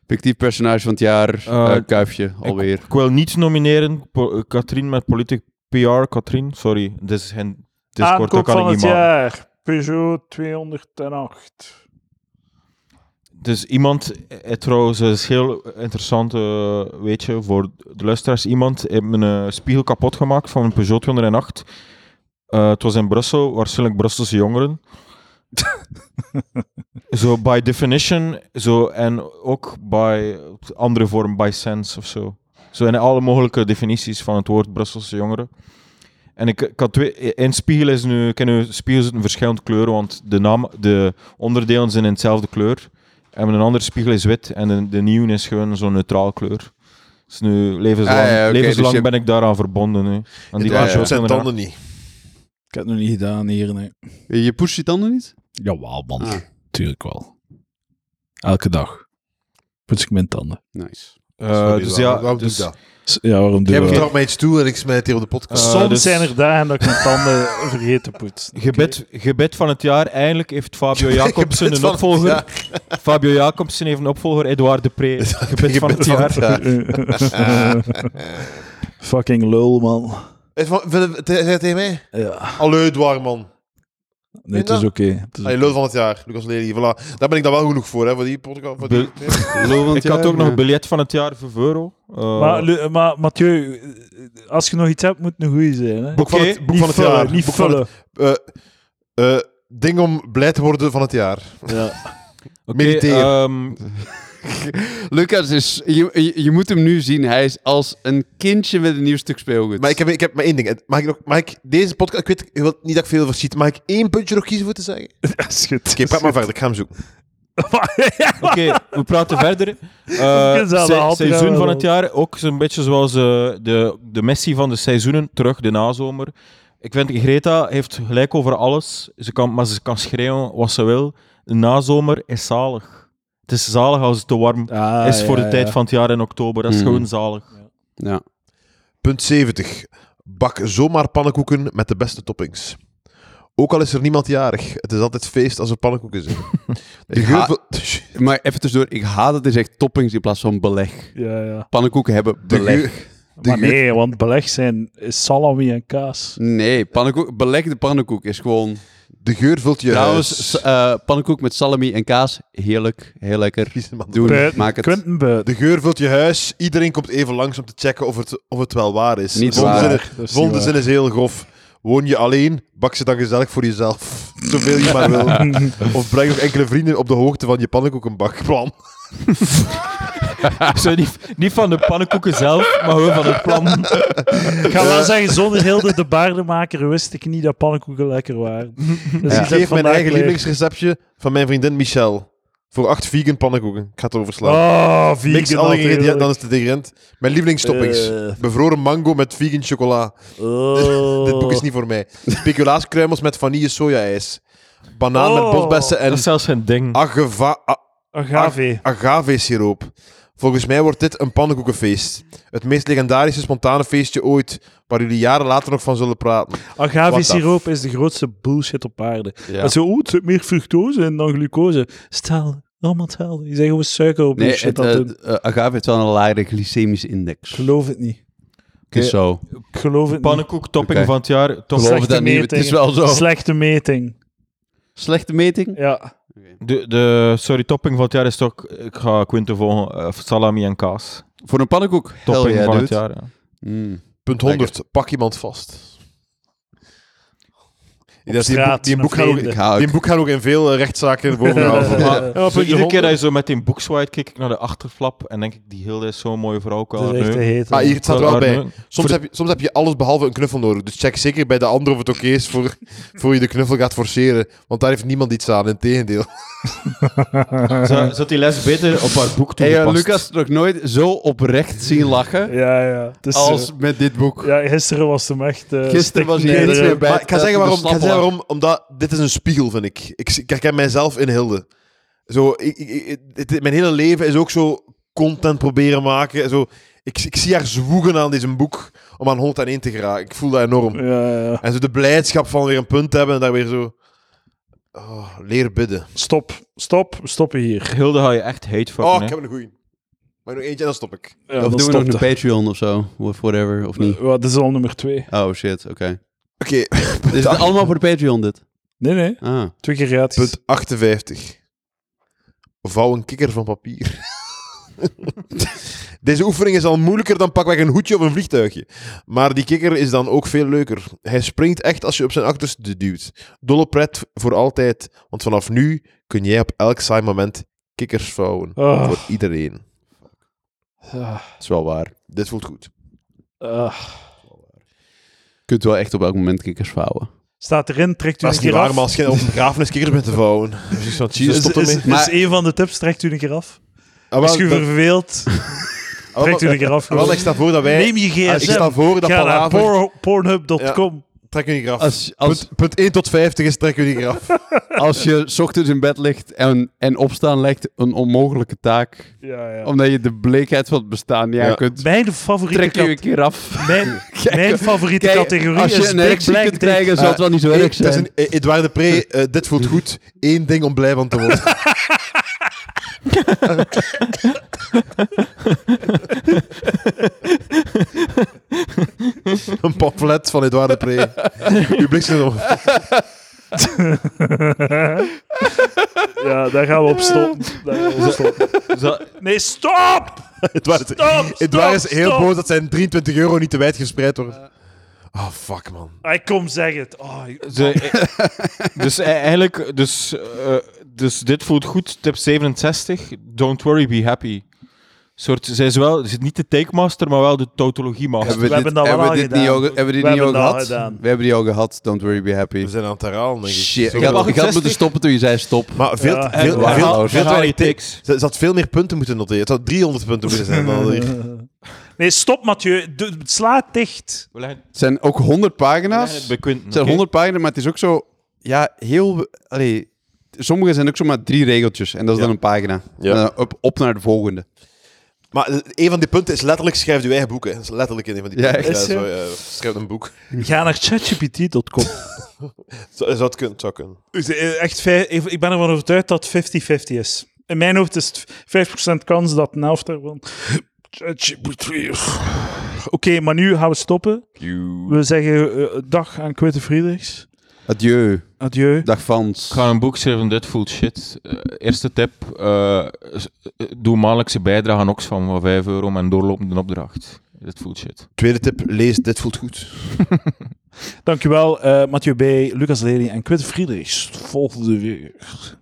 Fictief personage van het jaar, Eh, eh, Kuifje, alweer. Ik wil niets nomineren, po- eh, Katrien met politiek PR, Katrien. Sorry, dit is geen Discord, Aankoop dat kan van ik het niet maken. jaar, Peugeot 208. Dus iemand, eh, trouwens, dat is heel interessant, eh, weet je, voor de luisteraars. Iemand heeft mijn eh, spiegel kapot gemaakt van een Peugeot 208. Eh, het was in Brussel, waarschijnlijk Brusselse jongeren. zo by definition, zo en ook by andere vorm, by sense of zo. Zo in alle mogelijke definities van het woord Brusselse jongeren. En ik, ik had twee, één spiegel is nu, ik ken nu spiegels in verschillende kleuren, want de, naam, de onderdelen zijn in hetzelfde kleur. En een andere spiegel is wit en de, de nieuwe is gewoon zo'n neutraal kleur. Dus nu levenslang, Ah, ja, oké, levenslang dus je- ben ik daaraan verbonden. Nu. Aan Die Ja, was ja. op Peugeot zijn 208. tanden niet. Ik heb het nog niet gedaan hier, nee. Je pusht je tanden niet? Jawel, man. Ah. Tuurlijk wel. Elke dag. Poets ik mijn tanden. Nice. Eh, Sorry, dus waarom- ja, waarom doe ik dus- dat? S- Ja, waarom doe Jij je dat? vertrouwt mij iets toe en ik smijt hier op de podcast. Eh, Soms dus- zijn er dagen dat ik mijn tanden vergeet te poetsen. Gebed, gebed van het jaar. Eindelijk heeft Fabio Jacobsen Gebed een van- opvolger. Ja. Fabio Jacobsen heeft een opvolger, Edouard Depree. Gebed van het jaar. Oké. Fucking lul, man. Is van- vind- te- Zeg het tegen mij. Ja. Allee, dwar, man. Nee, het is dat? oké. Het is Allee, oké. lul van het jaar. Lucas Lely, voilà. Daar ben ik dan wel genoeg voor, hè, voor die podcast. Voor die... Ik had ook nog een biljet van het jaar, 5 euro. Eh, Maar, Lu- maar Mathieu, eh, als je nog iets hebt, moet het een goeie zijn. Hè? Boek van het, Oké, boek niet van het vullen, jaar. Niet boek vullen. Van het, eh, eh, ding om blij te worden van het jaar. Ja. oké, mediteer. ehm, Lucas is... Je, je, je moet hem nu zien. Hij is als een kindje met een nieuw stuk speelgoed. Maar ik heb, ik heb maar één ding. Mag ik, nog, mag ik deze podcast... Ik weet ik wil niet dat ik veel verschiet. Mag ik één puntje nog kiezen voor te zeggen? Oké, Schut. praat maar verder. Ik ga hem zoeken. oké, we praten verder. Eh, Ik zal se- altijd seizoen wel- van het jaar, ook zo'n beetje zoals eh, de, de Messi van de seizoenen, terug de nazomer. Ik vind, Greta heeft gelijk over alles. Ze kan, maar ze kan schreeuwen wat ze wil. De nazomer is zalig. Het is zalig als het te warm Ah, is voor ja, de tijd ja. van het jaar in oktober. Dat is Mhm. gewoon zalig. Ja. Punt 70. Bak zomaar pannenkoeken met de beste toppings. Ook al is er niemand jarig, het is altijd feest als er pannenkoeken zijn. De Ik geur ha- van, Maar even tussendoor. Ik haat dat hij zegt toppings in plaats van beleg. Ja, ja. Pannenkoeken hebben de beleg. geur- Maar nee, want beleg zijn is salami en kaas. Nee, pannenkoek, belegde pannenkoek is gewoon... de geur vult je Trouwens, huis. s- eh, pannenkoek met salami en kaas. Heerlijk, heel lekker. Kies een man. Doen, Buiten. maak het. Quentin buiten. De geur vult je huis. Iedereen komt even langs om te checken of het, of het wel waar is. Niet De volgende waar. zin is- Dat is Volgende niet zin is heel grof. Woon je alleen, bak ze dan gezellig voor jezelf. Zoveel je maar wil. Of breng nog enkele vrienden op de hoogte van je pannenkoekenbakplan. Ah, Zo, Oh, niet, niet van de pannenkoeken zelf, maar gewoon van het plan. Ik ga Eh. wel zeggen, zonder Hilde de baardenmaker wist ik niet dat pannenkoeken lekker waren. Dus Ik die zijn geef mijn vandaag eigen leeg. lievelingsreceptje van mijn vriendin Michelle. Voor acht vegan pannenkoeken. Ik ga het overslaan. Oh, vegan Mix alle ingrediënten, dan natuurlijk. is het ingrediënt. Mijn lievelingstoppings. Eh. Bevroren mango met vegan chocola. Oh. Dit boek is niet voor mij. Speculaaskruimels met vanille sojaijs. Banaan Oh. met bosbessen Dat en is zelfs geen ding. agava- a- Agave. agave siroop. Volgens mij wordt dit een pannenkoekenfeest. Het meest legendarische spontane feestje ooit, waar jullie jaren later nog van zullen praten. Agave What the siroop is de grootste bullshit op aarde. Ja. Dat zo, oh, het zit meer fructose in dan glucose. Stel, allemaal hetzelfde. Je zegt gewoon suiker op Nee, die shit het, aan het eh, doen. eh, agave heeft wel een lage glycemische index. Ik geloof het niet. Het is zo. Ik geloof het niet. Pannenkoek topping Oké. van het jaar. Top. Geloof Slechte dat niet, het is metingen. wel zo. Slechte meting. Slechte meting? Ja. De, de, sorry, topping van het jaar is toch... Ik ga Quinten volgen. eh, salami en kaas. Voor een pannenkoek? Topping Hell yeah, van het dude. jaar. ja. Mm. Punt 100. Pak iemand vast. Op Dus dat die boek- straat. die met boek gaan ook- vreemden. Ik hou Die boek gaat ook in veel eh, rechtszaken bovenaan. Maar, Ja, zo puntje iedere honderd. keer dat je zo met die boek swipe, kijk ik naar de achterflap en denk ik, die Hilde is zo'n mooie vrouw. Ik wil Het haar is echt te neuken. heet. Maar hier het staat er Ik wil wel haar bij. neuken. Soms heb, je, soms heb je alles behalve een knuffel nodig. Dus check zeker bij de ander of het oké is voor, voor je de knuffel gaat forceren. Want daar heeft niemand iets aan, in tegendeel. Zou- Zou die les beter op haar boek Hey, eh, toegepast? Lucas nog nooit zo oprecht zien lachen Ja, ja. Het is, als eh, met dit boek. ja, gisteren was hem echt... eh, Gisteren was hij stikken- niks meer bij. Maar ik ga zeggen waarom. Ik ga Slappe zeggen lach. waarom omdat dit is een spiegel, vind ik. Ik, ik herken mijzelf in Hilde. Zo, ik, ik- ik- het- mijn hele leven is ook zo content proberen maken. Zo, ik, ik zie haar zwoegen aan deze boek om aan 101 te geraken. Ik voel dat enorm. Ja, ja. En zo de blijdschap van weer een punt te hebben en daar weer zo... Oh, leer bidden. Stop. Stop. Stoppen hier. Hilde ga je echt hate fucken, Oh, hè. ik heb een goeie. Maar nog eentje en dan stop ik. Ja, dan of doen we nog stopt een Patreon of zo? Of whatever, of niet? het. Wat, Dit is al nummer twee. Oh shit, oké. Oké, Is het allemaal voor de Patreon dit? Nee, nee. Ah. Twee keer gratis. punt 58. Vouw een kikker van papier. Deze oefening is al moeilijker dan pakweg een hoedje of een vliegtuigje. Maar die kikker is dan ook veel leuker. Hij springt echt als je op zijn achterste duwt. Dolle pret voor altijd, want vanaf nu kun jij op elk saai moment kikkers vouwen. Ah. Voor iedereen. Ah, Dat is wel waar. Dit voelt goed. ah. Je kunt wel echt op elk moment kikkers vouwen. Staat erin, trekt u Dat een is niet keer waar, af. maar als je op een begrafenis kikkers bent te vouwen. Dus ik zou Is, Jesus, stop is, ermee. is Maar- Dus een van de tips, trekt u een keer af. Ah, wel, Als je dat- verveelt, ah, wel, trekt u een keer af. ah, wel, ik sta voor dat wij... Neem je Ah, ik gsm. sta voor dat Ga naar palaver... por- pornhub.com. Trek u niet af. Als, als, Punt, punt 1 tot 50 is trek u niet af. als je 's ochtends in bed ligt en, en opstaan lijkt een onmogelijke taak, Ja, ja. omdat je de bleekheid van het bestaan niet Ja. aan kunt, Mijn favoriete, trek je een kat- keer af. mijn, mijn favoriete Kijk, categorie als je is een Big erectie Black kunt Dick. krijgen, zal het wel niet zo Eh, erg het is zijn. een- eh, Edouard de Pre, eh, dit voelt goed. Eén ding om blij van te worden. een pamflet van Edouard de Pre. Uw bliksem. Ja, daar gaan we op stoppen. Daar gaan we op stoppen. Zou- Nee, stop! Edouard, Stop! Edouard is stop, heel stop. boos dat zijn 23 euro niet te wijd gespreid worden. Oh, fuck man. Hij kom, zeg het. Oh, ik- Ze- eh, dus e- eigenlijk, dus, eh, dus dit voelt goed. Tip 67, don't worry, be happy. Soort, zij is wel, ze is niet de takemaster, maar wel de tautologiemaster. we hebben dat wel Dus hebben al dit gedaan. Niet ook, hebben we dit We niet hebben ook dat al gehad? gedaan. We hebben die ook gehad. Don't worry, be happy. We zijn aan het herhalen, denk ik. Shit. Zo Ik had, wel. ik had moeten stoppen toen je zei stop. Maar veel, Ja. veel, veel, veel, Herhaal- herhaal te weinig je tik- tics. Ze ze had veel meer punten moeten noteren. Het had 300 punten moeten zijn. Dan had ik- Nee, stop, Mathieu. Doe- Sla het dicht. We leggen, Het zijn ook 100 we leggen pagina's. het bij Quinten, Het zijn oké? 100 pagina's, maar het is ook zo... Ja, heel... Allee, sommige zijn ook zomaar drie regeltjes. En dat Ja. is dan een pagina. Ja. En dan op, op naar de volgende. Maar eh, een van die punten is letterlijk schrijf je eigen boek. Hè. Dat is letterlijk een van die Ja, punten. echt? zo, eh, schrijf een boek. Ga naar chatgpt.com. Zou, zou het kunnen? het zou kunnen. Dus, eh, Echt, vij- ik ben ervan overtuigd dat het 50-50 is. In mijn hoofd is het 5% kans dat een helft daarvan. ChatGPT. Oké, maar nu gaan we stoppen. We zeggen eh, dag aan Quinten Friedrichs. Adieu. Adieu. Dag Fans. Ik ga een boek schrijven, dit voelt shit. Eh, eerste tip, eh, s- eh, doe maandelijkse bijdrage aan Oxfam van 5 euro om een doorlopende opdracht. Dit voelt shit. Tweede tip, lees Dit voelt goed. Dankjewel, eh Mathieu B., Lucas Lely en Quinten Friedrichs. Volgende weer.